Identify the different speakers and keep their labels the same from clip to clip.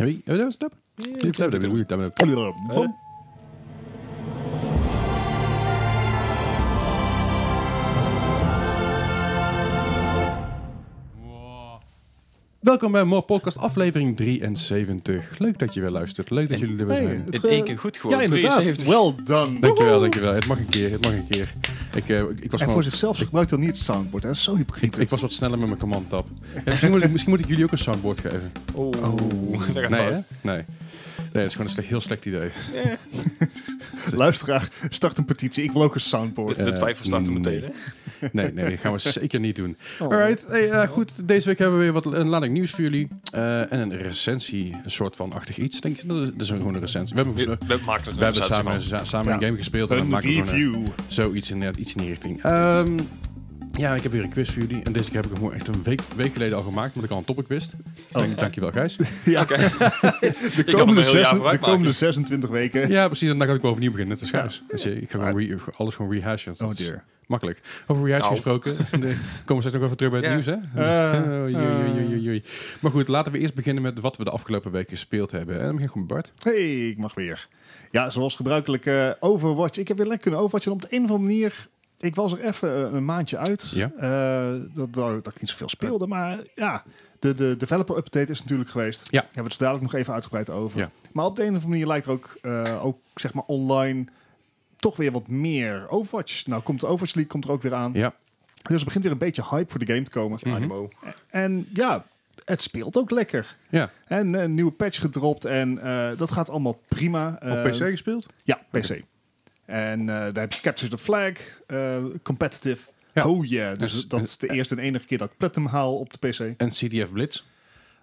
Speaker 1: Oui, euh, non, stop. Oui, stop, oui, oui, stop. Welkom bij More Podcast, aflevering 73. Leuk dat je weer luistert. Leuk dat
Speaker 2: En-
Speaker 1: jullie er weer zijn.
Speaker 2: In
Speaker 3: eh,
Speaker 2: één keer goed gewoon.
Speaker 3: Ja, inderdaad.
Speaker 2: 73.
Speaker 3: Well done.
Speaker 1: Dankjewel, dankjewel. Het mag een keer, het mag een keer. Ik, eh, ik, ik was
Speaker 3: En
Speaker 1: gewoon-
Speaker 3: voor zichzelf, ze gebruikt dan niet het soundboard. Dat is zo
Speaker 1: ik,
Speaker 3: hypocriet.
Speaker 1: ik was wat sneller met mijn command tab. Ja, misschien, moet ik, misschien moet ik jullie ook een soundboard geven.
Speaker 2: Oeh, dat gaat
Speaker 1: Nee, hè?
Speaker 2: fout.
Speaker 1: Nee. Nee, dat is gewoon een slecht- heel slecht idee.
Speaker 3: Luisteraar, start een petitie. Ik wil ook een soundboard.
Speaker 2: De, de
Speaker 1: Eh,
Speaker 2: twijfel staat er meteen.
Speaker 1: nee.
Speaker 2: hè?
Speaker 1: Nee, nee, dat gaan we zeker niet doen.
Speaker 3: Oh.
Speaker 1: Alright, hey, eh, goed. Deze week hebben we weer wat een lading nieuws voor jullie. Eh, en een recensie, een soort van achtig iets. Denk je? Dat is, dat is gewoon een recensie. We hebben,
Speaker 2: We,
Speaker 1: we,
Speaker 2: we maken er een
Speaker 1: hebben
Speaker 2: sensatie
Speaker 1: samen,
Speaker 2: van.
Speaker 1: sa- samen een
Speaker 3: Ja.
Speaker 1: game gespeeld. en dan
Speaker 3: Een
Speaker 1: maken we gewoon een-
Speaker 3: review.
Speaker 1: zoiets in, net iets in die richting. Ehm, ja, ik heb weer een quiz voor jullie. En deze keer heb ik hem gewoon echt een week, week geleden al gemaakt. Omdat ik al een topic wist. Dank, dankjewel, Gijs.
Speaker 3: Ja,
Speaker 2: Oké.
Speaker 3: de,
Speaker 2: kan hem
Speaker 3: komende
Speaker 2: een heel jaar
Speaker 3: zes- de
Speaker 2: vooruit
Speaker 3: komende 26 weken.
Speaker 1: Ja, precies. En dan kan ik wel overnieuw beginnen. Het is Gijs. Weet je, ik ga gewoon re- alles gewoon rehashen. Dat
Speaker 3: Oh
Speaker 1: is
Speaker 3: dear.
Speaker 1: Makkelijk. Over rehash
Speaker 2: Nou.
Speaker 1: gesproken. Nee, komen we straks nog even terug bij het
Speaker 2: Ja. Oh,
Speaker 1: nieuws, hè? Oh,
Speaker 3: Eh,
Speaker 1: Oei, oei, oei, oei, oei. Maar goed, laten we eerst beginnen met wat we de afgelopen week gespeeld hebben. En dan begin ik met Bart.
Speaker 3: Hey, ik mag weer. Ja, zoals gebruikelijk eh, Overwatch. Ik heb weer lekker kunnen Overwatchen. Op de een of andere manier, ik was er even eh, een maandje uit.
Speaker 1: Ja.
Speaker 3: Eh, dat, dat, dat ik niet zoveel speelde. Maar eh, ja, de, de developer update is natuurlijk geweest.
Speaker 1: Ja.
Speaker 3: Daar hebben we het zo dadelijk nog even uitgebreid over.
Speaker 1: Ja.
Speaker 3: Maar op de een of andere manier lijkt er ook, eh, ook zeg maar online toch weer wat meer Overwatch. Nou, komt de Overwatch League komt er ook weer aan.
Speaker 1: Ja.
Speaker 3: Dus er begint weer een beetje hype voor de game te komen.
Speaker 1: Mhm.
Speaker 2: Animo.
Speaker 3: En ja, het speelt ook lekker.
Speaker 1: Ja.
Speaker 3: En een nieuwe patch gedropt en eh, dat gaat allemaal prima.
Speaker 1: Op
Speaker 3: Eh,
Speaker 1: PC gespeeld?
Speaker 3: Ja, PC. En eh, daar heb je Capture the Flag, eh, competitive.
Speaker 1: Ja.
Speaker 3: Oh yeah, dus
Speaker 1: Dus-
Speaker 3: dat is de eerste en enige keer dat ik Platinum haal op de PC.
Speaker 1: En CDF Blitz?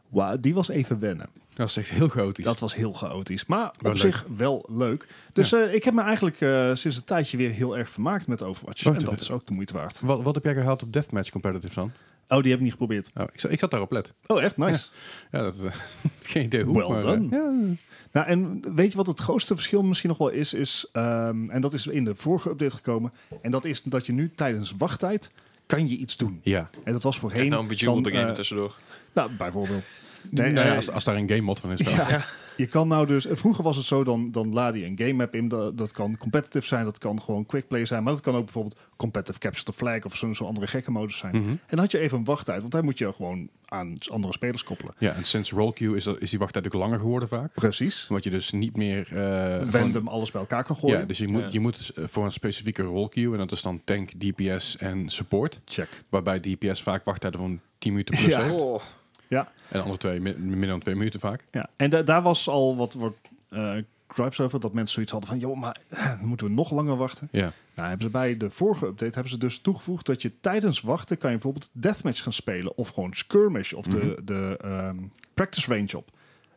Speaker 3: Wow, die was even wennen.
Speaker 1: Dat is echt heel chaotisch.
Speaker 3: Dat was heel chaotisch, maar op
Speaker 1: Wel leuk.
Speaker 3: zich wel leuk. Dus eh, ik heb me eigenlijk eh, sinds een tijdje weer heel erg vermaakt met Overwatch.
Speaker 1: Wacht
Speaker 3: en dat
Speaker 1: even.
Speaker 3: is ook de moeite waard.
Speaker 1: Wat, wat heb jij gehaald op Deathmatch Competitive dan?
Speaker 3: Oh, die heb ik niet geprobeerd.
Speaker 1: Oh, ik, zat, ik zat daarop let.
Speaker 3: Oh, echt? Nice.
Speaker 1: Ja, dat, eh, geen idee hoe.
Speaker 3: Well
Speaker 1: maar, eh,
Speaker 3: done.
Speaker 1: ja.
Speaker 3: Nou, en weet je wat het grootste verschil misschien nog wel is? is ehm, en dat is in de vorige update gekomen. En dat is dat je nu tijdens wachttijd kan je iets doen.
Speaker 1: ja.
Speaker 3: En dat was voorheen...
Speaker 2: Kijk nou een bejeweled
Speaker 3: dan,
Speaker 2: game er
Speaker 3: eh,
Speaker 2: tussendoor.
Speaker 3: Nou, bijvoorbeeld. Nee,
Speaker 1: Nou ja,
Speaker 3: eh,
Speaker 1: als, als daar een game mod van is. dan.
Speaker 3: ja. Je kan nou dus... eh, Vroeger was het zo, dan, dan laad je een game map in. Dat, dat kan competitive zijn, dat kan gewoon quick play zijn. Maar dat kan ook bijvoorbeeld competitive capture the flag... of zo'n zo'n andere gekke modus zijn.
Speaker 1: Mhm.
Speaker 3: En dan had je even een wachttijd. Want daar moet je gewoon aan andere spelers koppelen.
Speaker 1: Ja, en sinds roll queue is, dat, is die wachttijd ook langer geworden vaak.
Speaker 3: Precies.
Speaker 1: Omdat je dus niet meer... eh, gewoon-
Speaker 3: Random alles bij elkaar kan gooien.
Speaker 1: ja, dus je moet,
Speaker 2: Ja.
Speaker 1: je moet eh, voor een specifieke roll queue, en dat is dan tank, DPS en support,
Speaker 3: Check.
Speaker 1: waarbij DPS vaak wachttijden van 10 minuten plus
Speaker 3: Ja.
Speaker 1: heeft.
Speaker 2: Oh.
Speaker 3: Ja.
Speaker 1: En de andere twee, mi- minder dan twee minuten vaak.
Speaker 3: Ja, en da- daar was al wat, wat eh, gripes over. Dat mensen zoiets hadden van, joh, maar eh, moeten we nog langer wachten?
Speaker 1: Ja.
Speaker 3: Nou, hebben ze bij de vorige update hebben ze dus toegevoegd dat je tijdens wachten kan je bijvoorbeeld deathmatch gaan spelen. Of gewoon skirmish of de, de ehm, practice range op.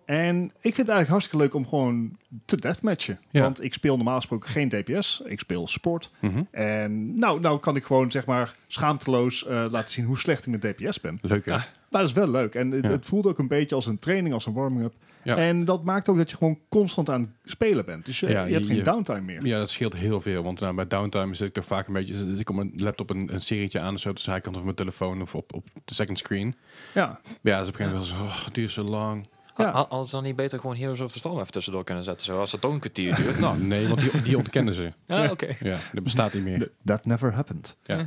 Speaker 3: En ik vind het eigenlijk hartstikke leuk om gewoon te deathmatchen.
Speaker 1: Ja.
Speaker 3: Want ik speel normaal gesproken geen DPS. Ik speel sport.
Speaker 1: Mhm.
Speaker 3: En nou, nou kan ik gewoon zeg maar schaamteloos eh, laten zien hoe slecht ik met DPS ben.
Speaker 1: Leuk hè?
Speaker 3: Maar dat is wel leuk. En het,
Speaker 1: Ja.
Speaker 3: het voelt ook een beetje als een training, als een warming-up.
Speaker 1: Ja.
Speaker 3: En dat maakt ook dat je gewoon constant aan het spelen bent. Dus je,
Speaker 1: Ja,
Speaker 3: je hebt
Speaker 1: je-
Speaker 3: geen
Speaker 1: je-
Speaker 3: downtime meer.
Speaker 1: Ja, dat scheelt heel veel. Want nou, bij downtime zit ik toch vaak een beetje... Ik op mijn laptop een, een serietje aan, zo op de zijkant of mijn telefoon of op, op de second screen.
Speaker 3: Ja.
Speaker 1: Ja, dat is op een gegeven moment wel zo, oh, het duurt zo lang.
Speaker 3: Ja.
Speaker 2: Ha- Hadden ze dan niet beter gewoon Heroes of the Storm even tussendoor kunnen zetten? Zo, als het toch een kwartier duurt. Nou,
Speaker 1: Nee, want die, die ontkennen ze.
Speaker 2: ja, oké.
Speaker 1: Ja, dat bestaat niet meer.
Speaker 3: That never happened.
Speaker 1: Ja.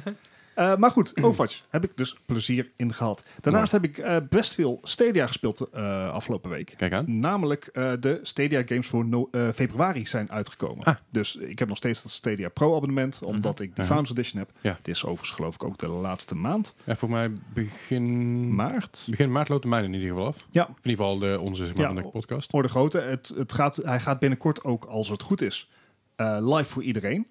Speaker 3: Eh, maar goed, Overwatch heb ik dus plezier in gehad. Daarnaast heb ik eh, best veel Stadia gespeeld eh, afgelopen week.
Speaker 1: Kijk aan.
Speaker 3: Namelijk eh, de Stadia games voor no- eh, februari zijn uitgekomen.
Speaker 1: Ah.
Speaker 3: Dus ik heb nog steeds dat Stadia Pro abonnement, omdat ik de
Speaker 1: Mhm.
Speaker 3: Founders Edition heb.
Speaker 1: Ja.
Speaker 3: Het is overigens geloof ik ook de laatste maand,
Speaker 1: Ja, voor mij begin...
Speaker 3: maart.
Speaker 1: Begin maart loopt de mijne in ieder geval af.
Speaker 3: Ja,
Speaker 1: In ieder geval de, onze zeg maar,
Speaker 3: Ja,
Speaker 1: van de
Speaker 3: o-
Speaker 1: podcast.
Speaker 3: Voor de grote, het, het gaat, hij gaat binnenkort ook, als het goed is, eh, live voor iedereen.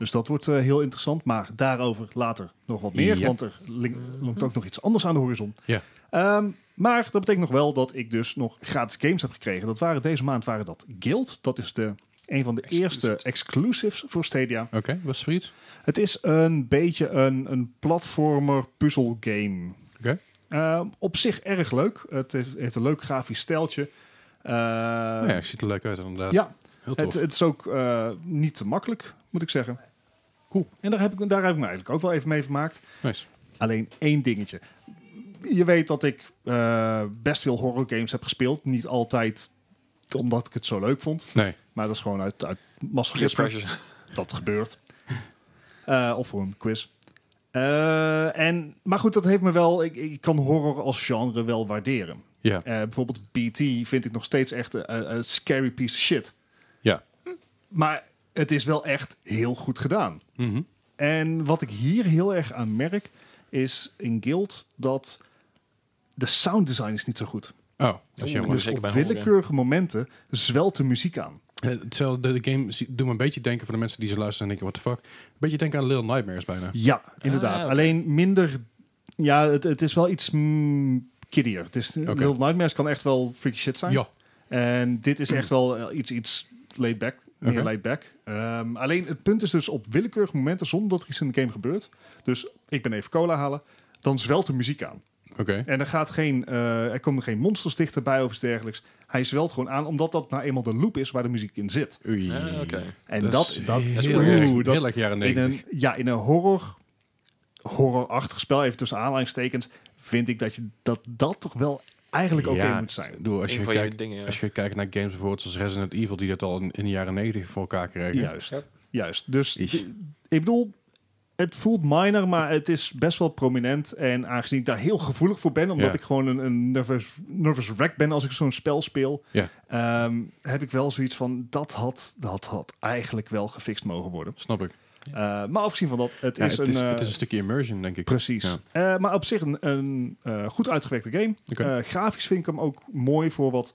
Speaker 3: Dus dat wordt eh, heel interessant, maar daarover later nog wat meer,
Speaker 1: Ja.
Speaker 3: want er link- longt ook nog iets anders aan de horizon.
Speaker 1: Ja.
Speaker 3: Ehm, maar dat betekent nog wel dat ik dus nog gratis games heb gekregen. Dat waren deze maand waren dat Guild, dat is de, een van de
Speaker 2: Exclusives.
Speaker 3: eerste exclusives voor Stadia.
Speaker 1: Oké, was het voor iets?
Speaker 3: Het is een beetje een, een platformer puzzelgame.
Speaker 1: Oké.
Speaker 3: Ehm, op zich erg leuk. Het heeft, heeft een leuk grafisch stijltje. Eh,
Speaker 1: Nou ja, ik ziet er leuk uit inderdaad.
Speaker 3: ja,
Speaker 1: Heel tof.
Speaker 3: het, het is ook eh, niet te makkelijk, moet ik zeggen.
Speaker 1: Cool.
Speaker 3: eh, En daar heb ik, me- daar heb ik me eigenlijk ook wel even mee vermaakt.
Speaker 1: nice.
Speaker 3: Alleen één dingetje. je weet dat ik eh, best veel horror games heb gespeeld. Niet altijd omdat ik het zo leuk vond.
Speaker 1: Nee.
Speaker 3: Maar dat is gewoon uit, uit
Speaker 2: Peer
Speaker 3: masochisme.
Speaker 2: pressures.
Speaker 3: Dat gebeurt. Eh, of voor een quiz. Eh, en, maar goed, dat heeft me wel... Ik, ik kan horror als genre wel waarderen.
Speaker 1: Ja.
Speaker 3: Eh, bijvoorbeeld BT vind ik nog steeds echt een een- een scary piece of shit.
Speaker 1: Ja.
Speaker 3: Maar het is wel echt heel goed gedaan.
Speaker 1: Mhm.
Speaker 3: En wat ik hier heel erg aan merk, is in Guild dat de sound design is niet zo goed.
Speaker 1: Oh, dat is
Speaker 2: Oeh.
Speaker 1: jammer.
Speaker 3: Dus
Speaker 2: zeker
Speaker 3: op
Speaker 2: bij een horror
Speaker 3: willekeurige momenten zwelt de muziek aan.
Speaker 1: Eh, Terwijl de, de game zie- doet me een beetje denken voor de mensen die ze luisteren en denken, what the fuck. Een beetje denken aan Little Nightmares bijna.
Speaker 3: Ja, inderdaad.
Speaker 2: oké.
Speaker 3: Alleen minder... Ja, het, het is wel iets mm, kiddier. Het is,
Speaker 1: Oké.
Speaker 3: Little Nightmares kan echt wel freaky shit zijn.
Speaker 1: Ja.
Speaker 3: En dit is echt wel eh, iets, iets laid back. Meer
Speaker 1: Oké.
Speaker 3: laid back. Ehm, alleen het punt is dus op willekeurige momenten, zonder dat er iets in de game gebeurt. Dus ik ben even cola halen. Dan zwelt de muziek aan.
Speaker 1: Oké.
Speaker 3: En er, gaat geen, eh, er komen geen monsters dichterbij of iets dergelijks. Hij zwelt gewoon aan, omdat dat nou eenmaal de loop is waar de muziek in zit.
Speaker 1: Oei.
Speaker 2: Ah, oké.
Speaker 3: En dat, dat,
Speaker 1: is heel,
Speaker 2: heel erg-
Speaker 1: erg-
Speaker 3: oeh, dat-
Speaker 1: heel erg jaren
Speaker 3: in
Speaker 1: 90.
Speaker 3: een, ja, in een horror, horrorachtig spel, even tussen aanhalingstekens, vind ik dat je, dat, dat toch wel eigenlijk oké
Speaker 1: Ja,
Speaker 3: moet zijn.
Speaker 1: ik bedoel, als,
Speaker 2: Een
Speaker 1: je
Speaker 2: van je
Speaker 1: kijkt,
Speaker 2: dingen. ja.
Speaker 1: als je kijkt naar games bijvoorbeeld zoals Resident Evil, die dat al in, in de jaren 90 voor elkaar kregen.
Speaker 3: Juist.
Speaker 2: Ja.
Speaker 3: Juist. Dus
Speaker 1: Ish.
Speaker 3: d- ik bedoel, het voelt minor, maar het is best wel prominent. En aangezien ik daar heel gevoelig voor ben, omdat
Speaker 1: Ja.
Speaker 3: ik gewoon een, een nervous, nervous wreck ben als ik zo'n spel speel,
Speaker 1: Ja.
Speaker 3: ehm, heb ik wel zoiets van, dat had, dat had eigenlijk wel gefixt mogen worden.
Speaker 1: Snap ik.
Speaker 3: Eh, maar afgezien van dat, het
Speaker 1: Ja,
Speaker 3: is
Speaker 1: het,
Speaker 3: een...
Speaker 1: is,
Speaker 3: eh,
Speaker 1: het is een stukje immersion, denk ik.
Speaker 3: Precies.
Speaker 1: Ja.
Speaker 3: Eh, maar op zich een, een eh, goed uitgewerkte game.
Speaker 1: Oké.
Speaker 3: Eh, grafisch vind ik hem ook mooi voor wat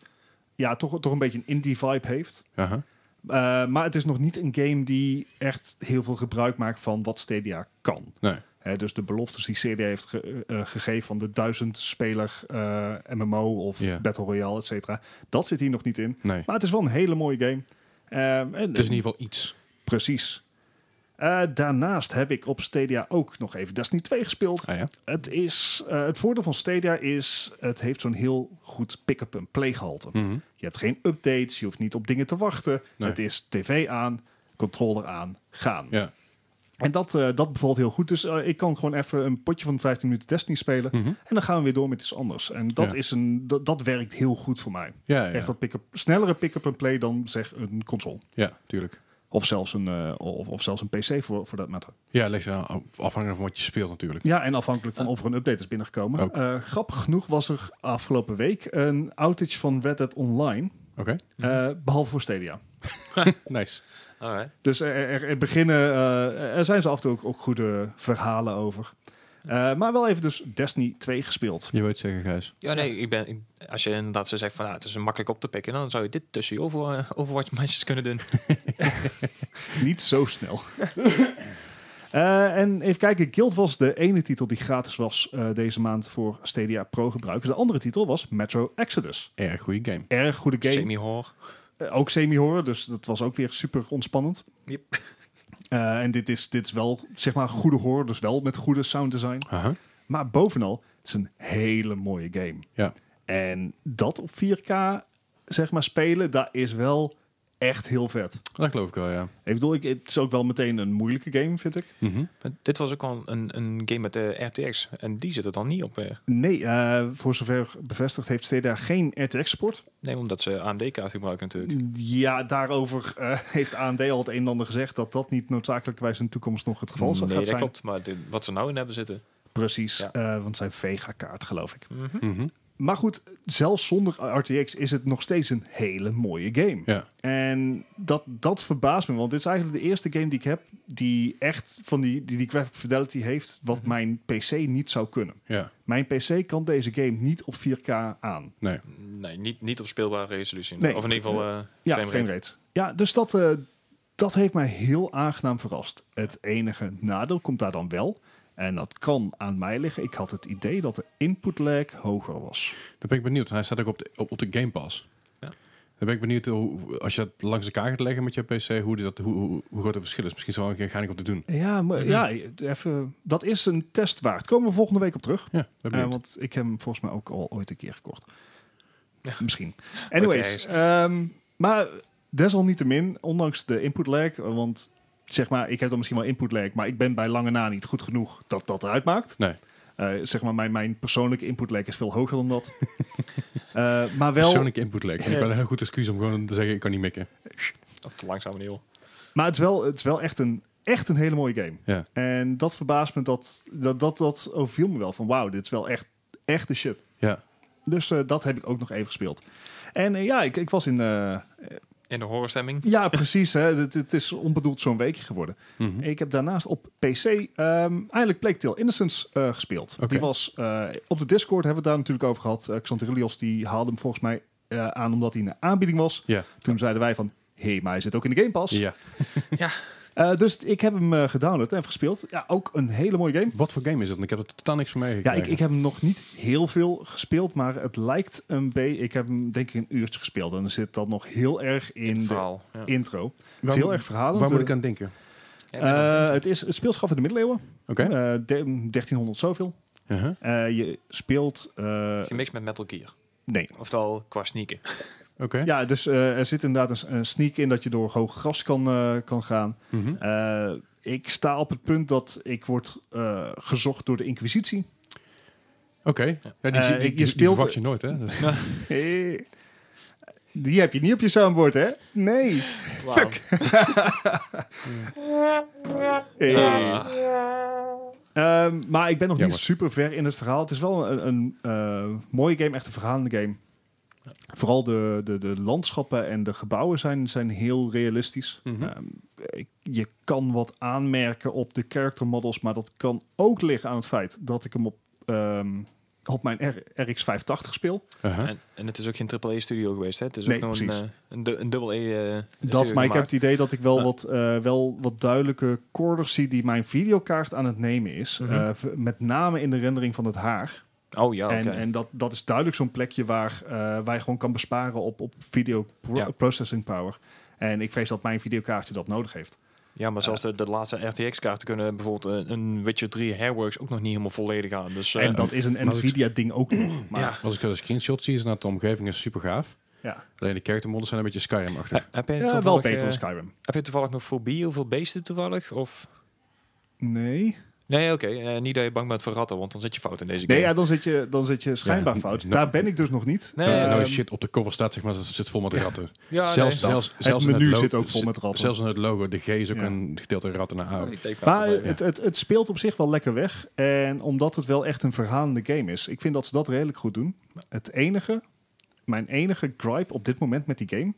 Speaker 3: ja, toch, toch een beetje een indie vibe heeft.
Speaker 1: Aha.
Speaker 3: Uh, maar het is nog niet een game die echt heel veel gebruik maakt van wat Stadia kan.
Speaker 1: Nee.
Speaker 3: Hè, dus de beloftes die Stadia heeft ge- eh, gegeven van de duizend speler eh, MMO of
Speaker 1: Ja.
Speaker 3: Battle Royale, et cetera. Dat zit hier nog niet in.
Speaker 1: nee.
Speaker 3: Maar het is wel een hele mooie game. Ehm, en,
Speaker 1: Het is in ieder geval iets.
Speaker 3: Precies. Eh, daarnaast heb ik op Stadia ook nog even Destiny 2 gespeeld.
Speaker 1: Ah ja.
Speaker 3: Het, is, eh, het voordeel van Stadia is, het heeft zo'n heel goed pick-up en play gehalte.
Speaker 1: Mhm.
Speaker 3: Je hebt geen updates, je hoeft niet op dingen te wachten.
Speaker 1: Nee.
Speaker 3: Het is tv aan, controller aan, gaan.
Speaker 1: Ja.
Speaker 3: En dat, eh, dat bevalt heel goed. Dus eh, ik kan gewoon even een potje van 15 minuten Destiny spelen.
Speaker 1: Mhm.
Speaker 3: En dan gaan we weer door met iets anders. En dat,
Speaker 1: Ja.
Speaker 3: is een, dat, dat werkt heel goed voor mij.
Speaker 1: Ja, ja.
Speaker 3: Echt dat pick-up, snellere pick-up en play dan zeg een console.
Speaker 1: ja, tuurlijk.
Speaker 3: Of zelfs een, eh, of, of zelfs een PC voor, voor dat matter.
Speaker 1: Ja, ligt er aan- afhankelijk van wat je speelt natuurlijk.
Speaker 3: Ja, en afhankelijk van of er een update is binnengekomen.
Speaker 1: Ook.
Speaker 3: Eh, grappig genoeg was er afgelopen week een outage van Red Dead Online.
Speaker 1: Oké.
Speaker 3: eh, behalve voor Stadia.
Speaker 1: Nice.
Speaker 2: Alright.
Speaker 3: Dus er, er, er beginnen, eh, er zijn zo af en toe ook, ook goede verhalen over. Eh, maar wel even dus Destiny 2 gespeeld.
Speaker 1: Je weet zeker, Gijs.
Speaker 2: Ja, nee, ik ben, ik- als je inderdaad zo zegt van ah, het is makkelijk op te pikken, dan zou je dit tussen je over, eh, Overwatch matches kunnen doen.
Speaker 3: Niet zo snel. Eh, en even kijken, Guild was de ene titel die gratis was eh, deze maand voor Stadia Pro gebruikers. De andere titel was Metro Exodus.
Speaker 1: Erg goede game.
Speaker 3: Erg goede game.
Speaker 2: Semi-horror.
Speaker 3: Eh, ook semi-horror, dus dat was ook weer super ontspannend.
Speaker 2: Yep.
Speaker 3: Eh, en dit is, dit is wel, zeg maar, goede horror, dus wel met goede sound design.
Speaker 1: Aha.
Speaker 3: Maar bovenal, het is een hele mooie game.
Speaker 1: Ja.
Speaker 3: En dat op 4K, zeg maar, spelen, dat is wel echt heel vet.
Speaker 1: Dat geloof ik wel, ja.
Speaker 3: Ik bedoel, ik, het is ook wel meteen een moeilijke game, vind ik.
Speaker 1: Mhm.
Speaker 2: Maar Dit was ook al een, een game met eh, de RTX en die zit er dan niet op. eh.
Speaker 3: Nee, eh, voor zover bevestigd heeft Stadia geen RTX-support.
Speaker 2: Nee, omdat ze AMD-kaart gebruiken natuurlijk.
Speaker 3: Ja, daarover eh, heeft AMD al het een en ander gezegd... dat dat niet noodzakelijkerwijs in de toekomst nog het geval zal
Speaker 2: nee,
Speaker 3: gaan
Speaker 2: dat
Speaker 3: zijn.
Speaker 2: klopt. Maar dit- wat ze nou in hebben zitten.
Speaker 3: Precies,
Speaker 2: Ja.
Speaker 3: eh, want zijn Vega-kaart, geloof ik.
Speaker 2: Mhm.
Speaker 1: Mhm.
Speaker 3: Maar goed, zelfs zonder RTX is het nog steeds een hele mooie game.
Speaker 1: Ja.
Speaker 3: En dat, dat verbaast me, want dit is eigenlijk de eerste game die ik heb die echt van die, die, die graphic fidelity heeft, wat mijn PC niet zou kunnen.
Speaker 1: Ja.
Speaker 3: Mijn PC kan deze game niet op 4K aan.
Speaker 1: Nee.
Speaker 2: Nee, niet, niet op speelbare resolutie.
Speaker 3: Nee.
Speaker 2: Of in ieder geval eh
Speaker 3: Ja,
Speaker 2: frame rate.
Speaker 3: frame rate. Ja, dus dat, eh, dat heeft mij heel aangenaam verrast. Het enige nadeel komt daar dan wel. En dat kan aan mij liggen. Ik had het idee dat de input lag hoger was.
Speaker 1: Dan ben ik benieuwd. Hij staat ook op de, op, op de Game Pass.
Speaker 2: Ja.
Speaker 1: Dan ben ik benieuwd hoe, als je dat langs elkaar gaat leggen met je PC, hoe, die dat, hoe, hoe, hoe groot het verschil is. Misschien is er wel een keer geinig om te doen.
Speaker 3: Ja, maar, ja even, dat is een test waard. Komen we volgende week op terug.
Speaker 1: Ja, ben
Speaker 3: Eh,
Speaker 1: benieuwd.
Speaker 3: want ik heb hem volgens mij ook al ooit een keer gekocht.
Speaker 2: Ja.
Speaker 3: Misschien.
Speaker 2: ergens.
Speaker 3: Anyways, ehm, maar desalniettemin, ondanks de input lag, want zeg maar, ik heb dan misschien wel input lag, maar ik ben bij lange na niet goed genoeg dat dat eruit maakt.
Speaker 1: Nee.
Speaker 3: Eh, zeg maar, mijn, mijn persoonlijke input lag is veel hoger dan dat. Eh, maar wel,
Speaker 1: Persoonlijke input lag. Ik ben een heel goed excuus om gewoon te zeggen, ik kan niet mikken.
Speaker 2: Of te langzaam, joh.
Speaker 3: maar het is wel, het is wel echt, een, echt een hele mooie game.
Speaker 1: Ja.
Speaker 3: En dat verbaast me, dat, dat, dat, dat overviel me wel. Van wauw, dit is wel echt, echt de shit.
Speaker 1: Ja.
Speaker 3: Dus eh, dat heb ik ook nog even gespeeld. En eh, ja, ik, ik was in... eh,
Speaker 2: In de horrorstemming.
Speaker 3: ja, precies. hè, het, het is onbedoeld zo'n weekje geworden.
Speaker 1: Mhm.
Speaker 3: Ik heb daarnaast op PC ehm eigenlijk Plague Tale Innocence eh, gespeeld.
Speaker 1: Oké.
Speaker 3: Die was, eh, op de Discord hebben we het daar natuurlijk over gehad. Eh Xantarillos die haalde hem volgens mij eh, aan omdat hij in de aanbieding was.
Speaker 1: Ja.
Speaker 3: Toen zeiden wij van, hé, hey, maar hij zit ook in de Game Pass.
Speaker 1: ja.
Speaker 3: Eh, dus ik heb hem eh, gedownload en even gespeeld. Ja, ook een hele mooie game.
Speaker 1: Wat voor game is dat? Ik heb er totaal niks van
Speaker 3: Ja,
Speaker 1: meegekregen.
Speaker 3: ik, ik heb hem nog niet heel veel gespeeld, maar het lijkt een beetje... Ik heb hem denk ik een uurtje gespeeld en er zit dat nog heel erg in de
Speaker 2: verhaal. Ja.
Speaker 3: intro. Het is
Speaker 1: Waarom-
Speaker 3: heel erg verhalend.
Speaker 1: Waar moet ik aan denken?
Speaker 2: Ja,
Speaker 3: Eh, het, is, het speelt zich af in de middeleeuwen.
Speaker 1: Oké.
Speaker 3: Eh, de- 1300 zoveel.
Speaker 1: Uh-huh.
Speaker 3: Eh, je speelt. eh,
Speaker 2: Gemixt met Metal Gear.
Speaker 3: nee.
Speaker 2: Oftewel qua sneaken.
Speaker 1: Oké.
Speaker 3: Ja, dus eh, er zit inderdaad een, s- een sneak in dat je door hoog gras kan, eh, kan gaan.
Speaker 1: Mhm.
Speaker 3: Eh, ik sta op het punt dat ik word eh, gezocht door de Inquisitie.
Speaker 1: Oké. Ja, die,
Speaker 3: Eh,
Speaker 1: zie- die-
Speaker 3: je
Speaker 1: die- die
Speaker 3: speelt-
Speaker 1: verwacht je nooit, hè?
Speaker 3: Eh, Die heb je niet op je soundboard, hè? Nee.
Speaker 2: Fuck!
Speaker 3: Eh, ehm, maar ik ben nog
Speaker 1: Jammer.
Speaker 3: niet super ver in het verhaal. Het is wel een, een eh, mooie game, echt een verhalende game. Vooral de, de, de landschappen en de gebouwen zijn, zijn heel realistisch.
Speaker 1: Mhm.
Speaker 3: Ehm, ik- je kan wat aanmerken op de character models, maar dat kan ook liggen aan het feit dat ik hem op, ehm, op mijn R- RX580 speel.
Speaker 1: Uh-huh.
Speaker 2: En, en het is ook geen AAA studio geweest, hè? Het is
Speaker 3: Nee,
Speaker 2: ook nog een,
Speaker 3: precies.
Speaker 2: eh, een, du- een double A eh,
Speaker 3: Dat,
Speaker 2: studio
Speaker 3: maar ik heb
Speaker 2: gemaakt.
Speaker 3: het idee dat ik wel,
Speaker 2: Ja.
Speaker 3: wat, eh, wel wat duidelijke corners zie die mijn videokaart aan het nemen is.
Speaker 2: Mhm.
Speaker 3: Eh, v- met name in de rendering van het haar.
Speaker 2: Oh ja, oké.
Speaker 3: En, en dat, dat is duidelijk zo'n plekje waar, eh, waar je gewoon kan besparen op, op video pro-
Speaker 2: Ja.
Speaker 3: processing power. En ik vrees dat mijn videokaartje dat nodig heeft.
Speaker 2: Ja, maar zelfs de, de laatste RTX-kaarten kunnen bijvoorbeeld een, een Witcher 3 Hairworks ook nog niet helemaal volledig aan. Dus eh,
Speaker 3: en dat is een
Speaker 1: maar als ik-
Speaker 3: Nvidia-ding ook nog. Maar,
Speaker 2: ja.
Speaker 1: Als ik een screenshot zie, is dat de omgeving is super gaaf.
Speaker 3: ja.
Speaker 1: Alleen de character models zijn een beetje Skyrim-achtig.
Speaker 2: He- Heb je,
Speaker 3: Ja,
Speaker 2: toevallig,
Speaker 3: wel beter dan
Speaker 2: eh,
Speaker 3: Skyrim.
Speaker 2: heb je toevallig nog fobie over beesten toevallig? Of?
Speaker 3: Nee.
Speaker 2: Nee, oké. eh, niet dat je bang bent voor ratten, want dan zit je fout in deze game.
Speaker 3: Nee, ja, dan, zit je, dan zit je schijnbaar
Speaker 1: Ja,
Speaker 3: fout.
Speaker 1: no-
Speaker 3: Daar ben ik dus nog niet.
Speaker 2: Nee,
Speaker 1: Nou,
Speaker 2: ja,
Speaker 1: nou
Speaker 3: Ehm,
Speaker 1: is shit op de cover staat, zeg maar, dat zit vol met ratten.
Speaker 2: Ja,
Speaker 1: zelfs,
Speaker 2: nee.
Speaker 1: zelfs,
Speaker 3: Het
Speaker 1: zelfs in
Speaker 3: menu
Speaker 1: lo-
Speaker 3: zit ook vol met ratten.
Speaker 1: Zelfs in het logo, de G is ook
Speaker 3: Ja.
Speaker 1: een gedeelte ratten naar A.
Speaker 2: Ik denk dat
Speaker 3: Maar eh,
Speaker 2: wel, ja.
Speaker 3: het, het, het speelt op zich wel lekker weg. En omdat het wel echt een verhalende game is. Ik vind dat ze dat redelijk goed doen. Het enige, mijn enige gripe op dit moment met die game...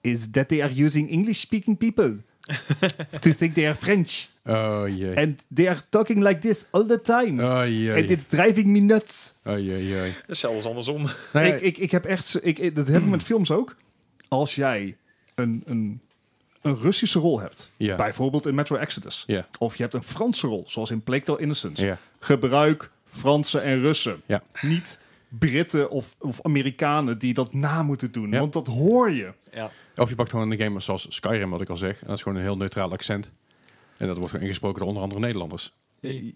Speaker 3: is that they are using English-speaking people to think they are French.
Speaker 1: Oh jee.
Speaker 3: And they are talking like this all the time.
Speaker 1: Oh
Speaker 3: And
Speaker 1: jee.
Speaker 3: it's driving me nuts.
Speaker 1: Oh jee, jee.
Speaker 2: Dat is zelfs andersom.
Speaker 1: Nou ja,
Speaker 3: Ik, ik, ik heb echt, z- ik, ik- dat heb ik met films ook. Als jij een, een, een Russische rol hebt,
Speaker 1: Ja.
Speaker 3: bijvoorbeeld in Metro Exodus,
Speaker 1: Ja.
Speaker 3: of je hebt een Franse rol, zoals in Plague Tale Innocence,
Speaker 1: Ja.
Speaker 3: gebruik Fransen en Russen.
Speaker 1: Ja.
Speaker 3: Niet Britten of, of Amerikanen die dat na moeten doen,
Speaker 1: Ja.
Speaker 3: want dat hoor je.
Speaker 2: Ja.
Speaker 1: Of je pakt gewoon een game zoals Skyrim, wat ik al zeg. En dat is gewoon een heel neutraal accent. En dat wordt gewoon ingesproken door onder andere Nederlanders.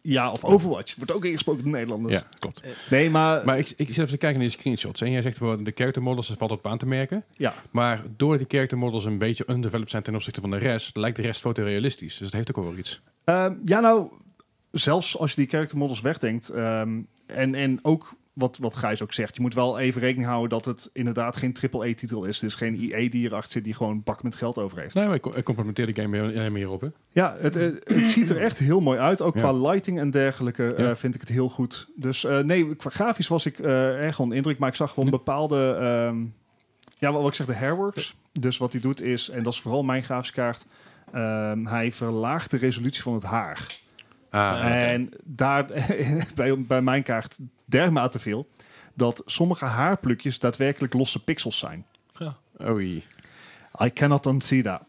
Speaker 3: Ja, of Overwatch wordt ook ingesproken door Nederlanders.
Speaker 1: Ja, klopt.
Speaker 3: Nee, maar,
Speaker 1: Maar ik, ik zit even te kijken naar die screenshots. En jij zegt wel, de character models, dat valt op aan te merken.
Speaker 3: ja.
Speaker 1: Maar door die character models een beetje undeveloped zijn ten opzichte van de rest, lijkt de rest fotorealistisch. Dus dat heeft ook wel weer iets.
Speaker 3: Ehm, ja, nou, zelfs als je die character models wegdenkt. ehm, en, en ook wat, wat Gijs ook zegt. Je moet wel even rekening houden dat het inderdaad geen AAA-titel is. Het is geen IE die erachter zit die gewoon bakken met geld over heeft.
Speaker 1: Nee, maar ik, ik complimenteer de game heel- heel meer op. Hè?
Speaker 3: Ja, het, eh, het ziet er echt heel mooi uit. Ook
Speaker 1: Ja.
Speaker 3: qua lighting en dergelijke eh,
Speaker 1: Ja.
Speaker 3: vind ik het heel goed. Dus eh, nee, qua grafisch was ik eh, erg onder de indruk. Maar ik zag gewoon
Speaker 1: Ja.
Speaker 3: bepaalde... ehm, ja, wat, wat ik zeg, de hairworks. Dus wat hij doet is, en dat is vooral mijn grafische kaart... ehm, hij verlaagt de resolutie van het haar.
Speaker 2: Ah, oké.
Speaker 3: En daar bij, bij mijn kaart dermate veel dat sommige haarplukjes daadwerkelijk losse pixels zijn.
Speaker 1: oei.
Speaker 3: I cannot unsee that.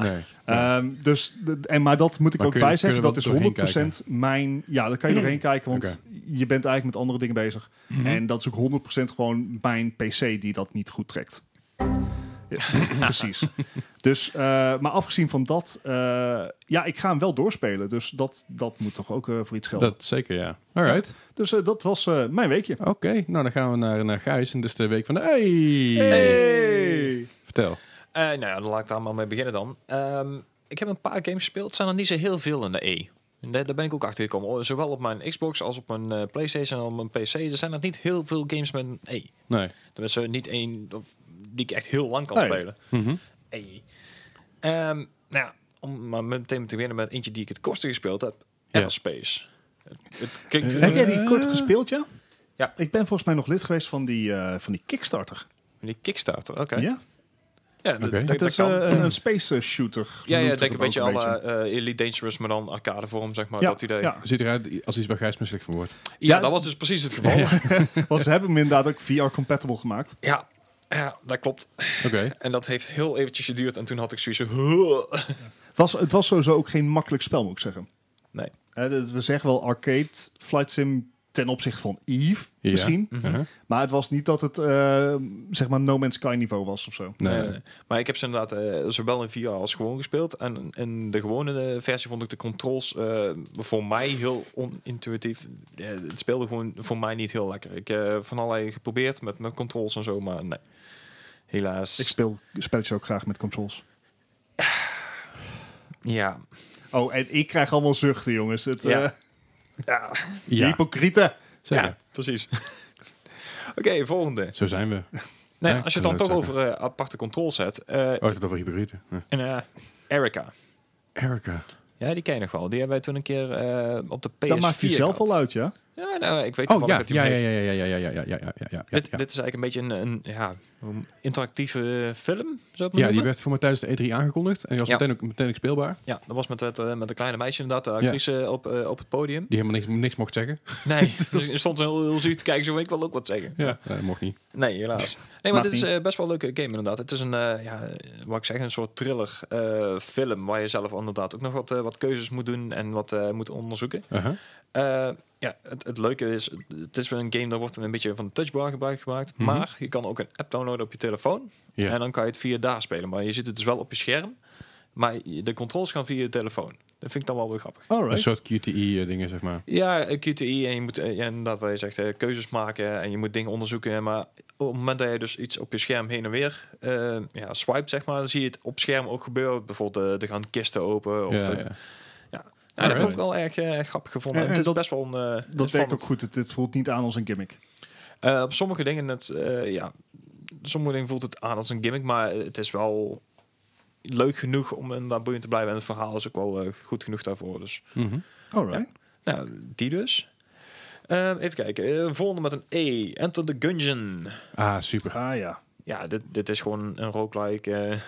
Speaker 1: Nee.
Speaker 3: Ehm, dus, d- en, maar dat moet ik
Speaker 1: Maar
Speaker 3: ook
Speaker 1: kun je-
Speaker 3: bij
Speaker 1: kun
Speaker 3: zeggen,
Speaker 1: je
Speaker 3: dat
Speaker 1: er
Speaker 3: is
Speaker 1: doorheen
Speaker 3: 100% mijn... Ja, daar kan
Speaker 2: Mm.
Speaker 3: je doorheen kijken, want
Speaker 1: Oké. Mhm.
Speaker 3: je bent eigenlijk met andere dingen bezig. En dat is ook 100% gewoon mijn PC die dat niet goed trekt. Ja, precies. Dus, eh, maar afgezien van dat, eh, ja, ik ga hem wel doorspelen. Dus dat, dat moet toch ook eh, voor iets gelden.
Speaker 1: Dat zeker, ja. Alright.
Speaker 3: Dus eh, dat was eh, mijn weekje.
Speaker 1: Oké, nou dan gaan we naar, naar Gijs. En dit is de week van de... Hey!
Speaker 3: Hey!
Speaker 1: Vertel.
Speaker 2: Eh, nou ja, dan laat ik daar maar mee beginnen dan. Ehm, ik heb een paar games gespeeld. Het zijn er niet zo heel veel in de E. En daar, daar ben ik ook achter gekomen. Zowel op mijn Xbox als op mijn eh, PlayStation en op mijn PC. Er zijn nog niet heel veel games met een E.
Speaker 1: Nee.
Speaker 2: Tenminste, niet één of- die ik echt heel lang kan
Speaker 3: Nee.
Speaker 2: spelen.
Speaker 1: Mhm.
Speaker 2: Hey. Ehm, nou ja, om maar meteen te beginnen met eentje die ik het kortste gespeeld heb.
Speaker 1: Ja.
Speaker 2: Everspace. Het, het klinkt...
Speaker 1: Eh,
Speaker 3: Heb jij die
Speaker 1: Eh.
Speaker 3: kort gespeeld, ja?
Speaker 2: Ja.
Speaker 3: Ik ben volgens mij nog lid geweest van die, eh, van die Kickstarter.
Speaker 2: die Kickstarter, oké. Ja,
Speaker 3: Ja?
Speaker 2: dat-
Speaker 1: Oké.
Speaker 2: dat,
Speaker 1: Dat
Speaker 2: dat,
Speaker 3: Het is eh,
Speaker 2: kan.
Speaker 3: een, een space eh, shooter.
Speaker 2: ja, ja,
Speaker 3: noemt
Speaker 2: ik denk
Speaker 3: het
Speaker 2: een beetje
Speaker 3: ook
Speaker 2: alle eh, Elite Dangerous, maar dan arcade vorm, zeg maar,
Speaker 3: Ja,
Speaker 2: dat idee. Ja.
Speaker 3: ja.
Speaker 1: Ziet eruit als iets waar Gijs misselijk van wordt.
Speaker 3: Ja.
Speaker 2: dat was dus precies het geval. Ja,
Speaker 3: Want ze hebben hem inderdaad ook VR-compatible gemaakt.
Speaker 2: ja. dat klopt.
Speaker 1: Oké.
Speaker 2: En dat heeft heel eventjes geduurd. En toen had ik zoiets van...
Speaker 3: Was, het was sowieso ook geen makkelijk spel, moet ik zeggen.
Speaker 2: Nee.
Speaker 3: Eh, dat- we zeggen wel arcade flight sim ten opzichte van Eve,
Speaker 1: Ja.
Speaker 3: misschien.
Speaker 2: Mhm.
Speaker 1: Uh-huh.
Speaker 3: Maar het was niet dat het, eh, zeg maar, No Man's Sky niveau was of zo.
Speaker 1: Nee.
Speaker 2: Nee, nee. Maar ik heb ze inderdaad eh, zowel in VR als gewoon gespeeld. En in de gewone eh, versie vond ik de controls eh, voor mij heel onintuïtief. Eh, het speelde gewoon voor mij niet heel lekker. Ik heb van allerlei geprobeerd met, met controls en zo, maar nee. Helaas.
Speaker 3: Ik speel spelletjes ook graag met controls.
Speaker 2: ja.
Speaker 3: Oh, en ik krijg allemaal zuchten, jongens. Het,
Speaker 2: Ja.
Speaker 3: eh,
Speaker 2: Ja,
Speaker 1: Ja.
Speaker 3: Hypocrieten.
Speaker 1: Zeker.
Speaker 2: ja, precies. Oké, volgende.
Speaker 1: Zo zijn we.
Speaker 2: Nou,
Speaker 1: Ja,
Speaker 2: als je
Speaker 1: kan
Speaker 2: het dan toch
Speaker 1: leuk
Speaker 2: over eh, aparte controls hebt. eh,
Speaker 1: Oh, het is over hypocrieten. Ja.
Speaker 2: en, eh, Erica.
Speaker 1: Erica.
Speaker 2: Ja, die ken je nog wel. Die hebben wij toen een keer eh, op de PS4
Speaker 3: Dat maakt je zelf
Speaker 2: gehad.
Speaker 3: al uit, ja?
Speaker 2: Ja, nou, ik weet
Speaker 1: Oh
Speaker 2: toevallig
Speaker 1: ja,
Speaker 2: dat die
Speaker 1: ja,
Speaker 2: hem
Speaker 1: ja,
Speaker 2: heet.
Speaker 1: ja, ja, ja, ja, ja, ja, ja, ja, ja, ja.
Speaker 2: dit, dit is eigenlijk een beetje een, een ja, hoe- interactieve film, zou ik maar
Speaker 1: Ja, die
Speaker 2: noemen.
Speaker 1: werd voor mij tijdens de E3 aangekondigd. En die was
Speaker 2: Ja.
Speaker 1: meteen, ook, meteen ook speelbaar.
Speaker 2: Ja, dat was met, het, eh, met een kleine meisje inderdaad, de actrice op, eh, op het podium.
Speaker 1: Die helemaal niks, niks mocht zeggen.
Speaker 2: Nee, dus er stond heel, heel zuur te kijken, zo ik wil ook wat zeggen.
Speaker 1: Ja. dat mocht niet.
Speaker 2: Nee, helaas. Nee, maar
Speaker 3: Mag
Speaker 2: dit is
Speaker 3: niet.
Speaker 2: eh, best wel een leuke game inderdaad. Het is een, eh, ja, eh, wat ik zeg, een soort thriller eh, film waar je zelf inderdaad ook nog wat, eh, wat keuzes moet doen en wat eh, moet onderzoeken.
Speaker 1: Uh-huh.
Speaker 2: Eh, ja, het, het leuke is, het is wel een game, daar wordt een beetje van de touchbar gebruik gemaakt.
Speaker 1: Mhm.
Speaker 2: Maar je kan ook een app downloaden op je telefoon.
Speaker 1: Ja.
Speaker 2: En dan kan je het via daar spelen. Maar je zit het dus wel op je scherm. Maar je- de controls gaan via je telefoon. Dat vind ik dan wel weer grappig.
Speaker 1: Een
Speaker 3: Alright.
Speaker 1: soort QTE-dingen, zeg maar.
Speaker 2: Ja, eh, QTI en je moet eh, ja, inderdaad wat je zegt, eh, keuzes maken en je moet dingen onderzoeken. Maar op het moment dat je dus iets op je scherm heen en weer eh ja, swipe, zeg maar, dan zie je het op scherm ook gebeuren. Bijvoorbeeld, eh, er gaan kisten open. Of
Speaker 1: Ja,
Speaker 2: de-
Speaker 1: ja.
Speaker 2: Nou, dat
Speaker 1: Alright.
Speaker 2: vond ik wel erg eh, grappig gevonden.
Speaker 3: En-
Speaker 2: het
Speaker 3: en
Speaker 2: is
Speaker 3: dat-
Speaker 2: best wel een... eh,
Speaker 3: Dat werkt
Speaker 2: spannend.
Speaker 3: ook goed. Het, het voelt niet aan als een gimmick.
Speaker 2: Eh, op sommige dingen, het, eh, ja, sommige dingen voelt het aan als een gimmick, maar het is wel leuk genoeg om inderdaad boeiend te blijven. En het verhaal is ook wel eh, goed genoeg daarvoor. Dus.
Speaker 1: Mhm.
Speaker 3: Alright.
Speaker 2: Nou, die dus. Eh, even kijken. Eh, volgende met een E. Enter the Gungeon.
Speaker 1: Ah, super.
Speaker 3: Ah ja.
Speaker 2: Ja, dit, dit is gewoon een roguelike eh,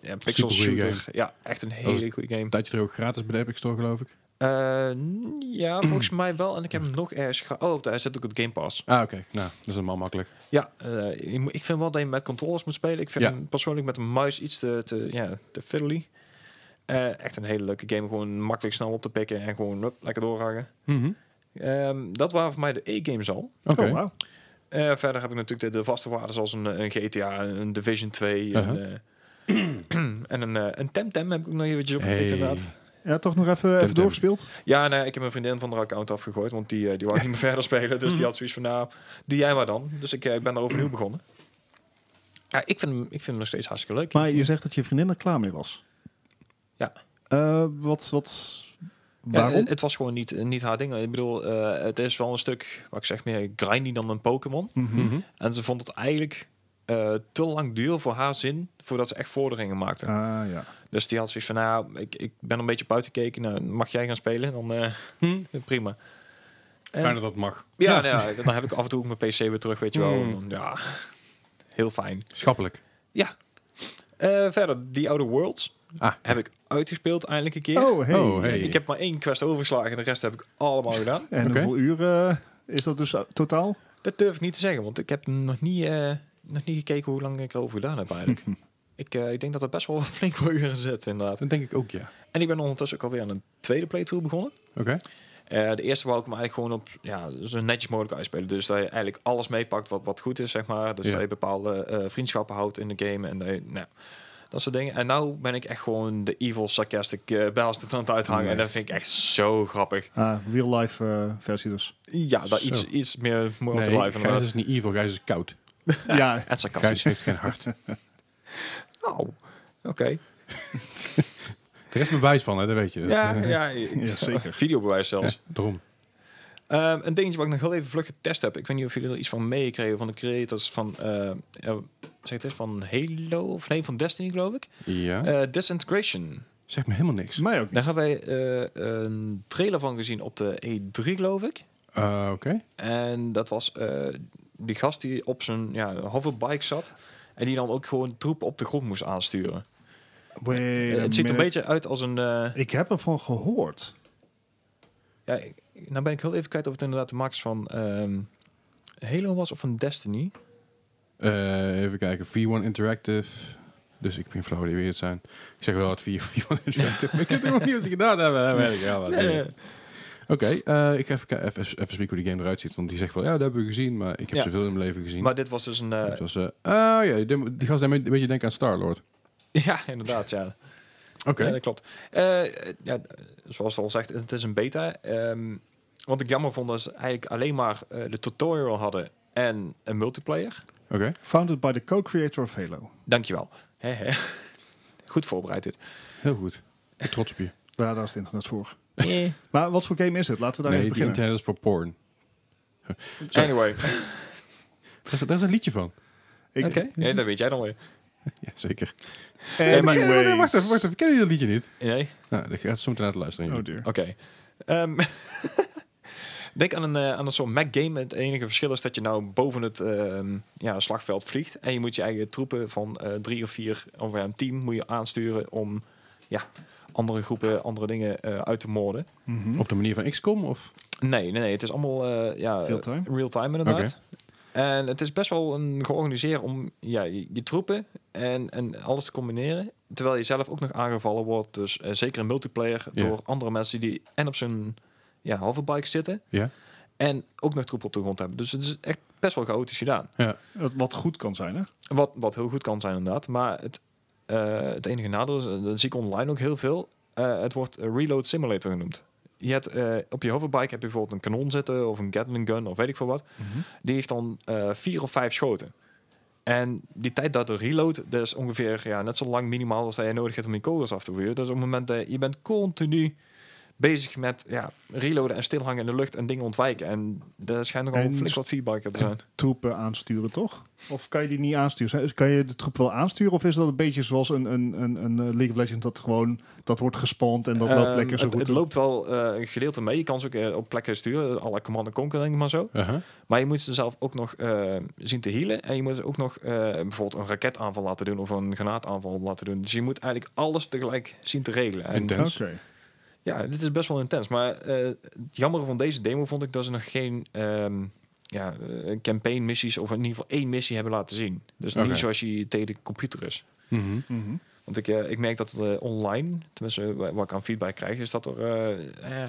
Speaker 2: ja, pixel
Speaker 1: Supergoeie
Speaker 2: shooter. Ja, echt een hele goede game.
Speaker 1: Een tijdje terug ook gratis bij de Epic Store, geloof ik.
Speaker 2: Eh, n- ja, volgens mij wel. En ik heb hem nog ergens ge- Oh, daar zit ook het Game Pass.
Speaker 1: Ah, oké. Nou, dat is helemaal makkelijk.
Speaker 2: Ja, eh, je moet- ik vind wel dat je met controllers moet spelen. Ik vind
Speaker 1: Ja.
Speaker 2: hem persoonlijk met een muis iets te, te, ja, te fiddly. Eh, echt een hele leuke game. Gewoon makkelijk snel op te pikken en gewoon hup, lekker doorhangen.
Speaker 1: Mhm.
Speaker 2: Ehm, dat waren voor mij de E-games al.
Speaker 1: Oké.
Speaker 3: Oh, wauw.
Speaker 2: Eh, verder heb ik natuurlijk de, de vaste waarden zoals een, eh, een GTA, een Division 2 en,
Speaker 3: Uh-huh.
Speaker 2: eh, en een, eh, een Temtem heb ik ook nog eventjes opgepikt
Speaker 1: Hey.
Speaker 2: inderdaad.
Speaker 3: Ja, toch nog even, even
Speaker 1: Temtem.
Speaker 3: doorgespeeld?
Speaker 2: Ja, nee, ik heb mijn vriendin van de account afgegooid, want die, eh, die wou niet meer verder spelen. Dus die had zoiets van, nou, doe jij maar dan. Dus ik eh, ben er overnieuw begonnen. Ja, ik vind, hem, ik vind hem nog steeds hartstikke leuk.
Speaker 3: Maar je zegt dat je vriendin er klaar mee was.
Speaker 2: Ja.
Speaker 3: Eh, wat, wat,
Speaker 2: Ja,
Speaker 3: waarom?
Speaker 2: eh, het was gewoon niet, eh, niet haar ding. Ik bedoel, eh, het is wel een stuk, wat ik zeg, meer grindy dan een Pokémon.
Speaker 3: Mhm.
Speaker 1: Mhm.
Speaker 2: En ze vond het eigenlijk eh, te lang duur voor haar zin, voordat ze echt vorderingen maakte.
Speaker 3: Ah ja.
Speaker 2: Dus die had zoiets van, nou, ik, ik ben een beetje buiten gekeken. Nou, mag jij gaan spelen? Dan eh,
Speaker 1: Hm.
Speaker 2: prima.
Speaker 1: Fijn dat dat mag.
Speaker 2: Ja, nou ja, dan heb ik af en toe ook mijn PC weer terug, weet je wel.
Speaker 1: Mm.
Speaker 2: Dan, ja, heel fijn.
Speaker 1: Schappelijk.
Speaker 2: Eh, verder, die Outer Worlds
Speaker 1: Ah.
Speaker 2: heb ik uitgespeeld eindelijk een keer.
Speaker 3: Oh, hey.
Speaker 1: Oh, hey.
Speaker 2: Ik heb maar één quest overgeslagen en de rest heb ik allemaal gedaan.
Speaker 3: En
Speaker 1: Oké.
Speaker 3: hoeveel uur eh, is dat dus totaal?
Speaker 2: Dat durf ik niet te zeggen, want ik heb nog niet, eh, nog niet gekeken hoe lang ik erover gedaan heb eigenlijk. ik, eh, ik denk dat er best wel flink voor uren zit, inderdaad.
Speaker 1: Dat denk ik ook, ja.
Speaker 2: En ik ben ondertussen ook alweer aan een tweede playthrough begonnen.
Speaker 1: Oké.
Speaker 2: Eh, de eerste wou ik hem eigenlijk gewoon op ja, zo netjes mogelijk uitspelen. Dus dat je eigenlijk alles meepakt wat, wat goed is, zeg maar. Dus
Speaker 1: Ja.
Speaker 2: dat je bepaalde eh, vriendschappen houdt in de game en dat, je- nou, dat soort dingen. En nou ben ik echt gewoon de evil sarcastic eh bastard aan het uithangen. En dat
Speaker 1: Nice.
Speaker 2: vind ik echt zo grappig.
Speaker 3: Ah, real life eh, versie dus.
Speaker 2: Ja, dat
Speaker 1: Zo.
Speaker 2: iets, iets meer moral
Speaker 1: Nee, dus-
Speaker 2: te blijven
Speaker 1: Gijs
Speaker 2: inderdaad.
Speaker 1: is niet evil, Gijs is koud.
Speaker 3: ja.
Speaker 2: En
Speaker 1: Gijs
Speaker 2: sarcastisch.
Speaker 1: dus- heeft geen hart.
Speaker 2: Oh, oké.
Speaker 1: Er is bewijs van, hè, dat weet je.
Speaker 2: Ja,
Speaker 1: Dat, eh,
Speaker 2: ja,
Speaker 3: Ja, zeker.
Speaker 2: videobewijs zelfs.
Speaker 1: Daarom.
Speaker 2: Ehm, een dingetje wat ik nog heel even vlug getest heb. Ik weet niet of jullie er iets van meekregen van de creators van, eh, eh, zeg het eens, van Halo of nee, van Destiny geloof ik.
Speaker 1: Ja.
Speaker 2: Eh, Disintegration.
Speaker 1: Zeg me helemaal niks.
Speaker 3: Mij ook niet.
Speaker 2: Daar hebben wij eh, een trailer van gezien op de E3 geloof ik.
Speaker 1: Eh, Oké.
Speaker 2: En dat was eh, die gast die op zijn ja, hoverbike zat. En die dan ook gewoon troepen op de grond moest aansturen. Eh,
Speaker 3: Wait a
Speaker 2: het ziet er een
Speaker 3: minute.
Speaker 2: beetje uit als een... eh,
Speaker 3: Ik heb ervan gehoord.
Speaker 2: ja, ik- nou ben ik heel even kwijt of het inderdaad de max van ehm, Halo was of van Destiny.
Speaker 1: Eh, even kijken. V1 Interactive. Dus ik ben flauw die weer het zijn. Ik zeg wel wat V1 Interactive. maar ik heb helemaal niet wat ze gedaan hebben. Dat weet ik wel. wat. Oké, eh, ik ga even, kijken- even, even spieken hoe die game eruit ziet. Want die zegt wel, ja, dat hebben we gezien. Maar ik heb
Speaker 2: Ja.
Speaker 1: zoveel in mijn leven gezien.
Speaker 2: Maar dit was dus een... eh,
Speaker 1: Dus als, eh, ah, ja, die, die gast daar een beetje denken aan Star-Lord.
Speaker 2: ja, inderdaad, ja.
Speaker 1: Oké.
Speaker 2: Ja, dat klopt. Eh, eh, ja, zoals het al zegt, het is een beta. Ehm, wat ik jammer vond, is eigenlijk alleen maar eh, de tutorial hadden en een multiplayer.
Speaker 1: Oké.
Speaker 3: Founded by the co-creator of Halo.
Speaker 2: Dankjewel. Hè, hè. Goed voorbereid dit.
Speaker 1: Heel goed. Ik ben trots op je.
Speaker 3: Ja, daar is het internet voor.
Speaker 2: Eh.
Speaker 3: Maar wat voor game is het? Laten we daar
Speaker 1: nee,
Speaker 3: even
Speaker 1: die
Speaker 3: beginnen.
Speaker 1: internet is voor porn. Sorry.
Speaker 2: Anyway,
Speaker 1: Daar is, daar is een liedje van.
Speaker 3: Ik-
Speaker 2: oké. Ja, dat weet jij dan weer.
Speaker 1: Ja, zeker.
Speaker 2: Nee, maar-
Speaker 1: Eh,
Speaker 3: Anyways.
Speaker 1: wacht even, wacht even. Ken je dat liedje niet?
Speaker 2: Nee?
Speaker 1: Nou, dan gaat ze zo meteen laten luisteren.
Speaker 3: Oh
Speaker 1: jullie.
Speaker 3: dear.
Speaker 2: Oké. Ehm, denk aan een, eh, aan een soort Mac game. Het enige verschil is dat je nou boven het ehm, ja, slagveld vliegt. En je moet je eigen troepen van eh, drie of vier, of ja, een team, moet je aansturen om ja, andere groepen, andere dingen eh, uit te moorden.
Speaker 3: Mhm.
Speaker 1: Op de manier van XCOM of?
Speaker 2: Nee, nee, nee. Het is allemaal eh, ja,
Speaker 3: Real-time?
Speaker 2: real-time inderdaad. En het is best wel een georganiseerd om ja, je, je troepen en, en alles te combineren. Terwijl je zelf ook nog aangevallen wordt. Dus eh, zeker in multiplayer
Speaker 1: Ja.
Speaker 2: door andere mensen die en op zijn ja, hoverbike zitten.
Speaker 1: Ja.
Speaker 2: En ook nog troepen op de grond hebben. Dus het is echt best wel chaotisch gedaan.
Speaker 1: Ja.
Speaker 3: Wat- Wat goed kan zijn, hè?
Speaker 2: Wat, wat heel goed kan zijn inderdaad. Maar het, eh, het enige nadeel is, eh, dat zie ik online ook heel veel. eh, het wordt eh, reload simulator genoemd. Je hebt, eh, op je hoverbike heb je bijvoorbeeld een kanon zitten of een Gatling gun of weet ik veel wat. Die heeft dan eh, vier of vijf schoten. En die tijd dat de reload, dat is ongeveer ja, net zo lang minimaal als dat je nodig hebt om je kogels af te vuren. Dus op het moment dat je bent continu bezig met ja, reloaden en stilhangen in de lucht en dingen ontwijken. En daar schijnt nogal
Speaker 3: En-
Speaker 2: flink wat feedback op te zijn.
Speaker 3: Troepen aansturen, toch? Of kan je die niet aansturen? Zijn- Kan je de troep wel aansturen? Of is dat een beetje zoals een, een, een, een eh, League of Legends dat gewoon... Dat wordt gespand en dat loopt
Speaker 2: Ehm,
Speaker 3: lekker zo
Speaker 2: het,
Speaker 3: goed.
Speaker 2: het loopt wel eh, een gedeelte mee. Je kan ze ook eh, op plekken sturen. Alle Command Conquer, denk ik maar zo.
Speaker 1: Aha.
Speaker 2: Maar je moet ze zelf ook nog eh, zien te healen. En je moet ze ook nog eh, bijvoorbeeld een raketaanval laten doen. Of een granaataanval laten doen. Dus je moet eigenlijk alles tegelijk zien te regelen. En,
Speaker 1: Intens.
Speaker 3: Oké.
Speaker 2: ja, dit is best wel intens. Maar eh het jammere van deze demo vond ik dat ze nog geen... ehm, ja, eh, campaign missies of in ieder geval één missie hebben laten zien. Dus
Speaker 1: Oké.
Speaker 2: niet zoals je tegen de computer is.
Speaker 1: Mhm.
Speaker 3: Mhm.
Speaker 2: Want ik, eh, ik merk dat eh, online, tenminste wa- wat ik aan feedback krijg, is dat er eh, eh,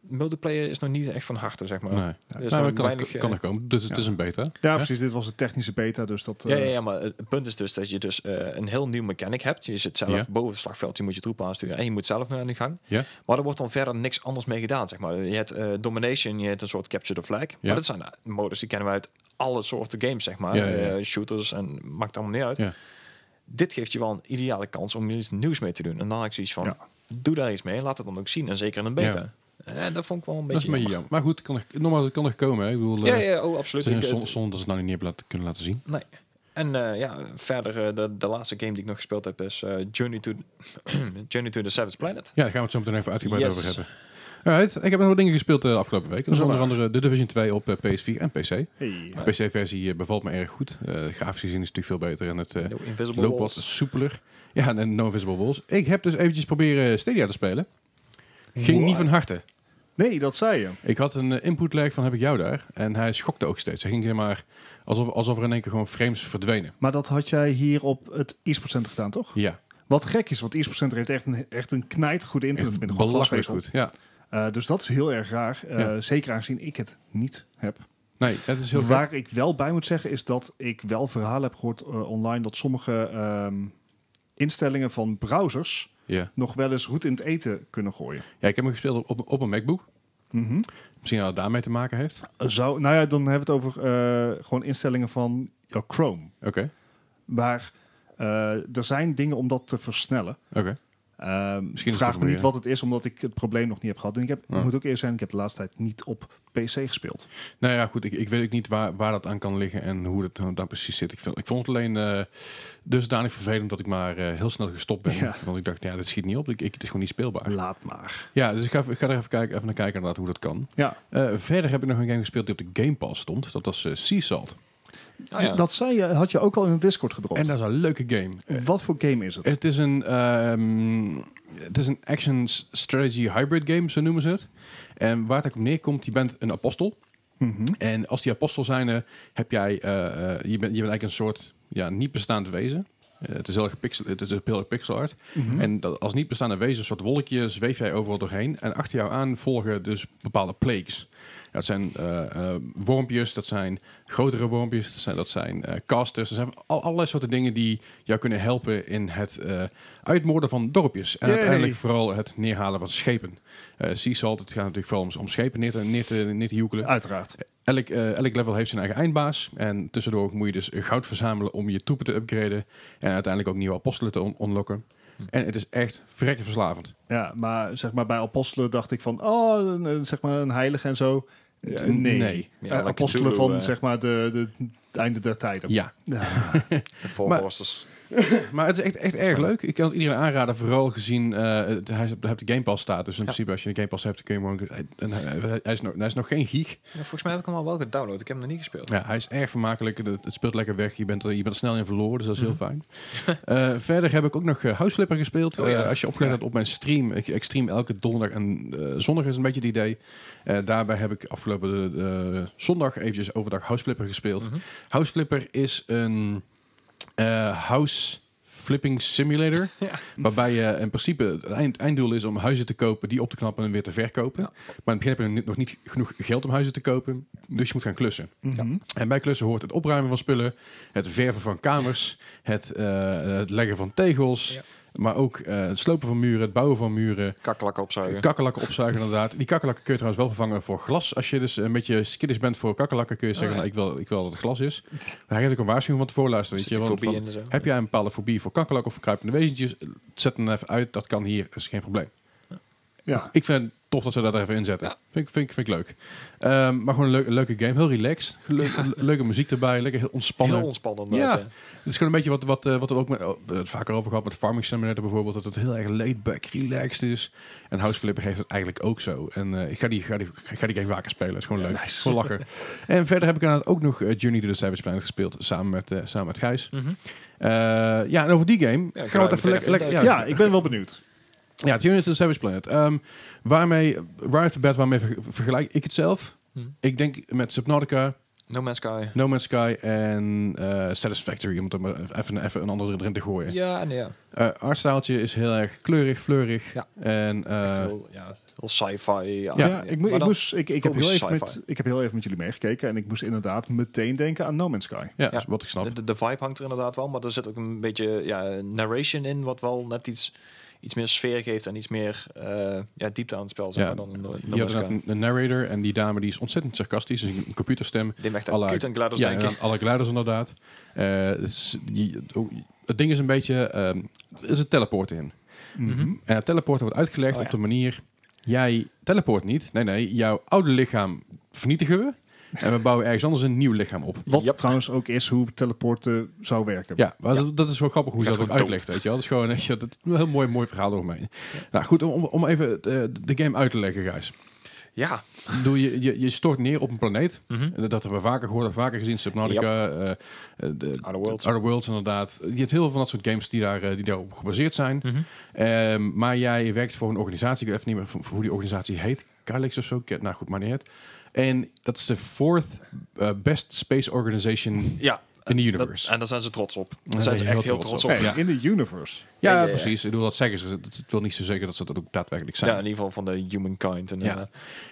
Speaker 2: multiplayer is nog niet echt van harte, zeg maar.
Speaker 1: Nee.
Speaker 2: Er
Speaker 1: Nou,
Speaker 2: is nog
Speaker 1: maar kan,
Speaker 2: weinig,
Speaker 1: er- kan
Speaker 2: eh,
Speaker 1: er komen. Dus het
Speaker 3: ja.
Speaker 1: is een beta.
Speaker 3: Ja, precies. Dit was de technische beta, dus dat... eh,
Speaker 2: ja, ja, ja, maar het punt is dus dat je dus eh, een heel nieuw mechanic hebt. Je zit zelf
Speaker 1: Ja.
Speaker 2: boven het slagveld, je moet je troepen aansturen en je moet zelf naar aan de gang.
Speaker 1: Ja.
Speaker 2: Maar er wordt dan verder niks anders mee gedaan, zeg maar. Je hebt eh, domination, je hebt een soort capture the flag. Maar dat zijn eh, modus die kennen we uit alle soorten games, zeg maar.
Speaker 1: Ja, ja, ja.
Speaker 2: Eh, shooters en maakt allemaal niet uit.
Speaker 1: Ja.
Speaker 2: Dit geeft je wel een ideale kans om iets nieuws mee te doen. En dan had ik zoiets van,
Speaker 3: Ja.
Speaker 2: doe daar iets mee en laat het dan ook zien. En zeker in een beta. Eh, dat vond ik wel een
Speaker 1: Dat is
Speaker 2: beetje
Speaker 1: een beetje jammer. Maar goed, kan er, nogmaals, het kan nog komen. Hè. Ik bedoel,
Speaker 2: jammer.
Speaker 1: eh,
Speaker 2: Ja, ja, oh,
Speaker 1: het
Speaker 2: absoluut.
Speaker 1: is
Speaker 2: Ik, eh,
Speaker 1: zon- zonde dat ze het nou niet hebben laten, kunnen laten zien.
Speaker 2: Nee. En eh, ja, verder eh, de, de laatste game die ik nog gespeeld heb is eh, Journey, to Journey to the Savage Planet.
Speaker 1: Ja, daar gaan we het zo meteen even uitgebreid
Speaker 2: Yes.
Speaker 1: over hebben. Alright, ik heb nog wat dingen gespeeld de afgelopen week. Dat is
Speaker 3: Zo
Speaker 1: onder
Speaker 3: waar.
Speaker 1: andere de Division 2 op eh, PS4 en PC.
Speaker 3: Hey.
Speaker 1: De PC-versie bevalt me erg goed. Eh grafisch gezien is het natuurlijk veel beter en het eh,
Speaker 2: No Invisible
Speaker 1: loopt wat
Speaker 2: Walls.
Speaker 1: soepeler. Ja, en No Invisible Walls. Ik heb dus eventjes proberen Stadia te spelen. Ging
Speaker 3: Wow.
Speaker 1: niet van harte.
Speaker 3: Nee, dat zei je.
Speaker 1: Ik had een eh, input lag van heb ik jou daar. En hij schokte ook steeds. Hij ging zeg maar alsof, alsof er in één keer gewoon frames verdwenen.
Speaker 3: Maar dat had jij hier op het e-sport center gedaan, toch?
Speaker 1: Ja,
Speaker 3: Wat gek is, want e-sport center heeft echt een, echt een knijt goede internet binnen.
Speaker 1: belachelijk goed. Ja.
Speaker 3: dus dat is heel erg raar. Eh,
Speaker 1: Ja.
Speaker 3: Zeker aangezien ik het niet heb.
Speaker 1: Nee, dat is heel gek.
Speaker 3: Waar ik wel bij moet zeggen is dat ik wel verhalen heb gehoord eh, online dat sommige ehm, instellingen van browsers
Speaker 1: Ja.
Speaker 3: nog wel eens roet in het eten kunnen gooien. Mhm.
Speaker 1: ja, ik heb hem gespeeld op, op een MacBook. Misschien dat het daarmee te maken heeft.
Speaker 3: Zou, nou ja, dan hebben we het over eh, gewoon instellingen van jouw Chrome.
Speaker 1: Oké,
Speaker 3: Maar eh, er zijn dingen om dat te versnellen.
Speaker 1: oké.
Speaker 3: Eh, Ehm,
Speaker 1: Misschien is het
Speaker 3: vraag
Speaker 1: te
Speaker 3: me niet
Speaker 1: proberen.
Speaker 3: wat het is, omdat ik het probleem nog niet heb gehad. En ik heb,
Speaker 1: Ja.
Speaker 3: moet ook eerlijk zijn, ik heb de laatste tijd niet op PC gespeeld.
Speaker 1: Nou ja, goed, ik, ik weet ook niet waar, waar dat aan kan liggen en hoe dat nou daar precies zit. Ik, vind, ik vond het alleen eh, dusdanig vervelend dat ik maar eh, heel snel gestopt ben.
Speaker 3: Ja.
Speaker 1: Want ik dacht, ja, dat schiet niet op. Ik, ik, het is gewoon niet speelbaar.
Speaker 3: Laat maar.
Speaker 1: Ja, dus ik ga, ik ga er even, kijken, even naar kijken inderdaad hoe dat kan.
Speaker 3: Ja,
Speaker 1: Eh, verder heb ik nog een game gespeeld die op de Game Pass stond. Dat was eh, Sea Salt.
Speaker 2: Ah, ja.
Speaker 3: dat zei je, had je ook al in de Discord gedropt.
Speaker 1: En dat is een leuke game. Eh,
Speaker 3: wat voor game is het?
Speaker 1: het is een, ehm, het is een action s- strategy hybrid game, zo noemen ze het. En waar het ook op neerkomt, je bent een apostel.
Speaker 3: Mhm.
Speaker 1: En als die apostel zijnde heb jij, eh, eh, je, bent, je bent eigenlijk een soort ja, niet bestaand wezen. Eh, het is heel erg pixel, het is heel erg pixel art.
Speaker 3: Mhm.
Speaker 1: En dat, als niet bestaande wezen, een soort wolkje, zweef jij overal doorheen. En achter jou aan volgen dus bepaalde plagues. Ja, dat zijn eh, eh, wormpjes, dat zijn grotere wormpjes, dat zijn, dat zijn eh, casters. Dat zijn al, allerlei soorten dingen die jou kunnen helpen in het eh, uitmoorden van dorpjes. En
Speaker 3: Yay.
Speaker 1: uiteindelijk vooral het neerhalen van schepen. Eh sea salt, het gaat natuurlijk vooral om, om schepen neer te, neer te, neer te joekelen.
Speaker 3: Uiteraard.
Speaker 1: Elk, eh, elk level heeft zijn eigen eindbaas. En tussendoor moet je dus goud verzamelen om je troepen te upgraden. En uiteindelijk ook nieuwe apostelen te on- unlocken. En het is echt verrekkend verslavend.
Speaker 3: Ja, maar zeg maar bij apostelen dacht ik van, oh, een- een- zeg maar een heilige en zo.
Speaker 1: Ja,
Speaker 3: Eh, nee.
Speaker 1: nee.
Speaker 2: Ja,
Speaker 3: Eh,
Speaker 2: like
Speaker 3: apostelen
Speaker 2: Cthulhu,
Speaker 3: van,
Speaker 2: eh.
Speaker 3: zeg maar, de, de, het einde der tijden.
Speaker 1: Ja,
Speaker 3: Ja.
Speaker 2: De Voorbosters.
Speaker 1: maar het is echt, echt erg leuk. Ik kan het iedereen aanraden, vooral gezien eh, het- hij is op- hij op de Game Pass staat. Dus in principe als je de Game Pass hebt, dan kun je hem gewoon... en hij, hij is nog, hij is nog geen gig.
Speaker 2: Ja, volgens mij heb ik hem al wel gedownload. Ik heb hem nog niet gespeeld.
Speaker 1: Ja, hij is erg vermakelijk. Het, het speelt lekker weg. Je bent, er, je bent er snel in verloren, dus dat is
Speaker 2: Mhm.
Speaker 1: heel fijn. Eh, verder heb ik ook nog eh, Houseflipper gespeeld.
Speaker 2: Oh ja.
Speaker 1: Eh, als je opgelet hebt op mijn stream. Ik, ik stream elke donderdag en eh, zondag is een beetje het idee. Eh, daarbij heb ik afgelopen eh, zondag eventjes overdag Houseflipper gespeeld.
Speaker 2: Mhm.
Speaker 1: Houseflipper is een eh, house flipping simulator. Waarbij je in principe het eind, einddoel is om huizen te kopen, die op te knappen en weer te verkopen.
Speaker 2: Ja.
Speaker 1: Maar in het begin heb je nu- nog niet genoeg geld om huizen te kopen. Dus je moet gaan klussen.
Speaker 3: Mhm.
Speaker 1: En bij klussen hoort het opruimen van spullen, het verven van kamers, het, eh, het leggen van tegels,
Speaker 2: Ja.
Speaker 1: maar ook eh, het slopen van muren, het bouwen van muren,
Speaker 2: Kakkelakken opzuigen.
Speaker 1: kakkelakken opzuigen inderdaad. Die kakkelakken kun je trouwens wel vervangen voor glas. Als je dus een beetje skittish bent voor kakkelakken, kun je
Speaker 2: Oh,
Speaker 1: zeggen,
Speaker 2: ja.
Speaker 1: nou, ik, wil, ik wil dat het glas is. Maar hij heeft ook een waarschuwing van tevoren luisteren. Weet
Speaker 2: Zit
Speaker 1: je,
Speaker 2: die
Speaker 1: want
Speaker 2: fobie
Speaker 1: van-
Speaker 2: in en zo.
Speaker 1: heb jij een bepaalde fobie voor kakkelakken of voor kruipende wezentjes, zet hem even uit, dat kan hier, dat is geen probleem. Dus
Speaker 3: ja.
Speaker 1: Ik vind het tof dat ze dat er even in zetten.
Speaker 2: Ja.
Speaker 1: Vind, ik- vind, ik- vind ik leuk. Ehm, maar gewoon een leuk- leuke game. Heel relaxed. Le- le- leuke muziek erbij. Lekker heel ontspannen.
Speaker 2: Heel ontspannen.
Speaker 1: Ja.
Speaker 2: Ja.
Speaker 1: het is gewoon een beetje wat, wat, eh, wat we ook met, oh, we hebben het vaker over gehad met Farming Simulator bijvoorbeeld. Dat het heel erg laid back, relaxed is. En House Flipper heeft het eigenlijk ook zo. En eh, ik ga die, ga, die, ik ga die game vaker spelen. is gewoon leuk.
Speaker 3: nice.
Speaker 1: Gewoon lachen. en verder heb ik inderdaad ook nog eh, Journey to the Savage Planet gespeeld. Samen met, eh, samen met Gijs.
Speaker 2: Mhm.
Speaker 1: Eh, ja, en over die game
Speaker 2: Ja,
Speaker 1: gaan we
Speaker 2: gaan
Speaker 1: het
Speaker 2: we
Speaker 1: even
Speaker 2: meteen
Speaker 1: lekker...
Speaker 2: even
Speaker 1: lekker-
Speaker 3: ja,
Speaker 2: induiken.
Speaker 3: ik ben wel benieuwd.
Speaker 1: ja, het Unit is Savage Planet. Ehm, waarmee, right off the bat, waarmee ver- vergelijk ik het zelf?
Speaker 2: Hm.
Speaker 1: Ik denk met Subnautica,
Speaker 2: No Man's Sky.
Speaker 1: No Man's Sky en eh, Satisfactory, om het er maar even, even een andere erin te gooien.
Speaker 2: Ja, en ja.
Speaker 1: Eh artstijltje is heel erg kleurig, fleurig.
Speaker 2: Ja.
Speaker 1: En eh,
Speaker 2: Echt heel, ja, heel sci-fi. Ja,
Speaker 3: Ja, ik, moet-
Speaker 2: Maar
Speaker 3: ik,
Speaker 2: dan-
Speaker 3: moest, ik, ik, heb heel
Speaker 2: komisch
Speaker 3: even
Speaker 2: sci-fi.
Speaker 3: met, ik heb heel even met jullie meegekeken en ik moest inderdaad meteen denken aan No Man's Sky.
Speaker 1: ja,
Speaker 2: Ja.
Speaker 1: is wat ik snap.
Speaker 2: De, de vibe hangt er inderdaad wel, maar er zit ook een beetje ja, narration in, wat wel net iets, iets meer sfeer geeft en iets meer eh, ja, diepte aan het spel. Zeg
Speaker 1: Ja,
Speaker 2: maar, dan, een- dan
Speaker 1: Je had een, een narrator en die dame die is ontzettend sarcastisch. dus Een een computerstem.
Speaker 2: Die echt
Speaker 1: Alla-
Speaker 2: aan Cute en GLaDOS
Speaker 1: ja, en
Speaker 2: denken.
Speaker 1: aan alle gliders inderdaad. Eh, dus die- ook- het ding is een beetje... ehm, er is een teleport in.
Speaker 2: Mhm.
Speaker 1: En het teleporten eh, wordt uitgelegd
Speaker 2: Oh, ja.
Speaker 1: op de manier... Jij teleport niet. Nee, nee. Jouw oude lichaam vernietigen we. En we bouwen ergens anders een nieuw lichaam op.
Speaker 3: Wat
Speaker 2: Yep.
Speaker 3: trouwens ook is hoe teleporten zou werken.
Speaker 1: Ja, maar Dat, dat is wel grappig hoe ze
Speaker 2: Je
Speaker 1: dat
Speaker 2: gaat
Speaker 1: ook
Speaker 2: gewoon
Speaker 1: uitlegt. Weet je wel? Dat is gewoon echt, ja, dat is een heel mooi, mooi verhaal door mij. Nou goed, om, om even de, de game uit te leggen, guys.
Speaker 2: Ja,
Speaker 1: Doe je, je, je stort neer op een planeet.
Speaker 2: Mhm.
Speaker 1: En Dat hebben we vaker gehoord, vaker gezien. Subnautica, eh, eh, de,
Speaker 2: Outer Worlds.
Speaker 1: Outer Worlds inderdaad. Je hebt heel veel van dat soort games die, daar, eh, die daarop gebaseerd zijn.
Speaker 2: Mhm.
Speaker 1: Ehm, maar jij werkt voor een organisatie, ik weet even niet meer voor- voor hoe die organisatie heet, Kylix of zo, ik- nou goed, maar niet het. En dat is de fourth eh, best space organization
Speaker 2: ja.
Speaker 1: in the
Speaker 2: Eh, Dat-
Speaker 1: universe.
Speaker 2: en daar zijn ze trots op. Daar zijn ze echt heel trots op.
Speaker 3: Hey,
Speaker 1: Ja.
Speaker 3: In de universe.
Speaker 1: ja,
Speaker 2: ja, ja.
Speaker 1: precies. Ik bedoel, dat zeggen ze. Dat- Het wil niet zo zeggen dat ze dat ook daadwerkelijk
Speaker 2: Ja,
Speaker 1: zijn.
Speaker 2: in ieder geval van de humankind. En,
Speaker 1: Ja.
Speaker 2: eh,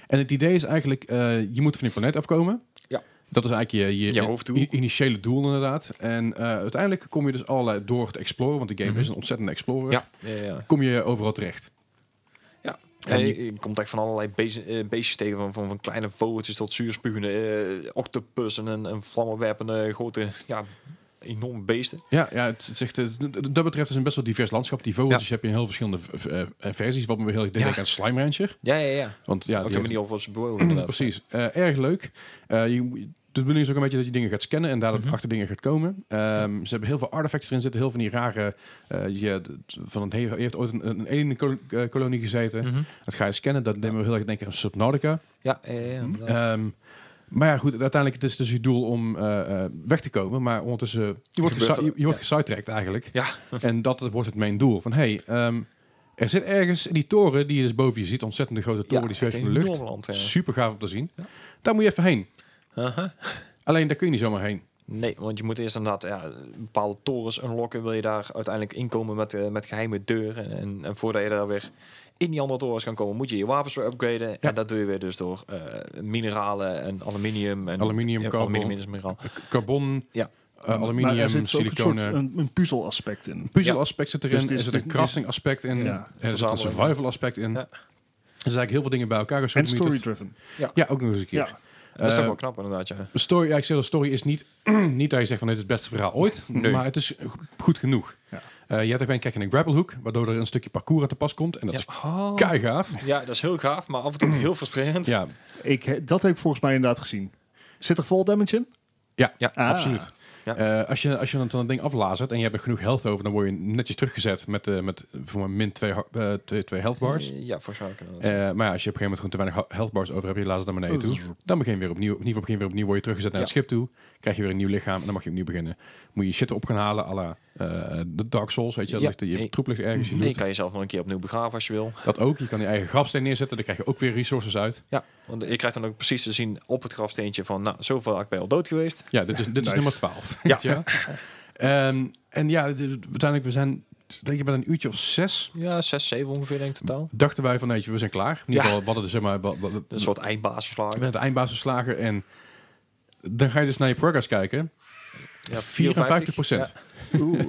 Speaker 1: En het idee is eigenlijk, eh, je moet van die planeet afkomen.
Speaker 2: Ja.
Speaker 1: Dat is eigenlijk je, je,
Speaker 2: Je hoofddoel.
Speaker 1: i- initiële doel inderdaad. En eh, uiteindelijk kom je dus allerlei door te exploren, want de game
Speaker 2: Mhm.
Speaker 1: is een ontzettende explorer.
Speaker 2: ja, ja, ja.
Speaker 1: Kom je overal terecht. En
Speaker 2: En
Speaker 1: die-
Speaker 2: je, je komt echt van allerlei beest- eh, beestjes tegen. Van, van, van kleine vogeltjes tot zuurspugende eh octopus en een, een vlammenwerpende grote ja, enorme beesten.
Speaker 1: Ja, ja het is echt, eh, d- d- dat betreft is een best wel divers landschap. Die vogeltjes heb je in heel verschillende v- v- eh, versies. Wat me weer heel erg deed
Speaker 2: Ja.
Speaker 1: denken aan Slime Rancher.
Speaker 2: Ja, ja, ja.
Speaker 1: Want ja,
Speaker 2: Op
Speaker 1: die
Speaker 2: de
Speaker 1: heeft-
Speaker 2: manier of ze bewogen inderdaad.
Speaker 1: Precies. Eh, erg leuk. Eh, je, moet- de bedoeling is ook een beetje dat je dingen gaat scannen en daardoor
Speaker 2: Mhm.
Speaker 1: achter dingen gaat komen. Ehm, ze hebben heel veel artifacts erin zitten, heel veel van die rare. eh, je, d- van een, he- je hebt ooit een, een alienkolonie gezeten.
Speaker 2: Mhm.
Speaker 1: Dat ga je scannen, dat nemen we heel erg denken aan Subnautica.
Speaker 2: Ja, ja, ja, inderdaad.
Speaker 1: Ehm, maar ja, goed, uiteindelijk het is het dus je doel om eh, eh, weg te komen. Maar ondertussen, je wordt,
Speaker 2: Gebeurt
Speaker 1: gesi-
Speaker 2: er-
Speaker 1: je, je wordt
Speaker 2: ja.
Speaker 1: gesidetracked eigenlijk.
Speaker 2: Ja.
Speaker 1: en dat wordt het mijn doel. Van, hey, ehm, er zit ergens in die toren, die je dus boven je ziet, ontzettende grote toren, die zweeft in de lucht. Super gaaf om te zien.
Speaker 2: Ja.
Speaker 1: Daar moet je even heen. Alleen daar kun je niet zomaar heen.
Speaker 2: Nee, want je moet eerst inderdaad ja, bepaalde torens unlocken. Wil je daar uiteindelijk inkomen met, eh, met geheime deuren. En, en voordat je daar weer in die andere torens kan komen, moet je je wapens weer upgraden. En dat doe je weer dus door eh, mineralen en aluminium. En,
Speaker 1: Aluminium,
Speaker 2: ja,
Speaker 1: carbon.
Speaker 2: aluminium is mineraal.
Speaker 1: K- Carbon,
Speaker 2: Ja.
Speaker 1: eh,
Speaker 3: maar er
Speaker 1: aluminium,
Speaker 3: zit ook een soort
Speaker 1: siliconen.
Speaker 3: een, een puzzel aspect in.
Speaker 1: Puzzel aspect zit erin,
Speaker 3: Dus het is-
Speaker 1: er zit een
Speaker 3: het is-
Speaker 1: crafting aspect in,
Speaker 3: Ja.
Speaker 1: er zit een
Speaker 2: Verzamelen.
Speaker 1: survival aspect in.
Speaker 2: Ja.
Speaker 1: Er zijn eigenlijk heel veel dingen bij elkaar. Dus
Speaker 3: En
Speaker 1: hoe moet je dat-
Speaker 3: story-driven.
Speaker 1: Ja, ook nog eens een keer.
Speaker 3: Ja.
Speaker 2: Dat is
Speaker 1: Eh,
Speaker 2: ook wel knap inderdaad, ja.
Speaker 1: Story, ja, ik zeg, de story is niet, niet dat je zegt van dit is het beste verhaal ooit,
Speaker 2: Nee.
Speaker 1: maar het is go- goed genoeg.
Speaker 3: Ja.
Speaker 1: Eh, je hebt ook een kijk in een grapplehoek, waardoor er een stukje parcours aan te pas komt. En dat
Speaker 2: Ja.
Speaker 1: is
Speaker 3: Oh.
Speaker 1: kei gaaf.
Speaker 2: ja, dat is heel gaaf, maar af en toe heel frustrerend.
Speaker 1: Ja,
Speaker 3: Ik, he- dat heb ik volgens mij inderdaad gezien. Zit er vol damage in?
Speaker 1: ja,
Speaker 2: Ja,
Speaker 3: Ah.
Speaker 1: absoluut.
Speaker 2: Ja.
Speaker 1: Eh, als, je, als je dan een ding aflazert en je hebt er genoeg health over, dan word je netjes teruggezet met, eh, met voor mijn min 2 twee, twee health bars.
Speaker 2: Eh, Ja, volgens mij ook inderdaad.
Speaker 1: Eh, maar ja, als je op een gegeven moment gewoon te weinig ha- health bars over hebt, je laat ze naar beneden toe. Dan begin je weer opnieuw, opnieuw, begin je weer opnieuw word je teruggezet naar
Speaker 2: Ja.
Speaker 1: het schip toe. Krijg je weer een nieuw lichaam en dan mag je opnieuw beginnen. Moet je shit op gaan halen, à la eh, de Dark Souls, weet je, dat
Speaker 2: Ja.
Speaker 1: ligt, je
Speaker 2: Nee.
Speaker 1: troep ligt ergens, je
Speaker 2: En je
Speaker 1: loot.
Speaker 2: kan jezelf nog een keer opnieuw begraven als je wil.
Speaker 1: Dat ook, je kan je eigen grafsteen neerzetten, daar krijg je ook weer resources uit.
Speaker 2: Ja, want je krijgt dan ook precies te zien op het grafsteentje van, nou, zoveel ben ik bij al dood geweest.
Speaker 1: Ja, dit is, dit
Speaker 3: Nice.
Speaker 1: is nummer 12.
Speaker 2: Ja.
Speaker 1: weet je wel. Ehm, en ja, d- d- uiteindelijk, we zijn, denk ik, met een uurtje of zes,
Speaker 2: Ja, zes, zeven ongeveer denk ik totaal.
Speaker 1: dachten wij van, weet je, we zijn klaar. In ieder
Speaker 2: Ja.
Speaker 1: geval, we hadden dus, zeg maar, we- we- we-
Speaker 2: Een soort eindbaas
Speaker 1: we
Speaker 2: verslagen.
Speaker 1: hebben de eindbaas verslagen en dan ga je dus naar je progress kijken.
Speaker 2: Ja,
Speaker 1: 54 procent.
Speaker 3: Oeh.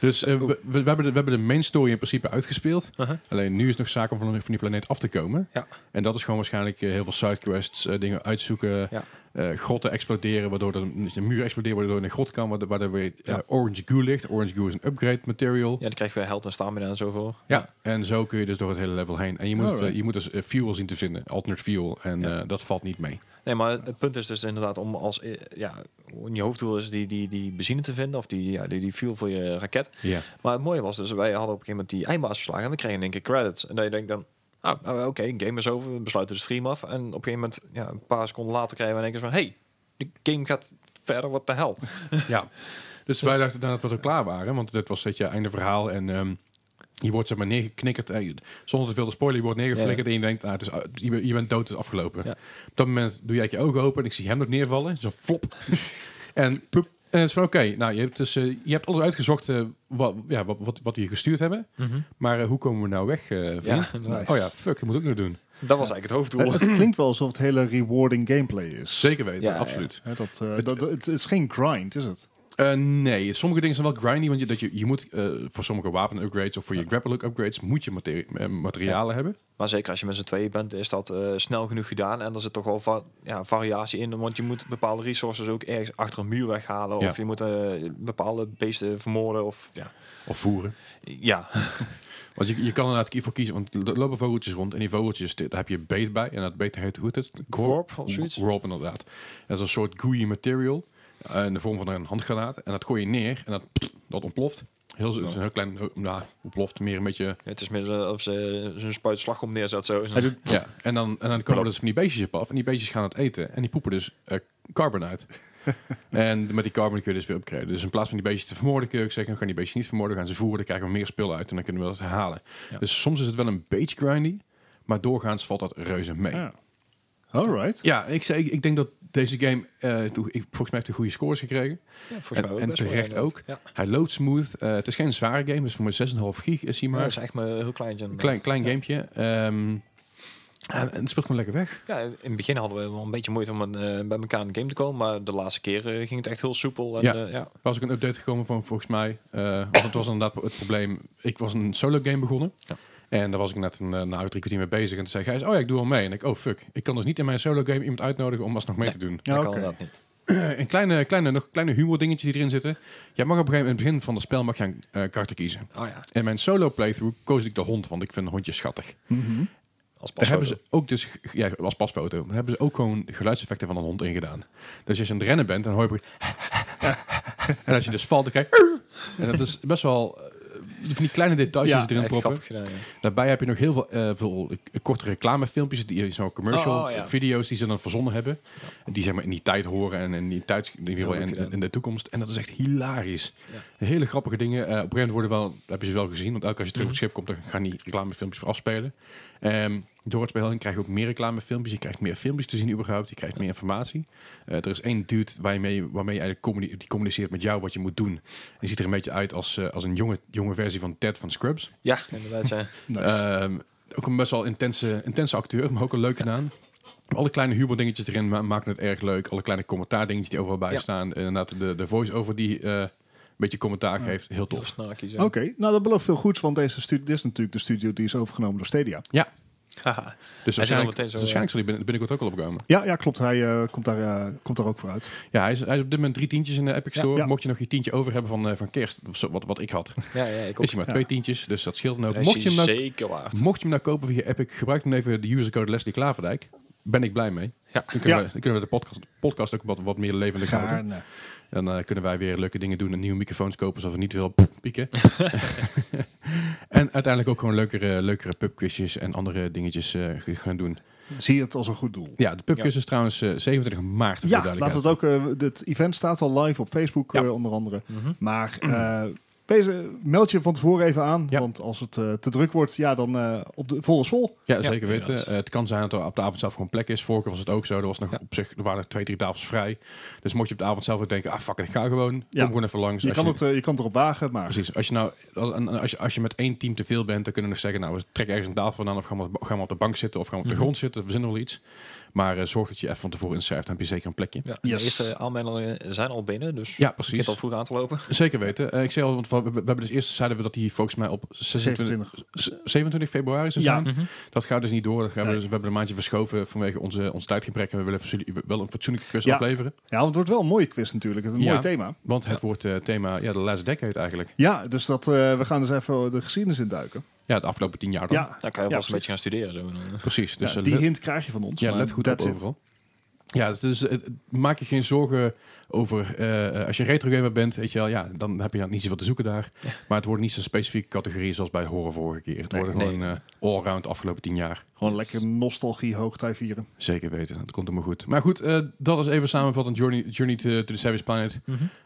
Speaker 1: Dus eh, we, we, we hebben de, we hebben de main story in principe uitgespeeld.
Speaker 2: Uh-huh.
Speaker 1: Alleen nu is het nog zaak om van, van die planeet af te komen.
Speaker 2: Ja.
Speaker 1: En dat is gewoon waarschijnlijk eh, heel veel sidequests, eh, dingen uitzoeken,
Speaker 2: Ja.
Speaker 1: eh, grotten exploderen, waardoor er een, een muur explodeert, waardoor je in een grot kan, waardoor, waardoor weer eh,
Speaker 2: Ja.
Speaker 1: orange goo ligt. Orange goo is een upgrade material.
Speaker 2: Ja, dan krijg je weer held en stamina en zo voor.
Speaker 1: Ja. En zo kun je dus door het hele level heen. En je moet, het, eh,
Speaker 3: Alright.
Speaker 1: je moet dus eh, fuel zien te vinden, alternate fuel. En eh, dat valt niet mee.
Speaker 2: Nee, maar het punt is dus inderdaad om als... eh, Ja, je hoofddoel is die, die, die benzine te vinden of die, ja, die, die fuel voor je raket.
Speaker 1: Ja.
Speaker 2: Maar het mooie was dus, wij hadden op een gegeven moment die eindbaas verslagen en we kregen in één keer credits. En dan je denkt dan, ah, nou, oké, game is over, we besluiten de stream af. En op een gegeven moment, ja, een paar seconden later krijgen we in één keer van, hey, de game gaat verder, wat de hel.
Speaker 1: Ja. Dus wij dachten dan dat we er klaar waren, want dit was het je einde verhaal en ehm, je wordt zeg maar neergeknikkerd, eh, zonder te veel te spoilen, je wordt neergeflikkerd en je denkt, ah, het is, uit- je, bent- je bent dood, het is afgelopen.
Speaker 2: Ja.
Speaker 1: Op dat moment doe jij je ogen open en ik zie hem nog neervallen, zo flop. en ploep. En het is van, oké, nou, je hebt, dus, eh, je hebt alles uitgezocht eh, wat, ja, wat, wat, wat we je gestuurd hebben, maar eh, hoe komen we nou weg, eh, vriend?
Speaker 2: inderdaad.
Speaker 1: Oh ja, fuck, dat moet ik nog doen.
Speaker 2: Dat was eigenlijk het hoofddoel.
Speaker 3: het klinkt wel alsof het hele rewarding gameplay is.
Speaker 1: Zeker weten,
Speaker 2: Ja,
Speaker 1: absoluut.
Speaker 3: Hè, dat, eh, dat, het is geen grind, is het?
Speaker 1: Eh, nee, sommige dingen zijn wel grindy, want je, dat je, je moet eh, voor sommige wapen-upgrades of voor je grapplehook upgrades moet je materi- eh, materialen hebben.
Speaker 2: Maar zeker als je met z'n tweeën bent, is dat eh, snel genoeg gedaan. En er zit toch wel va- ja, variatie in. Want je moet bepaalde resources ook ergens achter een muur weghalen.
Speaker 1: Ja.
Speaker 2: Of je moet eh, bepaalde beesten vermoorden. Of, ja.
Speaker 1: Of voeren.
Speaker 2: ja,
Speaker 1: Want je, je kan inderdaad ervoor kiezen, want er lopen vogeltjes rond en die vogeltjes, dit- daar heb je beet bij. En dat beet heet, hoe heet het?
Speaker 2: Gorp of zoiets.
Speaker 1: Gorp, inderdaad. Dat is een soort gooey material eh, in de vorm van een handgranaat. En dat gooi je neer en dat, dat ontploft. Heel, zo- een heel klein, nou, ontploft meer een beetje.
Speaker 2: het is meer zo- of ze zo'n spuit slagom neerzet. Zo.
Speaker 3: Hij doet
Speaker 1: Ja. En dan, en dan komen er dus van die beestjes op af en die beestjes gaan het eten. En die poepen dus eh, carbon uit. En met die carbon kun je dus weer upgraden. Dus in plaats van die beestjes te vermoorden, kun je ook zeggen: we gaan die beestjes niet vermoorden, gaan ze voeren, dan krijgen we meer spul uit en dan kunnen we dat herhalen.
Speaker 2: Ja.
Speaker 1: Dus soms is het wel een beetje grindy, maar doorgaans valt dat reuze mee. Ja,
Speaker 3: Ja. Alright.
Speaker 1: ik, zei, ik, ik denk dat deze game, eh, toe- ik, volgens mij heeft hij goede scores gekregen.
Speaker 2: Ja, volgens
Speaker 1: En-
Speaker 2: mij ook
Speaker 1: en
Speaker 2: best wel,
Speaker 1: terecht
Speaker 2: inderdaad.
Speaker 1: ook.
Speaker 2: Ja.
Speaker 1: Hij loopt smooth. Eh, het is geen zware game, dus voor mijn 6,5 gig is hij
Speaker 2: Maar
Speaker 1: maar.
Speaker 2: het is echt maar heel klein.
Speaker 1: een klein,
Speaker 2: inderdaad.
Speaker 1: klein gamepje. Ehm, en, en het speelt gewoon lekker weg.
Speaker 2: Ja, in het begin hadden we wel een beetje moeite om eh, bij elkaar in de game te komen. Maar de laatste keer eh, ging het echt heel soepel. En,
Speaker 1: Ja.
Speaker 2: eh, ja.
Speaker 1: Er was ook een update gekomen van volgens mij. eh want het was inderdaad het probleem. Ik was een solo game begonnen.
Speaker 2: Ja.
Speaker 1: En daar was ik net een, eh, nou, drie kwartier mee bezig. En toen zei Gijs, oh ja, ik doe al mee. En ik, oh fuck. Ik kan dus niet in mijn solo game iemand uitnodigen om alsnog mee te doen.
Speaker 3: Ja,
Speaker 2: dat
Speaker 3: oké.
Speaker 2: kan dat niet.
Speaker 1: een kleine, kleine, nog kleine humor dingetje die erin zitten. Jij mag op een gegeven moment, in het begin van het spel, mag je een eh karakter kiezen.
Speaker 2: Oh ja,
Speaker 1: In mijn solo playthrough koos ik de hond, want ik vind hondjes schattig.
Speaker 3: Mhm.
Speaker 1: Mhm.
Speaker 2: als
Speaker 1: Daar hebben
Speaker 2: pasfoto.
Speaker 1: ze ook dus, ja, als pasfoto, daar hebben ze ook gewoon geluidseffecten van een hond in gedaan. Dus als je aan het rennen bent, dan hoor je... en als je dus valt, dan krijg je... En dat is best wel... eh, van die kleine details
Speaker 3: Ja,
Speaker 1: die ze erin
Speaker 2: Echt
Speaker 1: proppen.
Speaker 2: grappig gedaan, ja.
Speaker 1: Daarbij heb je nog heel veel, eh, veel eh, korte reclamefilmpjes, die eh, zo'n commercial
Speaker 2: Oh, ja.
Speaker 1: video's die ze dan verzonnen hebben. Die zeg maar in die tijd horen en in die tijd in, ieder geval
Speaker 2: Heel goed
Speaker 1: in,
Speaker 2: gedaan.
Speaker 1: in de toekomst. En dat is echt hilarisch. Hele grappige dingen. Eh, op een gegeven moment worden wel, heb je ze wel gezien, want elke keer als je terug op het schip komt, dan gaan die reclamefilmpjes weer afspelen. Ehm, door het spel heen krijg je ook meer reclamefilmpjes. Je krijgt meer filmpjes te zien überhaupt. Je krijgt meer informatie. Eh, er is één dude waarmee, waarmee je eigenlijk communi- die communiceert met jou wat je moet doen. En die ziet er een beetje uit als, eh, als een jonge, jonge versie van Ted van Scrubs.
Speaker 2: Ja, inderdaad. Ja.
Speaker 3: Nice.
Speaker 1: Ehm, ook een best wel intense, intense acteur, maar ook een leuke naam. Alle kleine humordingetjes erin ma- maken het erg leuk. Alle kleine commentaardingetjes die overal bij
Speaker 2: Ja.
Speaker 1: staan. Inderdaad, de, de voice-over die eh, een beetje commentaar geeft. Heel
Speaker 2: Heel
Speaker 1: tof.
Speaker 2: snarky zo.
Speaker 3: Oké, nou dat belooft veel goeds, want deze studio, dit is natuurlijk de studio die is overgenomen door Stadia.
Speaker 1: Ja,
Speaker 2: Haha.
Speaker 1: dus
Speaker 2: Hij zit al
Speaker 1: waarschijnlijk,
Speaker 2: meteen zo,
Speaker 1: waarschijnlijk zal hij binnen- binnenkort ook al opkomen.
Speaker 3: Ja, ja klopt, hij eh, komt, daar, eh, komt daar ook vooruit.
Speaker 1: Ja, hij is, hij is op dit moment drie tientjes in de Epic
Speaker 2: Ja.
Speaker 1: Store.
Speaker 3: Ja.
Speaker 1: Mocht je nog je tientje over hebben van, eh, van kerst, of zo, wat, wat ik had,
Speaker 2: Ja, ja, ik ook.
Speaker 1: is hij maar
Speaker 3: Ja.
Speaker 1: twee tientjes. Dus dat scheelt dan ook.
Speaker 2: Dat is
Speaker 1: Mocht je, hem nou,
Speaker 2: zeker waard.
Speaker 1: mocht je hem nou kopen via Epic, gebruik dan even de usercode Leslie Klaverdijk. Ben ik blij mee.
Speaker 2: Ja.
Speaker 1: Dan, kunnen
Speaker 3: Ja.
Speaker 1: we, dan kunnen we de podcast, podcast ook wat, wat meer levendig houden.
Speaker 3: Gaarne.
Speaker 1: Dan eh, kunnen wij weer leuke dingen doen en nieuwe microfoons kopen, zodat we niet veel pieken. en uiteindelijk ook gewoon leukere, leukere pubquizjes en andere dingetjes eh, g- gaan doen.
Speaker 3: Zie het als een goed doel.
Speaker 1: Ja, de pubquiz is trouwens eh, 27 maart. voor de
Speaker 3: Ja, laat
Speaker 1: duidelijkheid.
Speaker 3: het ook. eh dit event staat al live op Facebook
Speaker 1: Ja.
Speaker 3: eh, onder andere.
Speaker 2: Mhm.
Speaker 3: Maar eh, wees, eh, meld je van tevoren even aan.
Speaker 1: Mm. Ja.
Speaker 3: Want als het eh, te druk wordt, ja, dan eh, op de volle vol.
Speaker 1: Ja,
Speaker 2: Ja,
Speaker 1: zeker weten.
Speaker 2: inderdaad.
Speaker 1: Eh, het kan zijn dat er op de avond zelf gewoon plek is. Vorige keer was het ook zo. Er, was nog op zich, er waren nog twee, drie tafels vrij. Dus mocht je op de avond zelf ook denken, ah fuck it, ik ga gewoon.
Speaker 3: Ja.
Speaker 1: Kom gewoon even langs.
Speaker 3: Je
Speaker 1: Als
Speaker 3: kan, het, eh, je kan het erop wagen, maar
Speaker 1: Precies. Als je, nou, als, je, als je met één team te veel bent, dan kunnen we nog zeggen, nou, we trekken ergens een tafel vandaan of gaan we, gaan we op de bank zitten of gaan we op de
Speaker 2: Mhm.
Speaker 1: grond zitten. We verzinnen wel iets. Maar eh, zorg dat je even van tevoren inschrijft, dan heb je zeker een plekje.
Speaker 2: Ja, de
Speaker 3: Yes.
Speaker 2: eerste aanmeldingen zijn al binnen, dus
Speaker 1: Ja,
Speaker 2: je zit
Speaker 1: precies.
Speaker 2: al vroeg aan te lopen.
Speaker 1: Zeker weten. Eh, ik zei al, want we, we hebben dus eerst zeiden we dat die volgens mij op 26,
Speaker 3: 27.
Speaker 1: 27 februari zou
Speaker 3: Ja.
Speaker 1: zijn. Dat gaat dus niet door. Dat gaan we,
Speaker 3: Nee.
Speaker 1: dus- we hebben een maandje verschoven vanwege onze, ons tijdgebrek. En we willen fatsoen- wel een fatsoenlijke quiz
Speaker 3: Ja.
Speaker 1: afleveren.
Speaker 3: Ja, want het wordt wel een mooie quiz natuurlijk. Het is een
Speaker 1: Ja.
Speaker 3: mooi thema.
Speaker 1: Want het wordt eh, thema ja, de laatste decade eigenlijk.
Speaker 3: Ja, dus dat, eh, we gaan dus even de geschiedenis induiken.
Speaker 1: Ja, de afgelopen tien jaar dan.
Speaker 3: Ja,
Speaker 2: Dan kan je
Speaker 3: Ja,
Speaker 2: wel eens een beetje gaan studeren. Zo.
Speaker 1: Precies. Dus
Speaker 3: ja,
Speaker 1: eh,
Speaker 3: die
Speaker 1: let-
Speaker 3: hint krijg je van ons.
Speaker 1: ja,
Speaker 3: maar
Speaker 1: let goed op
Speaker 3: that's it.
Speaker 1: overal. Ja, dus het, het- maak je geen zorgen over... eh, als je retro gamer bent, weet je wel, ja, dan heb je dan niet zoveel te zoeken daar. Maar het wordt niet zo'n specifieke categorie zoals bij horen vorige keer. Het
Speaker 3: Nee,
Speaker 1: wordt
Speaker 2: nee.
Speaker 1: gewoon eh allround de afgelopen tien jaar.
Speaker 3: Gewoon
Speaker 2: Yes.
Speaker 3: lekker nostalgie hoogtij vieren.
Speaker 1: Zeker weten, dat komt helemaal goed. Maar goed, eh, dat is even samenvattend Journey, Journey to, to the Savage Planet.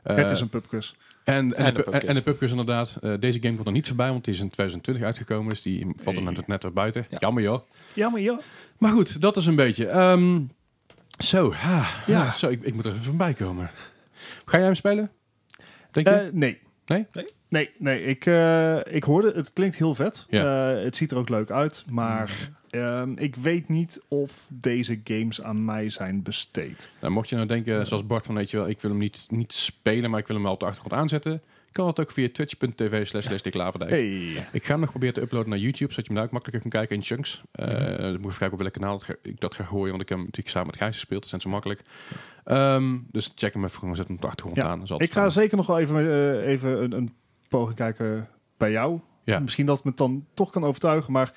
Speaker 1: Eh,
Speaker 3: het is een pubquiz.
Speaker 1: en, en, de,
Speaker 2: en een
Speaker 1: pu-
Speaker 2: pubquiz.
Speaker 1: en de pubquiz inderdaad. Eh, deze game komt er niet voorbij, want die is in 2020 uitgekomen. Dus die valt er
Speaker 3: Hey.
Speaker 1: net- net weer buiten.
Speaker 2: Ja.
Speaker 1: Jammer joh.
Speaker 3: Ja, maar ja.
Speaker 1: Maar goed, dat is een beetje. Ehm, zo, ha,
Speaker 3: Ja.
Speaker 1: ja. zo ik, ik moet er even van bij komen. Ga jij hem spelen? Denk je?
Speaker 3: Eh, nee.
Speaker 1: Nee?
Speaker 2: Nee?
Speaker 3: Nee, nee. Ik, eh, ik hoorde, het klinkt heel vet.
Speaker 1: Ja. Mm.
Speaker 3: Eh, het ziet er ook leuk uit. Maar ehm, ik weet niet of deze games aan mij zijn besteed.
Speaker 1: nou, mocht je nou denken, zoals Bart van, weet je wel, ik wil hem niet, niet spelen, maar ik wil hem wel op de achtergrond aanzetten. Kan dat ook via twitch.tv slash Leslie Klaverdijk.
Speaker 3: Hey.
Speaker 1: Ik ga hem nog proberen te uploaden naar YouTube, zodat je hem daar ook makkelijker kan kijken in chunks. Eh
Speaker 3: Mhm.
Speaker 1: Dan moet ik even kijken op welk kanaal dat ga- ik dat ga gooien, want ik heb hem natuurlijk samen met Gijs gespeeld. Dat zijn zo makkelijk. Ehm, dus check hem even, gewoon zet hem op de achtergrond
Speaker 3: Ja,
Speaker 1: aan. dan zal het
Speaker 3: Ik ga
Speaker 1: staan.
Speaker 3: zeker nog wel even, eh, even een, een poging kijken bij jou.
Speaker 1: Ja.
Speaker 3: Misschien dat het me dan toch kan overtuigen. Maar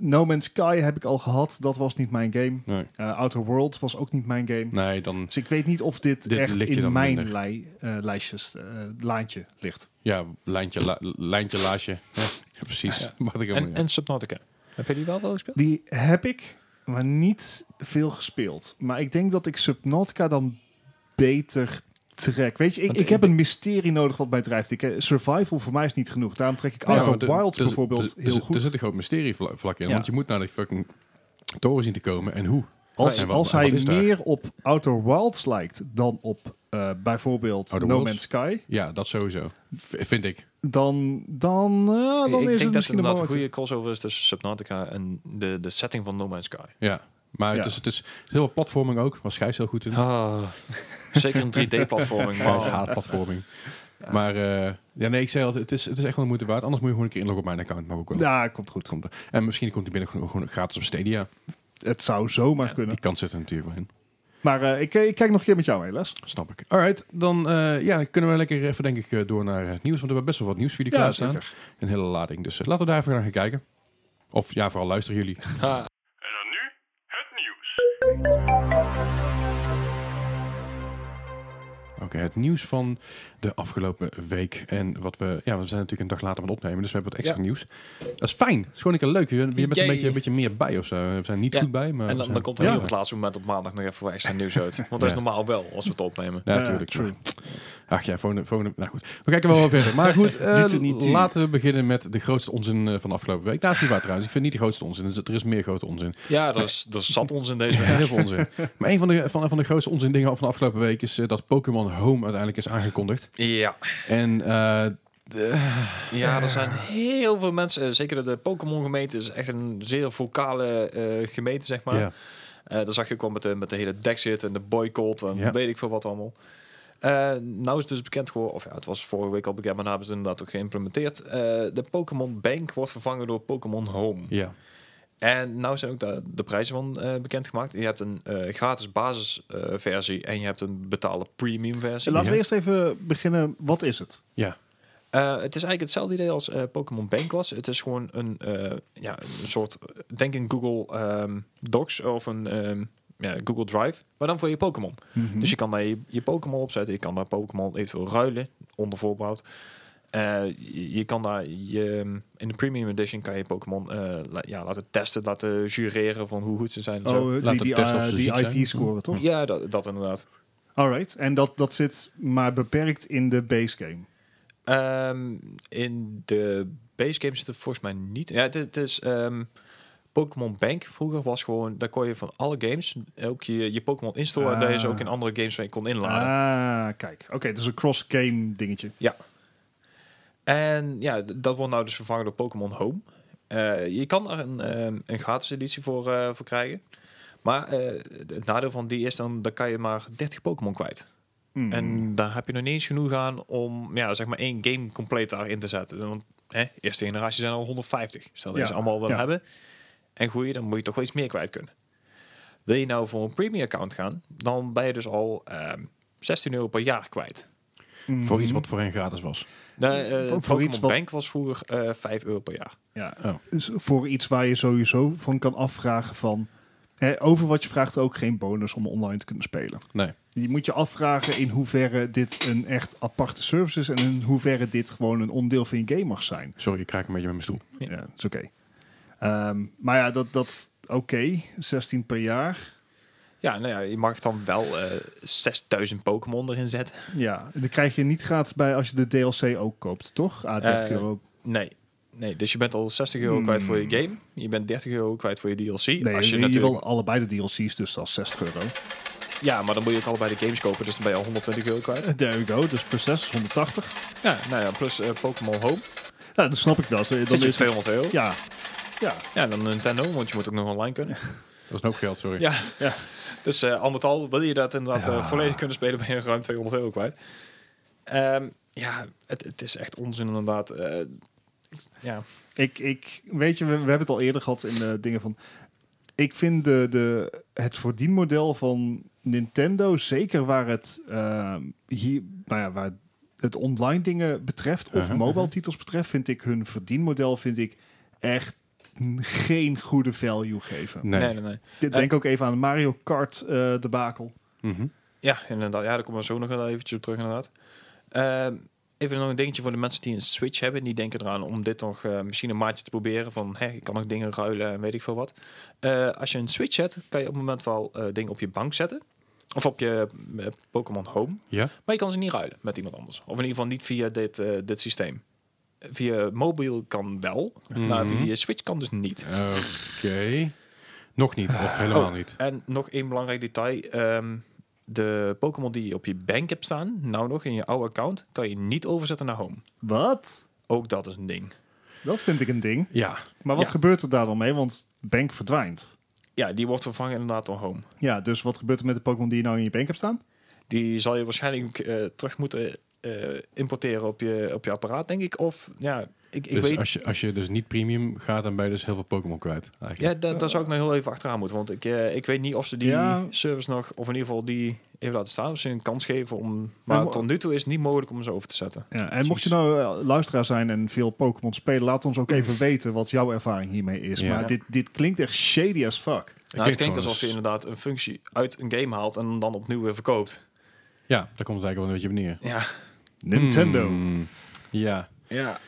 Speaker 3: No Man's Sky heb ik al gehad. Dat was niet mijn game.
Speaker 1: Nee,
Speaker 3: Eh, Outer Worlds was ook niet mijn game.
Speaker 1: nee, dan...
Speaker 3: Dus ik weet niet of dit,
Speaker 1: Mm. Dit
Speaker 3: echt
Speaker 1: ligt je
Speaker 3: in
Speaker 1: dan
Speaker 3: mijn
Speaker 1: minder.
Speaker 3: lij, eh, lijstjes, eh, laantje ligt.
Speaker 1: Ja, lijntje, la- lijntje laasje. Ja, precies.
Speaker 2: Ja.
Speaker 1: Wat ik
Speaker 2: En,
Speaker 1: helemaal- ja.
Speaker 2: en Subnautica. Heb je die wel wel gespeeld?
Speaker 3: Die heb ik, maar niet veel gespeeld. Maar ik denk dat ik Subnautica dan beter trek. Weet je, ik,
Speaker 2: Want
Speaker 3: ik
Speaker 2: ik
Speaker 3: heb
Speaker 2: denk-
Speaker 3: een mysterie nodig wat mij drijft. Ik, eh, survival voor mij is niet genoeg. Daarom trek ik
Speaker 1: Ja, dus-
Speaker 3: Outer
Speaker 1: want er-
Speaker 3: Wilds
Speaker 1: er-
Speaker 3: bijvoorbeeld
Speaker 1: er- er-
Speaker 3: heel
Speaker 1: er-
Speaker 3: goed.
Speaker 1: Er zit een groot mysterie vla- vlak in,
Speaker 3: Ja.
Speaker 1: want je moet naar die fucking toren zien te komen en hoe.
Speaker 3: Als,
Speaker 1: En wat-
Speaker 3: als
Speaker 1: en
Speaker 3: hij
Speaker 1: wat is daar?
Speaker 3: meer op Outer Wilds lijkt dan op eh, bijvoorbeeld
Speaker 1: Outer
Speaker 3: No
Speaker 1: Worlds?
Speaker 3: Man's Sky,
Speaker 1: Ja, dat sowieso. V- vind ik.
Speaker 3: dan, dan, eh, dan
Speaker 2: ik
Speaker 3: is het
Speaker 2: denk dat het
Speaker 3: misschien een
Speaker 2: inderdaad een
Speaker 3: moment.
Speaker 2: goede crossover is tussen Subnautica en de, de setting van No Man's Sky.
Speaker 1: Ja. Maar
Speaker 3: Ja.
Speaker 1: Het, is, het is heel wat platforming ook. Was Gijs heel goed in.
Speaker 2: Ah, zeker een 3D-platforming.
Speaker 1: Gijs haat platforming. Maar eh, ja, nee, ik zei altijd, het is, het is echt wel de moeite waard. Anders moet je gewoon een keer inloggen op mijn account. Mag ook wel.
Speaker 3: Ja, komt goed.
Speaker 1: Komt er. En misschien komt die binnen gewoon, gewoon gratis op Stadia.
Speaker 3: Het zou zomaar
Speaker 1: Die
Speaker 3: kunnen.
Speaker 1: kans zit er natuurlijk wel in.
Speaker 3: Maar eh, ik, ik kijk nog een keer met jou mee, Les.
Speaker 1: Snap ik. Alright, dan eh, ja, kunnen we lekker even denk ik eh, door naar het nieuws. Want we hebben best wel wat nieuws voor jullie
Speaker 3: Ja,
Speaker 1: klaarstaan. Een hele lading. Dus eh, laten we daar even naar gaan kijken. Of ja, vooral luisteren jullie.
Speaker 4: En dan nu het nieuws.
Speaker 1: Oké, het nieuws van de afgelopen week. En wat we. Ja, we zijn natuurlijk een dag later aan het opnemen, dus we hebben wat extra nieuws. Dat is fijn. Dat is gewoon een keer leuk. Je, je bent een
Speaker 2: Yay.
Speaker 1: beetje, een beetje meer bij of zo. We zijn er niet
Speaker 2: Ja,
Speaker 1: goed bij, maar.
Speaker 2: En
Speaker 1: we
Speaker 2: dan,
Speaker 1: zijn-
Speaker 2: dan komt er
Speaker 1: Ja.
Speaker 2: heel op het laatste moment op maandag nog even extra nieuws uit. Want dat is
Speaker 1: Ja.
Speaker 2: normaal wel, als we het opnemen.
Speaker 1: Ja,
Speaker 3: Ja,
Speaker 1: natuurlijk.
Speaker 3: true.
Speaker 1: Ach ja, volgende, volgende. Nou goed, we kijken wel wel verder. Maar goed, eh,
Speaker 3: Doet er niet toe.
Speaker 1: laten we beginnen met de grootste onzin eh, van de afgelopen week. Nou, is niet waar trouwens. Ik vind niet de grootste onzin. Dus er is meer grote onzin.
Speaker 2: Ja, dat, is, dat zat ons in deze
Speaker 1: Er is heel veel onzin. Maar een van de, van, van de grootste onzin dingen van de afgelopen week is eh, dat Pokémon Home uiteindelijk is aangekondigd.
Speaker 2: Ja.
Speaker 1: En eh,
Speaker 2: ja, er zijn heel veel mensen, eh, zeker de Pokémon-gemeente is echt een zeer vocale eh, gemeente, zeg maar.
Speaker 1: ja,
Speaker 2: Eh dat zag je ook wel met de, met de hele Dexit en de boycott en
Speaker 1: Ja.
Speaker 2: weet ik veel wat allemaal. Eh, nou is het dus bekend geworden, of ja, het was vorige week al bekend, maar nou hebben ze het inderdaad ook geïmplementeerd. Eh, de Pokémon Bank wordt vervangen door Pokémon Home.
Speaker 1: ja,
Speaker 2: En nou zijn ook de, de prijzen van eh, bekendgemaakt. Je hebt een eh, gratis basisversie versie en je hebt een betaalde premium versie.
Speaker 3: Laten we
Speaker 1: Ja.
Speaker 3: eerst even beginnen. Wat is het?
Speaker 1: ja.
Speaker 2: Eh, het is eigenlijk hetzelfde idee als eh, Pokémon Bank was. Het is gewoon een, eh, ja, een soort, denk in Google ehm, Docs of een ehm, ja, Google Drive, maar dan voor je Pokémon.
Speaker 3: Mhm.
Speaker 2: Dus je kan daar je, je Pokémon opzetten, je kan daar Pokémon eventueel ruilen, onder voorbehoud. Eh, je, je kan daar je, in de Premium Edition kan je Pokémon eh, la- ja, laten testen, laten jureren van hoe goed ze zijn. en zo.
Speaker 3: Oh,
Speaker 1: Laat
Speaker 3: die,
Speaker 1: het
Speaker 3: die,
Speaker 1: testen of ze ziek zijn.
Speaker 3: IV-scoren, toch?
Speaker 2: Ja, dat, dat inderdaad.
Speaker 3: Alright. En dat, dat zit maar beperkt in de base game.
Speaker 2: Ehm, in de base game zit het volgens mij niet. Ja, het, is- het is ehm, Pokémon Bank vroeger was gewoon, daar kon je van alle games ook je, je Pokémon installen en daar is
Speaker 3: Ah.
Speaker 2: ook in andere games mee kon inladen.
Speaker 3: Ah, kijk. Oké, het is een cross-game dingetje.
Speaker 2: En ja, d- dat wordt nou dus vervangen door Pokémon Home. Eh, je kan er een, ehm, een gratis editie voor, eh, voor krijgen. Maar eh, het nadeel van die is dan, dan kan je maar 30 Pokémon kwijt.
Speaker 3: Hmm.
Speaker 2: En daar heb je nog niet eens genoeg aan om ja, zeg maar één game compleet daarin te zetten. Want hè, eerste generatie zijn al 150. Stel dat je
Speaker 3: Ja,
Speaker 2: ze allemaal wil
Speaker 3: ja.
Speaker 2: hebben. En groeien, dan moet je toch wel iets meer kwijt kunnen. Wil je nou voor een premium account gaan, dan ben je dus al ehm, 16 euro per jaar kwijt.
Speaker 3: Mhm.
Speaker 1: Voor iets wat voorheen gratis was.
Speaker 2: Nou, eh,
Speaker 3: voor
Speaker 2: Pokémon
Speaker 3: iets wat-
Speaker 2: Bank was vroeger eh 5 euro per jaar.
Speaker 3: Ja.
Speaker 1: Oh.
Speaker 3: Dus voor iets waar je sowieso van kan afvragen van... Hè, over wat je vraagt ook geen bonus om online te kunnen spelen.
Speaker 1: Nee.
Speaker 3: Je moet je afvragen in hoeverre dit een echt aparte service is... en in hoeverre dit gewoon een onderdeel van je game mag zijn.
Speaker 1: Sorry, ik kraak een beetje met mijn stoel.
Speaker 2: Ja.
Speaker 3: Ja, dat is oké. Ehm, maar ja, dat... dat oké, 16 per jaar.
Speaker 2: Ja, nou ja, je mag dan wel eh, 6000 Pokémon erin zetten.
Speaker 3: Ja, en dan krijg je niet gratis bij als je de DLC ook koopt, toch? Ah, 30
Speaker 2: Eh,
Speaker 3: euro.
Speaker 2: Nee. Nee, dus je bent al 60 euro
Speaker 3: Hmm.
Speaker 2: kwijt voor je game. Je bent 30 euro kwijt voor je DLC.
Speaker 3: Nee,
Speaker 2: als je,
Speaker 3: je,
Speaker 2: natuurlijk...
Speaker 3: wil allebei de DLC's, dus dat is 60 euro.
Speaker 2: Ja, maar dan moet je ook allebei de games kopen, dus dan ben je al 120 euro kwijt.
Speaker 3: There we go, dus plus 6 is 180.
Speaker 2: Ja, nou ja, plus eh, Pokémon Home.
Speaker 3: Ja, dat snap ik wel. Zo-
Speaker 2: Dan
Speaker 3: Nou, Dan
Speaker 2: je op
Speaker 3: is het,
Speaker 2: 200 euro. Ja.
Speaker 3: ja, ja,
Speaker 2: en dan Nintendo, want je moet ook nog online kunnen.
Speaker 1: Dat is een hoop geld, sorry.
Speaker 2: Ja. Dus eh, al met al wil je dat inderdaad
Speaker 1: Ja.
Speaker 2: eh, volledig kunnen spelen, ben je ruim 200 euro kwijt. Ehm, ja, het, het is echt onzin inderdaad. Eh, ja.
Speaker 3: Ik, ik, weet je, we, we hebben het al eerder gehad in de dingen van... Ik vind de, de, het verdienmodel van Nintendo, zeker waar het, ehm, hier, nou ja, waar het online dingen betreft of
Speaker 1: Uh-huh,
Speaker 3: mobile titels betreft, vind ik hun verdienmodel vind ik echt geen goede value geven.
Speaker 1: Nee.
Speaker 2: Nee. nee, nee,
Speaker 3: Ik Denk ook even aan de Mario Kart eh debakel.
Speaker 1: Mhm.
Speaker 2: Ja, inderdaad. Ja, daar komen we zo nog wel eventjes op terug inderdaad. Ehm, even nog een dingetje voor de mensen die een Switch hebben. Die denken eraan om dit nog eh, misschien een maatje te proberen. Van, hé, ik kan nog dingen ruilen en weet ik veel wat. Eh, als je een Switch hebt, kan je op het moment wel eh, dingen op je bank zetten. Of op je eh, Pokémon Home.
Speaker 1: Ja?
Speaker 2: Maar je kan ze niet ruilen met iemand anders. Of in ieder geval niet via dit, eh, dit systeem. Via mobiel kan wel, maar
Speaker 1: Mhm.
Speaker 2: via je Switch kan dus niet.
Speaker 1: Oké. Nog niet,
Speaker 3: Ah.
Speaker 1: of helemaal
Speaker 2: Oh,
Speaker 1: niet.
Speaker 2: En nog één belangrijk detail. ehm, de Pokémon die je op je bank hebt staan, nou nog in je oude account, kan je niet overzetten naar home.
Speaker 3: Wat?
Speaker 2: Ook dat is een ding.
Speaker 3: Dat vind ik een ding.
Speaker 1: Ja.
Speaker 3: Maar wat
Speaker 2: Ja.
Speaker 3: gebeurt er daar dan mee? Want bank verdwijnt.
Speaker 2: Ja, die wordt vervangen inderdaad door home.
Speaker 3: Ja, dus wat gebeurt er met de Pokémon die je nou in je bank hebt staan?
Speaker 2: Die zal je waarschijnlijk eh, terug moeten eh, importeren op je, op je apparaat, denk ik. Of ja, ik, ik
Speaker 1: Dus
Speaker 2: weet,
Speaker 1: als, je, als je dus niet premium gaat, dan ben je dus heel veel Pokémon kwijt.
Speaker 2: ja,
Speaker 1: Eigenlijk.
Speaker 2: da- daar zou ik nog heel even achteraan moeten. Want ik, eh, ik weet niet of ze die
Speaker 3: Ja.
Speaker 2: service nog, of in ieder geval die even laten staan. Of ze een kans geven om... Maar
Speaker 3: mo-
Speaker 2: tot nu toe is het niet mogelijk om ze over te zetten.
Speaker 3: Ja, en mocht je nou eh, luisteraar zijn en veel Pokémon spelen, laat ons ook even weten wat jouw ervaring hiermee is.
Speaker 1: Ja.
Speaker 3: Maar dit, dit klinkt echt shady as fuck.
Speaker 2: Nou, het
Speaker 1: klinkt
Speaker 2: klinkt
Speaker 1: gewoon
Speaker 2: alsof je
Speaker 1: eens-
Speaker 2: inderdaad een functie uit een game haalt en dan opnieuw weer verkoopt.
Speaker 1: Ja, daar komt het eigenlijk wel een beetje op neer.
Speaker 2: Ja.
Speaker 3: Nintendo.
Speaker 1: Hmm. Ja.
Speaker 2: Ja.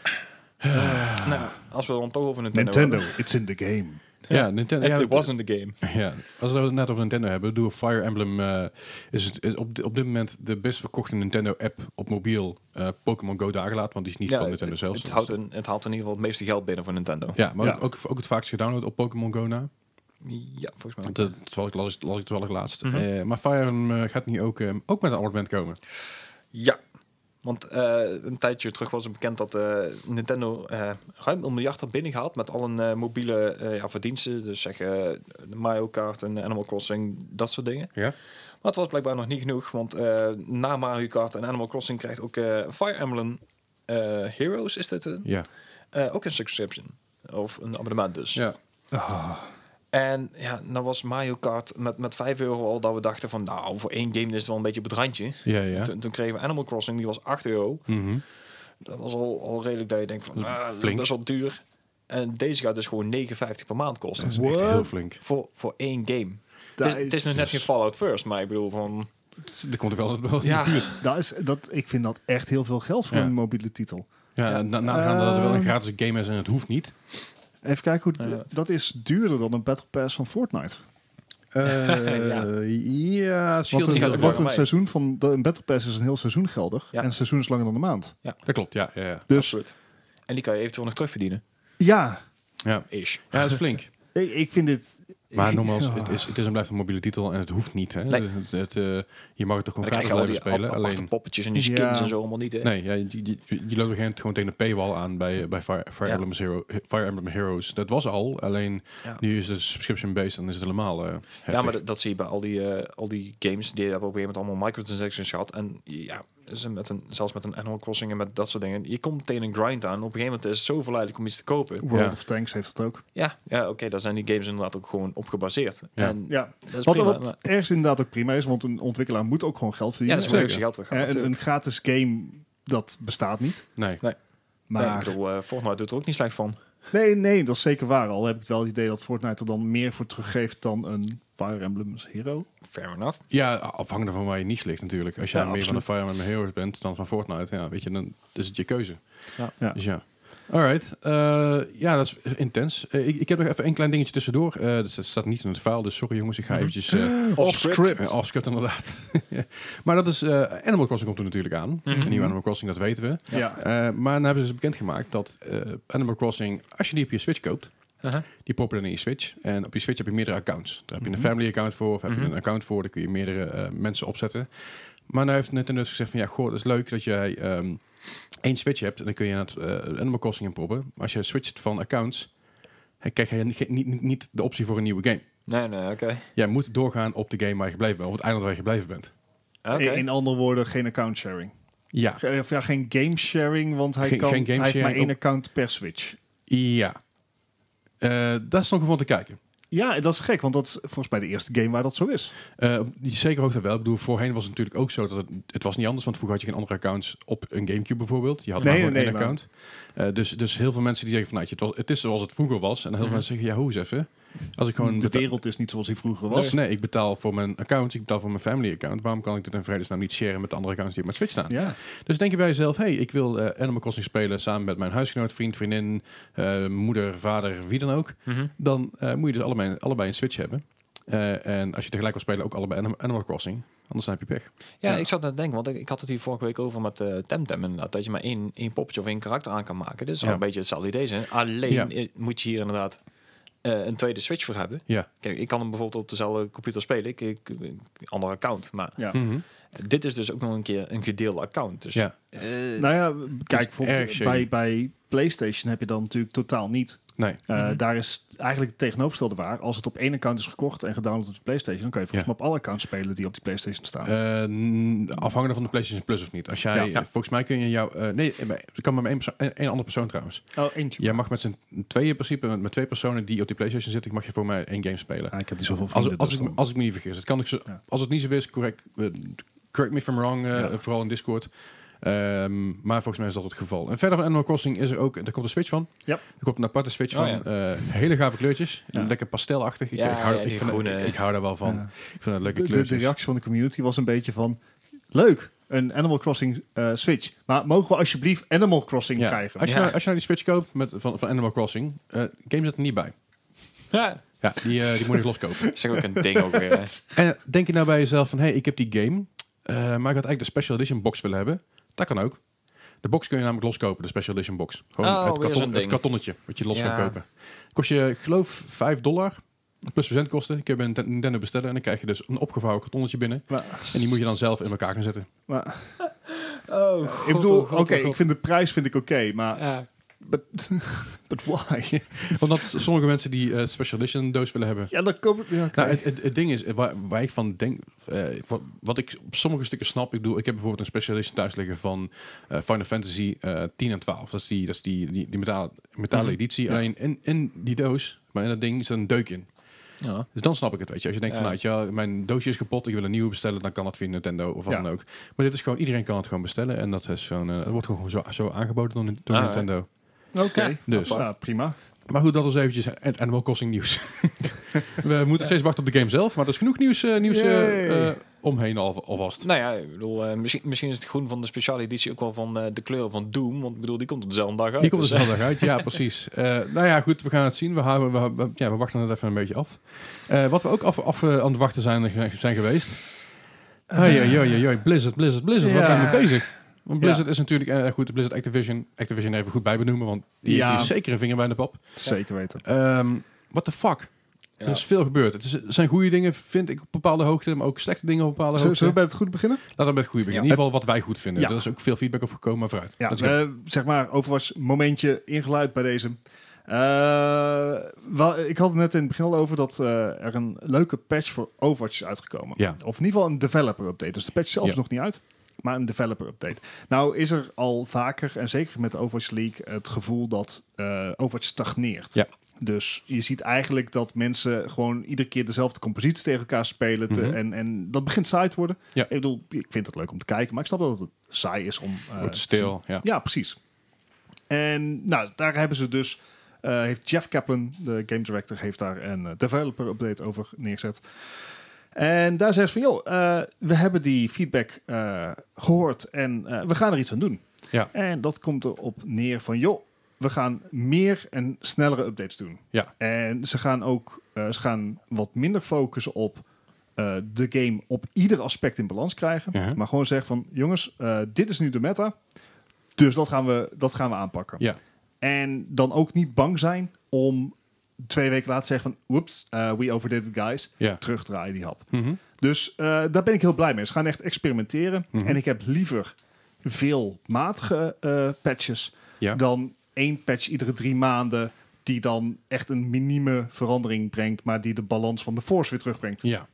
Speaker 2: nou, als we dan toch over Nintendo,
Speaker 3: Nintendo, it's in the game.
Speaker 1: Ja, Nintendo.
Speaker 2: hebben.
Speaker 1: Ja,
Speaker 2: It, it wasn't the game.
Speaker 1: ja, als we het net over Nintendo hebben, doe Fire Emblem eh, is, het, is op, di- op dit moment de best verkochte Nagelaat, op mobiel eh, Pokémon Go dagelaat, want die is niet van Nintendo
Speaker 2: het,
Speaker 1: zelf. dus.
Speaker 2: Het, houdt een, het haalt in ieder geval het meeste geld binnen voor Nintendo.
Speaker 1: ja, maar
Speaker 3: Ja.
Speaker 1: Ook, ook het vaakst gedownload op Pokémon Go na.
Speaker 2: Ja, volgens mij.
Speaker 1: Want Dat terwijl ik las, las ik terwijl ik laatst.
Speaker 2: Mhm.
Speaker 1: Eh, maar Fire Emblem eh, gaat nu ook, eh, ook met een abonnement komen.
Speaker 2: Ja. Want eh, een tijdje terug was het bekend dat eh, Nintendo eh, ruim een miljard had binnengehaald met al hun eh, mobiele eh, ja, verdiensten. Dus zeg eh, de Mario Kart en Animal Crossing, dat soort dingen.
Speaker 1: Ja.
Speaker 2: Maar het was blijkbaar nog niet genoeg, want eh, na Mario Kart en Animal Crossing krijgt ook eh, Fire Emblem eh, Heroes, is dit een?
Speaker 1: Ja.
Speaker 2: Eh, ook een subscription. Of een abonnement dus.
Speaker 1: ja.
Speaker 2: En ja, nou was Mario Kart met, met 5 euro al dat we dachten van nou, voor één game is het wel een beetje op het randje.
Speaker 1: Ja, ja.
Speaker 2: Toen, toen kregen we Animal Crossing, die was 8 euro.
Speaker 1: Mhm.
Speaker 2: Dat was al, al redelijk dat je denkt van, ah,
Speaker 1: flink.
Speaker 2: dat is al duur. En deze gaat dus gewoon 9,50 per maand kosten.
Speaker 1: Dat is echt
Speaker 3: What?
Speaker 1: heel flink.
Speaker 2: Voor, voor één game. Het
Speaker 3: Dat
Speaker 2: is, het is nog net geen Fallout First, maar ik bedoel van...
Speaker 1: Er komt er wel wel in de
Speaker 2: Ja.
Speaker 1: buurt.
Speaker 3: Dat is, dat, ik vind dat echt heel veel geld voor
Speaker 1: Ja.
Speaker 3: een mobiele titel.
Speaker 1: Ja,
Speaker 2: Ja.
Speaker 1: na- nagaan dat het wel een
Speaker 3: Ehm.
Speaker 1: gratis game is en het hoeft niet.
Speaker 3: Even kijken hoe...
Speaker 2: Ja.
Speaker 3: Dat is duurder dan een Battle Pass van Fortnite.
Speaker 2: Eh,
Speaker 1: ja, ja
Speaker 3: Want
Speaker 2: niet
Speaker 3: een,
Speaker 2: uit de
Speaker 3: want
Speaker 2: vorm.
Speaker 3: een seizoen van... de- Een Battle Pass is een heel seizoen geldig.
Speaker 2: Ja.
Speaker 3: En een seizoen is langer dan een maand.
Speaker 1: dat klopt, ja. Ja, ja.
Speaker 3: Dus
Speaker 2: Absoluut. En die kan je eventueel nog terugverdienen.
Speaker 3: ja,
Speaker 1: ja.
Speaker 2: Ish.
Speaker 1: ja dat is flink.
Speaker 3: ik, ik vind dit...
Speaker 1: Maar
Speaker 3: ik-
Speaker 1: nogmaals,
Speaker 3: ja.
Speaker 1: het is, het is en blijft een mobiele titel en het hoeft niet. Hè?
Speaker 2: Nee.
Speaker 1: Het, het, eh, je mag het toch
Speaker 2: Dan
Speaker 1: gewoon
Speaker 2: krijg
Speaker 1: gratis
Speaker 2: je al
Speaker 1: blijven
Speaker 2: die spelen,
Speaker 1: spelen.
Speaker 2: aparte
Speaker 1: Alleen,
Speaker 2: poppetjes en die
Speaker 3: Ja.
Speaker 2: skins en zo allemaal niet. Hè?
Speaker 1: nee, ja, je, je, je- je loopt op een gegeven moment gewoon tegen een paywall aan bij, eh, bij Fire, Fire,
Speaker 2: Ja.
Speaker 1: Emblem Hero, Fire Emblem Heroes. Dat was al, alleen
Speaker 2: Ja.
Speaker 1: nu is het subscription-based en is het helemaal eh heftig.
Speaker 2: ja, maar dat, dat zie je bij al die, eh, al die games. Die hebben op een gegeven moment allemaal microtransactions gehad. En ja, ze met een, zelfs met een Animal Crossing en met dat soort dingen. Je komt tegen een grind aan. Op een gegeven moment is het zo verleidelijk om iets te kopen.
Speaker 3: World
Speaker 1: Ja.
Speaker 3: of Tanks heeft dat ook.
Speaker 2: Ja, ja oké, daar zijn die games inderdaad ook gewoon op gebaseerd.
Speaker 1: Ja.
Speaker 2: En
Speaker 3: Ja.
Speaker 2: dat is
Speaker 3: Wat,
Speaker 2: prima,
Speaker 3: wat
Speaker 2: maar-
Speaker 3: ergens inderdaad ook prima is, want een ontwikkelaar moet ook gewoon geld
Speaker 2: ja,
Speaker 3: verdienen.
Speaker 2: dat is moeilijk
Speaker 1: zeker.
Speaker 2: als je geld terug
Speaker 3: Eh, een, een gratis game, dat bestaat niet.
Speaker 1: Nee.
Speaker 2: maar
Speaker 3: Maar
Speaker 2: ik bedoel, eh, Fortnite doet er ook niet slecht van.
Speaker 3: nee, nee, dat is zeker waar. Al heb ik wel het idee dat Fortnite er dan meer voor teruggeeft dan een Fire Emblem Hero.
Speaker 2: Fair enough.
Speaker 1: Ja, afhankelijk van waar je niche ligt natuurlijk. Als jij
Speaker 3: Ja,
Speaker 1: meer
Speaker 3: absoluut.
Speaker 1: van de Fire Emblem Heroes bent dan van Fortnite, ja, weet je, dan is het je keuze.
Speaker 2: Ja.
Speaker 3: Ja.
Speaker 1: Dus ja. Alright. Eh, ja, dat is intens. Eh, ik, ik heb nog even een klein dingetje tussendoor. Eh, dus dat staat niet in het file, dus sorry jongens, ik
Speaker 3: Mhm.
Speaker 1: ga eventjes... eh,
Speaker 2: Off-script.
Speaker 1: eh, off-script inderdaad. Ja. maar dat is... eh, Animal Crossing komt er natuurlijk aan.
Speaker 3: Mhm.
Speaker 1: Een nieuwe Animal Crossing, dat weten we.
Speaker 3: Ja.
Speaker 1: Eh, maar dan hebben ze dus bekendgemaakt dat eh, Animal Crossing, als je die op je Switch koopt,
Speaker 2: Uh-huh.
Speaker 1: die poppen dan in je Switch. En op je Switch heb je meerdere accounts. Daar heb je een family account voor, of heb je een account voor, daar kun je meerdere eh, mensen opzetten. Maar nu heeft Nintendo dus gezegd van ja, goh, dat is leuk dat jij ehm, één Switch hebt en dan kun je het eh, Animal Crossing in proppen. Maar als je switcht van accounts, eh, krijg je niet, niet, niet de optie voor een nieuwe game.
Speaker 2: Nee, nee, oké.
Speaker 1: Jij moet doorgaan op de game waar je gebleven bent, of het eiland waar je gebleven bent.
Speaker 2: Oké.
Speaker 3: In, in andere woorden, geen account sharing.
Speaker 1: Ja,
Speaker 3: Ge- Of ja, geen game sharing, want hij,
Speaker 1: Geen-
Speaker 3: kan,
Speaker 1: geen game
Speaker 3: hij heeft maar
Speaker 1: sharing
Speaker 3: één
Speaker 1: op-
Speaker 3: account per Switch.
Speaker 1: ja. Eh, daar is nog van te kijken.
Speaker 3: Ja, en dat is gek, want dat is volgens mij de eerste game waar dat zo is.
Speaker 1: Eh, op die zeker hoogte wel. Ik bedoel, voorheen was het natuurlijk ook zo dat het, het was niet anders. Want vroeger had je geen andere accounts op een Gamecube bijvoorbeeld. Je had
Speaker 3: Nee,
Speaker 1: maar gewoon
Speaker 3: nee,
Speaker 1: één
Speaker 3: maar-
Speaker 1: account. Eh, dus, dus heel veel mensen die zeggen van, nou, het, was, het is zoals het vroeger was. En heel veel
Speaker 2: Mhm.
Speaker 1: mensen zeggen, ja, hoe is even? Als ik gewoon
Speaker 3: de
Speaker 1: beta-
Speaker 3: wereld is niet zoals hij vroeger was.
Speaker 1: Nee, ik betaal voor mijn account, ik betaal voor mijn family account. Waarom kan ik dit in vredesnaam niet sharen met de andere accounts die op mijn Switch staan?
Speaker 3: Ja.
Speaker 1: Dus denk je bij jezelf, hey, ik wil eh, Animal Crossing spelen samen met mijn huisgenoot, vriend, vriendin, eh, moeder, vader, wie dan ook.
Speaker 2: Mhm.
Speaker 1: Dan eh, moet je dus allebei, allebei een Switch hebben. Eh, en als je tegelijk wil spelen, ook allebei Anim- Animal Crossing. Anders dan heb je pech.
Speaker 2: Ja,
Speaker 3: Ja.
Speaker 2: ik zat aan het denken, want ik, ik had het hier vorige week over met eh Temtem inderdaad. Dat je maar één, één poppetje of één karakter aan kan maken. Dit is al
Speaker 1: Ja.
Speaker 2: een beetje hetzelfde idee zijn. Alleen
Speaker 1: Ja.
Speaker 2: i- moet je hier inderdaad eh, een tweede Switch voor hebben.
Speaker 1: Ja.
Speaker 2: Kijk, ik kan hem bijvoorbeeld op dezelfde computer spelen. Ik, ik, een ander account. Maar
Speaker 3: Ja.
Speaker 2: dit is dus ook nog een keer een gedeelde account. Dus
Speaker 1: Ja.
Speaker 2: eh,
Speaker 3: Nou ja, kijk,
Speaker 1: erg
Speaker 3: bijvoorbeeld
Speaker 1: shady.
Speaker 3: bij, bij PlayStation heb je dan natuurlijk totaal niet.
Speaker 1: Nee.
Speaker 3: Eh,
Speaker 2: Mhm.
Speaker 3: Daar is eigenlijk het tegenovergestelde waar. Als het op één account is gekocht en gedownload op de PlayStation, dan kan je het volgens
Speaker 1: Ja.
Speaker 3: mij op alle accounts spelen die op die PlayStation staan.
Speaker 1: Eh, n- afhankelijk van de PlayStation Plus of niet. Als jij,
Speaker 3: Ja, ja.
Speaker 1: Volgens mij kun je jou... eh, nee, er kan maar één, perso- één- één andere persoon trouwens.
Speaker 3: oh, eentje.
Speaker 1: Jij mag met z'n tweeën in principe, met, met twee personen die op die PlayStation zitten, mag je voor mij één game spelen.
Speaker 3: Ah, ik heb niet zoveel
Speaker 1: Als,
Speaker 3: vrienden.
Speaker 1: als,
Speaker 3: dus
Speaker 1: ik,
Speaker 3: dan-
Speaker 1: als ik me niet vergis. Het kan ik zo,
Speaker 3: Ja.
Speaker 1: Als het niet zo is, correct, eh, correct me if I'm wrong, eh,
Speaker 3: Ja.
Speaker 1: vooral in Discord. Ehm, maar volgens mij is dat het geval. En verder van Animal Crossing is er ook, er komt een Switch van.
Speaker 3: Ja.
Speaker 1: Er komt een aparte Switch
Speaker 2: Oh,
Speaker 1: van.
Speaker 2: ja.
Speaker 1: Eh, hele gave kleurtjes.
Speaker 3: Ja.
Speaker 1: Lekker pastelachtig. Ik,
Speaker 2: Ja,
Speaker 1: ik, hou,
Speaker 2: ja,
Speaker 1: ik,
Speaker 2: die
Speaker 1: vind-
Speaker 2: groene.
Speaker 1: ik, ik hou daar wel van.
Speaker 3: Ja.
Speaker 1: Ik vind dat leuke
Speaker 3: de, de, de
Speaker 1: kleurtjes.
Speaker 3: reactie van de community was een beetje van... Leuk, een Animal Crossing eh, Switch. Maar mogen we alsjeblieft Animal Crossing
Speaker 1: Ja.
Speaker 3: krijgen?
Speaker 1: Als, je
Speaker 2: Ja.
Speaker 1: nou, als je nou die Switch koopt met, van, van Animal Crossing, eh game zit er niet bij.
Speaker 2: Ja,
Speaker 1: Ja, die, eh, die moet ik loskopen.
Speaker 2: dat is ook een ding ook weer. hè.
Speaker 1: En denk je nou bij jezelf van, hé, hey, ik heb die game, eh, maar ik had eigenlijk de Special Edition box willen hebben. Dat kan ook. De box kun je namelijk loskopen, de Special Edition box. Gewoon
Speaker 2: Oh,
Speaker 1: het,
Speaker 2: weer zo'n
Speaker 1: karton, het
Speaker 2: ding.
Speaker 1: kartonnetje wat je los
Speaker 2: Ja.
Speaker 1: kan kopen. Kost je, ik geloof, 5 dollar. Plus verzendkosten. Kun je bij Nint- Nintendo bestellen en dan krijg je dus een opgevouwen kartonnetje binnen.
Speaker 3: Maar,
Speaker 1: En die moet je dan zelf in elkaar gaan zetten.
Speaker 3: maar,
Speaker 2: Oh,
Speaker 3: ik bedoel, oké, ik vind de prijs vind ik oké, maar...
Speaker 2: Ja.
Speaker 3: But, but why?
Speaker 1: Omdat sommige mensen die eh, Special Edition doos willen hebben.
Speaker 3: ja, dan kom ja, oké.
Speaker 1: Nou, het, het, het ding is, eh, waar, waar ik van denk, eh, wat, wat ik op sommige stukken snap, ik bedoel, ik heb bijvoorbeeld een Special Edition thuis liggen van eh, Final Fantasy eh 10 en 12. Dat is die, dat is die, die, die metalen, metalen
Speaker 2: Mhm.
Speaker 1: editie.
Speaker 3: Ja.
Speaker 1: Alleen in, in die doos, maar in dat ding zit een deuk in.
Speaker 2: Ja.
Speaker 1: Dus dan snap ik het, weet je. Als je denkt
Speaker 2: Ja.
Speaker 1: van, nou, weet je wel, mijn doosje is kapot, ik wil een nieuwe bestellen, dan kan dat via Nintendo of wat
Speaker 3: Ja.
Speaker 1: dan ook. Maar dit is gewoon, iedereen kan het gewoon bestellen en dat is gewoon, eh, het wordt gewoon zo, zo aangeboden door, door
Speaker 2: Ah,
Speaker 1: Nintendo.
Speaker 3: Oké.
Speaker 1: Dus.
Speaker 3: Ja, Nou, prima.
Speaker 1: Maar goed, dat was eventjes An- Animal Crossing nieuws. We moeten steeds wachten op de game zelf, maar er is genoeg nieuws, eh, nieuws eh,
Speaker 3: Yay.
Speaker 1: eh, omheen al, alvast.
Speaker 2: Nou ja, ik bedoel, eh, misschien, misschien is het groen van de speciale editie ook wel van eh, de kleuren van Doom. Want ik bedoel, die komt op dezelfde dag uit.
Speaker 1: Die komt er
Speaker 2: dus,
Speaker 1: snel uit, ja precies. Eh, nou ja, goed, we gaan het zien. We, houden, we, we- ja, we wachten het even een beetje af. Eh, wat we ook af, af eh, aan het wachten zijn, zijn geweest. Oei, oei, oei, oei, oei, Blizzard, Blizzard, Blizzard, waar
Speaker 3: Eh, Ja.
Speaker 1: ben je mee bezig? Want Blizzard is natuurlijk, eh, goed, Blizzard Activision, Activision even goed bij benoemen, want die
Speaker 3: Ja.
Speaker 1: heeft hier zeker een vinger bij de pap.
Speaker 3: Zeker weten.
Speaker 1: Ehm what the fuck?
Speaker 2: eh,
Speaker 1: Er
Speaker 2: ja.
Speaker 1: is veel gebeurd. Het, is, er zijn goede dingen, vind ik, op bepaalde hoogte, maar ook slechte dingen op bepaalde
Speaker 3: Zullen
Speaker 1: hoogte.
Speaker 3: zullen we bij het goed beginnen?
Speaker 1: Laten we met het goede beginnen.
Speaker 3: Ja.
Speaker 1: In ieder geval wat wij goed vinden.
Speaker 3: Ja.
Speaker 1: Er is ook veel feedback op gekomen, maar vooruit.
Speaker 3: Ja,
Speaker 1: Let's go.
Speaker 3: eh, zeg maar, Overwatch momentje ingeluid bij deze. Eh, wel, ik had het net in het begin al over dat eh, er een leuke patch voor Overwatch is uitgekomen.
Speaker 1: Ja.
Speaker 3: Of in ieder geval een developer update. Dus de patch zelf
Speaker 1: Ja.
Speaker 3: is nog niet uit, maar een developer update. Nou is er al vaker, en zeker met de Overwatch League, het gevoel dat eh, Overwatch stagneert.
Speaker 1: Ja.
Speaker 3: Dus je ziet eigenlijk dat mensen gewoon iedere keer dezelfde compositie tegen elkaar spelen. te-
Speaker 1: Mhm.
Speaker 3: en, en dat begint saai te worden.
Speaker 1: Ja.
Speaker 3: Ik bedoel, ik vind het leuk om te kijken, maar ik snap dat het saai is om eh,
Speaker 1: Wordt
Speaker 3: te zien.
Speaker 1: stil. Ja.
Speaker 3: Ja, precies. En nou, daar hebben ze dus, eh, heeft Jeff Kaplan, de game director, heeft daar een eh, developer update over neergezet. En daar zegt ze van, joh, eh, we hebben die feedback eh, gehoord en eh, we gaan er iets aan doen.
Speaker 1: Ja.
Speaker 3: En dat komt erop neer van, joh, we gaan meer en snellere updates doen.
Speaker 1: Ja.
Speaker 3: En ze gaan ook eh, ze gaan wat minder focussen op eh, de game op ieder aspect in balans krijgen.
Speaker 1: Ja.
Speaker 3: Maar gewoon zeggen van, jongens, eh, dit is nu de meta. Dus dat gaan we, dat gaan we aanpakken.
Speaker 1: Ja.
Speaker 3: En dan ook niet bang zijn om twee weken later te zeggen van... Whoops, eh, we overdid it, guys.
Speaker 1: Ja.
Speaker 3: Terugdraaien die hap.
Speaker 1: Mhm.
Speaker 3: Dus eh, daar ben ik heel blij mee. Ze gaan echt experimenteren.
Speaker 1: Mhm.
Speaker 3: En ik heb liever veel matige eh, patches...
Speaker 1: Ja.
Speaker 3: dan één patch iedere drie maanden... die dan echt een minieme verandering brengt... maar die de balans van de force weer terugbrengt.
Speaker 1: ja.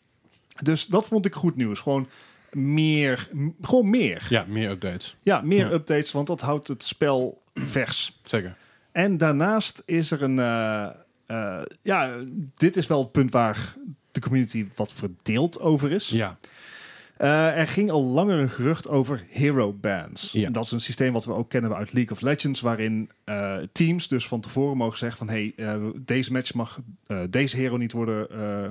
Speaker 3: Dus dat vond ik goed nieuws. Gewoon meer, m- gewoon meer.
Speaker 1: Ja, meer updates.
Speaker 3: Ja, meer
Speaker 1: Ja.
Speaker 3: updates, want dat houdt het spel vers.
Speaker 1: Zeker.
Speaker 3: En daarnaast is er een. eh, eh, ja, dit is wel het punt waar de community wat verdeeld over is.
Speaker 1: Ja.
Speaker 3: Eh, er ging al langer een gerucht over hero bands.
Speaker 1: Ja.
Speaker 3: Dat is een systeem wat we ook kennen uit League of Legends, waarin eh, teams dus van tevoren mogen zeggen van hey, eh, deze match mag eh, deze hero niet worden eh,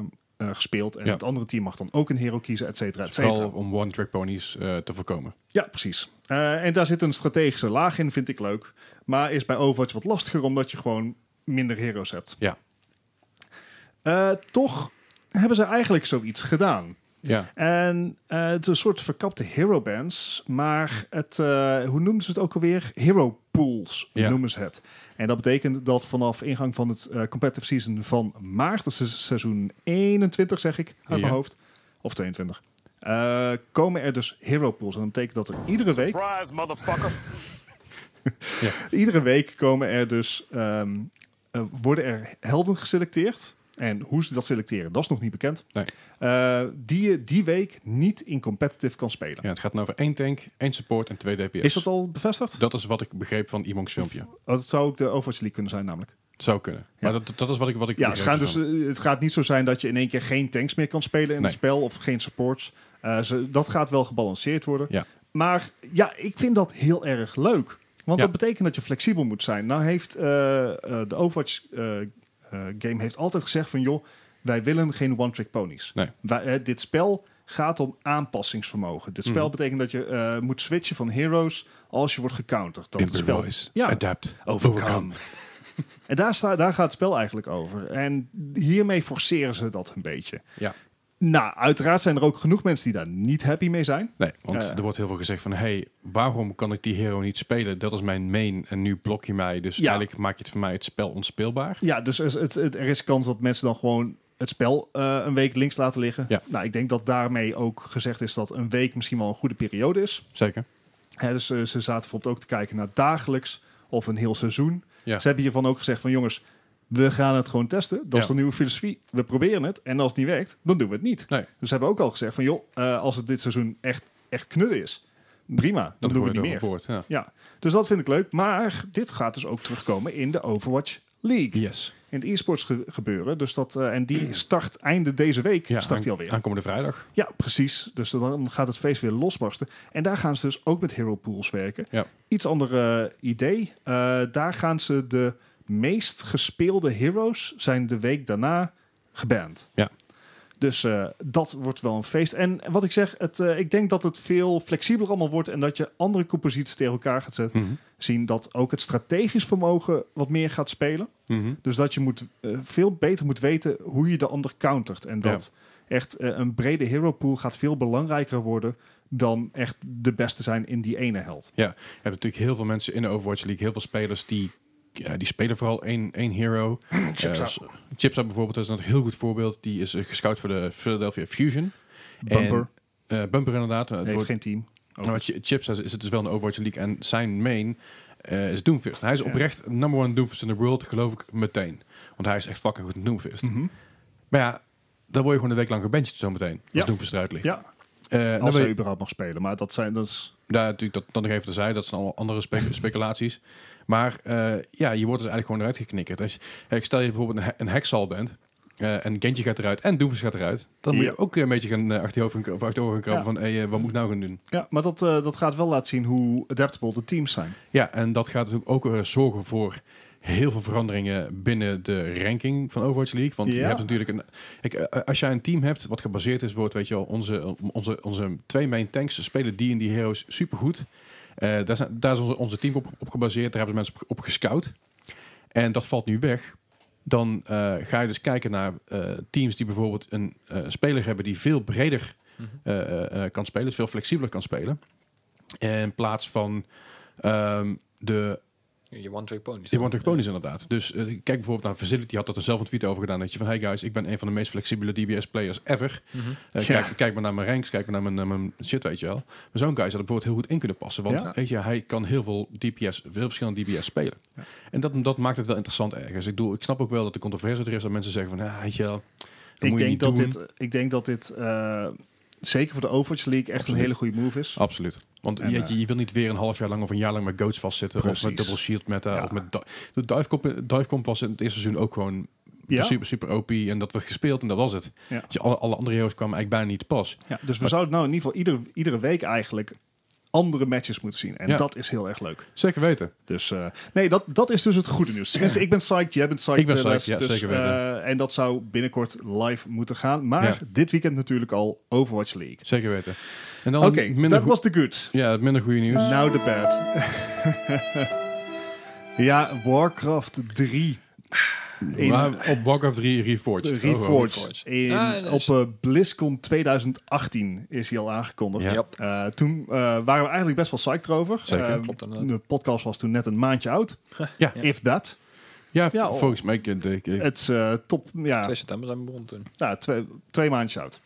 Speaker 3: eh, gespeeld en
Speaker 1: Ja.
Speaker 3: het andere team mag dan ook een hero kiezen, et cetera, et cetera.
Speaker 1: Vooral om one-track ponies eh, te voorkomen.
Speaker 3: Ja, precies. Eh, en daar zit een strategische laag in, vind ik leuk. Maar is bij Overwatch wat lastiger, omdat je gewoon minder heroes hebt.
Speaker 1: Ja.
Speaker 3: Eh, toch hebben ze eigenlijk zoiets gedaan.
Speaker 1: Ja.
Speaker 3: En eh, het is een soort verkapte hero bands, maar het, eh, hoe noemen ze het ook alweer? Hero pools
Speaker 1: Ja.
Speaker 3: noemen ze het. En dat betekent dat vanaf ingang van het eh, competitive season van maart, dat is seizoen 21 zeg ik, uit
Speaker 1: Ja.
Speaker 3: mijn hoofd, of 22, eh, komen er dus hero pools. En dat betekent dat er iedere week
Speaker 4: Surprise, motherfucker.
Speaker 3: Iedere week komen er dus ehm, eh, eh, worden er helden geselecteerd. En hoe ze dat selecteren, dat is nog niet bekend.
Speaker 1: Nee.
Speaker 3: Eh, die je die week niet in competitive kan spelen.
Speaker 1: Ja, het gaat nou over één tank, één support en twee DPS.
Speaker 3: Is dat al bevestigd? Oh,
Speaker 1: Dat is wat ik begreep van Imon's filmpje.
Speaker 3: Dat zou ook de Overwatch League kunnen zijn namelijk.
Speaker 1: Het zou kunnen. Maar dat, dat is wat ik, wat ik
Speaker 3: Ja, het
Speaker 1: begreep
Speaker 3: gaat, dus,
Speaker 1: ervan.
Speaker 3: eh, het gaat niet zo zijn dat je in één keer geen tanks meer kan spelen in
Speaker 1: Nee.
Speaker 3: het spel of geen supports. Eh, ze, dat gaat wel gebalanceerd worden.
Speaker 1: Ja.
Speaker 3: Maar ja, ik vind dat heel erg leuk. Want
Speaker 1: Ja.
Speaker 3: dat betekent dat je flexibel moet zijn. Nou heeft eh, eh, de Overwatch eh, eh, game heeft altijd gezegd van joh, wij willen geen one-trick ponies.
Speaker 1: Nee.
Speaker 3: Wij- eh, dit spel gaat om aanpassingsvermogen. Dit spel
Speaker 1: Mhm.
Speaker 3: betekent dat je eh, moet switchen van heroes als je wordt gecounterd. eh, Dat het spel
Speaker 1: Improvise,
Speaker 3: Ja.
Speaker 1: adapt,
Speaker 3: Overcome. En daar, sta, daar gaat het spel eigenlijk over. En hiermee forceren ze dat een beetje.
Speaker 1: Ja.
Speaker 3: Nou, uiteraard zijn er ook genoeg mensen die daar niet happy mee zijn.
Speaker 1: Nee, want
Speaker 3: Ja.
Speaker 1: er wordt heel veel gezegd van... hey, waarom kan ik die hero niet spelen? Dat is mijn main en nu blok je mij. Dus
Speaker 3: Ja.
Speaker 1: eigenlijk maak je het voor mij het spel onspeelbaar.
Speaker 3: Ja, dus er is, het, het- er is kans dat mensen dan gewoon het spel eh, een week links laten liggen.
Speaker 1: Ja.
Speaker 3: Nou, ik denk dat daarmee ook gezegd is dat een week misschien wel een goede periode is.
Speaker 1: Zeker.
Speaker 3: Hè, dus eh, ze zaten bijvoorbeeld ook te kijken naar dagelijks of een heel seizoen.
Speaker 1: Ja.
Speaker 3: Ze hebben hiervan ook gezegd van jongens, we gaan het gewoon testen. Dat
Speaker 1: Ja.
Speaker 3: is de nieuwe filosofie. We proberen het. En als het niet werkt, dan doen we het niet.
Speaker 1: Nee.
Speaker 3: Dus ze hebben ook al gezegd van joh, eh, als het dit seizoen echt, echt knudden is, prima. Dan,
Speaker 1: Dan
Speaker 3: doen we
Speaker 1: gooi
Speaker 3: niet
Speaker 1: je
Speaker 3: meer.
Speaker 1: het overboord. Ja.
Speaker 3: Ja, dus dat vind ik leuk. Maar dit gaat dus ook terugkomen in de Overwatch League.
Speaker 1: Yes.
Speaker 3: In het e-sports ge- gebeuren. Dus dat, eh, en die start einde deze week.
Speaker 1: Ja,
Speaker 3: start die
Speaker 1: aan-
Speaker 3: alweer.
Speaker 1: Aankomende vrijdag.
Speaker 3: Ja, precies. Dus dan gaat het feest weer losbarsten. En daar gaan ze dus ook met hero pools werken.
Speaker 1: Ja.
Speaker 3: Iets ander eh, idee. Eh, daar gaan ze de meest gespeelde heroes zijn de week daarna geband.
Speaker 1: Ja.
Speaker 3: Dus eh, dat wordt wel een feest. En wat ik zeg, het, eh, ik denk dat het veel flexibeler allemaal wordt en dat je andere composities tegen elkaar gaat zetten.
Speaker 1: Mhm.
Speaker 3: Zien dat ook het strategisch vermogen wat meer gaat spelen.
Speaker 1: Mhm.
Speaker 3: Dus dat je moet, eh, veel beter moet weten hoe je de ander countert. En dat echt eh, een brede hero pool gaat veel belangrijker worden dan echt de beste zijn in die ene held.
Speaker 1: Je hebt natuurlijk heel veel mensen in de Overwatch League. Heel veel spelers die... ja, die spelen vooral één, één hero.
Speaker 2: Chips
Speaker 1: Eh,
Speaker 2: up.
Speaker 1: s- Chips Up bijvoorbeeld is een heel goed voorbeeld. Die is eh, gescout voor de Philadelphia Fusion.
Speaker 3: Bumper
Speaker 1: En, eh, Bumper inderdaad. Het
Speaker 3: heeft
Speaker 1: wordt-
Speaker 3: geen team.
Speaker 1: Nou, wat Ch- Chips is, is het dus wel een Overwatch League. En zijn main eh, is Doomfist. En hij is
Speaker 3: Ja.
Speaker 1: oprecht number one Doomfist in the world, geloof ik meteen. Want hij is echt fucking goed in Doomfist.
Speaker 3: Mhm.
Speaker 1: Maar ja, dan word je gewoon een week lang gebenched zometeen. Als
Speaker 3: Ja.
Speaker 1: Doomfist eruit ligt.
Speaker 3: Ja,
Speaker 1: Eh, dan,
Speaker 3: als
Speaker 1: ben
Speaker 3: hij
Speaker 1: je,
Speaker 3: überhaupt mag spelen. Maar dat zijn dat is
Speaker 1: daar, natuurlijk, dat, dan nog even terzijde. Dat zijn allemaal andere spe- speculaties. Maar eh, ja, je wordt dus eigenlijk gewoon eruit geknikkerd. Als, je- eh, stel je bijvoorbeeld een, he- een hexal bent. eh, en Gentje gaat eruit en Doomfist gaat eruit. Dan moet
Speaker 3: Ja.
Speaker 1: je ook een beetje gaan, eh, achter je hoofd gaan kra- of achter je oren gaan krabben van... Hey, eh, wat moet ik nou gaan doen?
Speaker 3: Ja, maar dat, eh, dat gaat wel laten zien hoe adaptable de teams zijn.
Speaker 1: Ja, en dat gaat natuurlijk ook eh, zorgen voor heel veel veranderingen binnen de ranking van Overwatch League. Want je
Speaker 3: Ja.
Speaker 1: hebt natuurlijk een. Kijk, eh, als jij een team hebt wat gebaseerd is, wordt, weet je wel, onze, onze, onze twee main tanks spelen die en die heroes supergoed. Eh daar, zijn, daar is onze, onze team op, op gebaseerd. Daar hebben ze mensen op, op gescout. En dat valt nu weg. Dan eh, ga je dus kijken naar eh, teams die bijvoorbeeld een eh, speler hebben die veel breder
Speaker 2: Mhm.
Speaker 1: eh, eh, eh, kan spelen, dus veel flexibeler kan spelen. In plaats van ehm, de
Speaker 2: Je one-trick ponies.
Speaker 1: die one-trick ponies inderdaad. Dus eh, kijk bijvoorbeeld naar Facility, had dat er zelf een tweet over gedaan. Dat je van, hey guys, ik ben een van de meest flexibele DBS-players ever.
Speaker 2: Mhm.
Speaker 1: Eh,
Speaker 3: Ja.
Speaker 1: kijk, kijk maar naar mijn ranks, kijk maar naar mijn, eh, mijn shit, weet je wel. Maar zo'n guy zou er bijvoorbeeld heel goed in kunnen passen. Want
Speaker 3: Ja.
Speaker 1: weet je, hij kan heel veel DPS, veel verschillende DPS spelen. En dat, dat maakt het wel interessant ergens. Ik, bedoel, ik snap ook wel dat de controverse er is. Dat mensen zeggen van, ah, weet je wel, dat moet
Speaker 3: Ik
Speaker 1: je
Speaker 3: denk
Speaker 1: niet
Speaker 3: dat,
Speaker 1: doen.
Speaker 3: dit, ik denk dat dit eh, zeker voor de Overwatch League echt
Speaker 1: Absoluut.
Speaker 3: een hele goede move is.
Speaker 1: Absoluut. Want
Speaker 3: En, eh,
Speaker 1: jeetje, je wil niet weer een half jaar lang of een jaar lang met goats vastzitten. Of
Speaker 3: Precies.
Speaker 1: met double shield meta.
Speaker 3: Ja.
Speaker 1: Of met di- de Divecomp Divecomp eh, was in het eerste seizoen ook gewoon
Speaker 3: Ja.
Speaker 1: super, super OP. En dat werd gespeeld en dat was het.
Speaker 3: Ja.
Speaker 1: Dus alle, alle andere heroes kwamen eigenlijk bijna niet te pas.
Speaker 3: Ja, dus we zouden nou in ieder geval iedere, iedere week eigenlijk andere matches moeten zien. En
Speaker 1: Ja.
Speaker 3: dat is heel erg leuk.
Speaker 1: Zeker weten.
Speaker 3: Dus eh, nee, dat, dat is dus het goede nieuws. Tenminste, ik ben psyched, jij bent psyched.
Speaker 1: Ik ben
Speaker 3: eh,
Speaker 1: psyched,
Speaker 3: Les.
Speaker 1: ja,
Speaker 3: dus,
Speaker 1: zeker weten.
Speaker 3: eh, en dat zou binnenkort live moeten gaan. Maar
Speaker 1: Ja.
Speaker 3: dit weekend natuurlijk al Overwatch League.
Speaker 1: Zeker weten. En dan
Speaker 3: Oké,
Speaker 1: minder,
Speaker 3: dat
Speaker 1: goe-
Speaker 3: was de good.
Speaker 1: ja, het minder goede nieuws.
Speaker 3: Now the bad. ja, Warcraft 3. Eh, in-
Speaker 1: Maar op Warcraft 3 Reforged.
Speaker 3: De
Speaker 1: Oh, wow.
Speaker 3: Reforged.
Speaker 2: Reforged.
Speaker 3: In,
Speaker 2: Ah, dat
Speaker 3: op
Speaker 2: is-
Speaker 3: eh, BlizzCon 2018 is hij al aangekondigd.
Speaker 1: Ja.
Speaker 2: Yep.
Speaker 3: Eh, toen eh, waren we eigenlijk best wel psyched erover.
Speaker 1: Zeker.
Speaker 3: Eh,
Speaker 2: Klopt inderdaad.
Speaker 3: de podcast was toen net een maandje oud.
Speaker 1: Ja.
Speaker 3: If that.
Speaker 1: Ja, v-
Speaker 3: Ja, oh.
Speaker 1: volgens mij. ik- ik- ik-
Speaker 3: Het is eh, top, ja,
Speaker 2: 2 september zijn we begonnen toen.
Speaker 3: nou, twee, twee maandjes oud.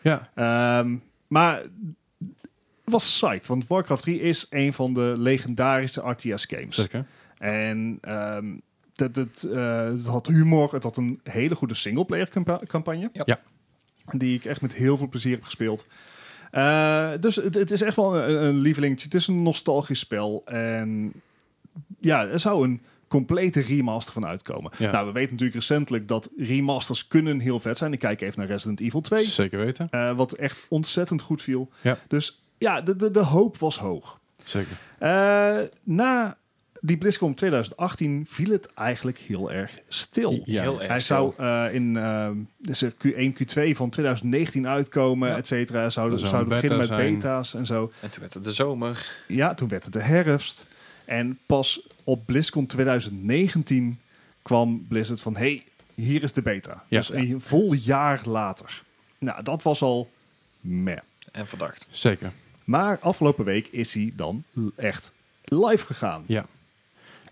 Speaker 1: Ja,
Speaker 3: Ehm, maar het was psyched, want Warcraft 3 is een van de legendarische RTS games.
Speaker 1: zeker.
Speaker 3: En ehm, Dat, dat, eh, het had humor, het had een hele goede singleplayer campa- campagne.
Speaker 2: Ja.
Speaker 1: Ja.
Speaker 3: Die ik echt met heel veel plezier heb gespeeld. Eh, dus het, het is echt wel een, een lievelingetje. Het is een nostalgisch spel. En ja, er zou een complete remaster van uitkomen.
Speaker 1: Ja.
Speaker 3: Nou, we weten natuurlijk recentelijk dat remasters kunnen heel vet zijn. Ik kijk even naar Resident Evil 2.
Speaker 1: Zeker weten.
Speaker 3: eh, wat echt ontzettend goed viel.
Speaker 1: Ja.
Speaker 3: Dus ja, de, de, de hoop was hoog.
Speaker 1: Zeker.
Speaker 3: Eh, na die BlizzCon 2018 viel het eigenlijk heel erg stil.
Speaker 1: Ja.
Speaker 2: Heel erg
Speaker 3: Hij zou eh, in eh, dus er Q1, Q2 van 2019 uitkomen,
Speaker 2: Ja.
Speaker 3: et cetera. Zouden,
Speaker 1: Er zou
Speaker 3: zouden
Speaker 1: een beta
Speaker 3: beginnen met
Speaker 1: zijn.
Speaker 3: beta's en zo.
Speaker 2: En toen werd het de zomer.
Speaker 3: Ja, toen werd het de herfst. En pas op BlizzCon 2019 kwam Blizzard van... hey, hier is de beta.
Speaker 1: Ja.
Speaker 3: Dus een vol jaar later. Nou, dat was al meh.
Speaker 2: En verdacht.
Speaker 1: Zeker.
Speaker 3: Maar afgelopen week is hij dan l- echt live gegaan.
Speaker 1: Ja.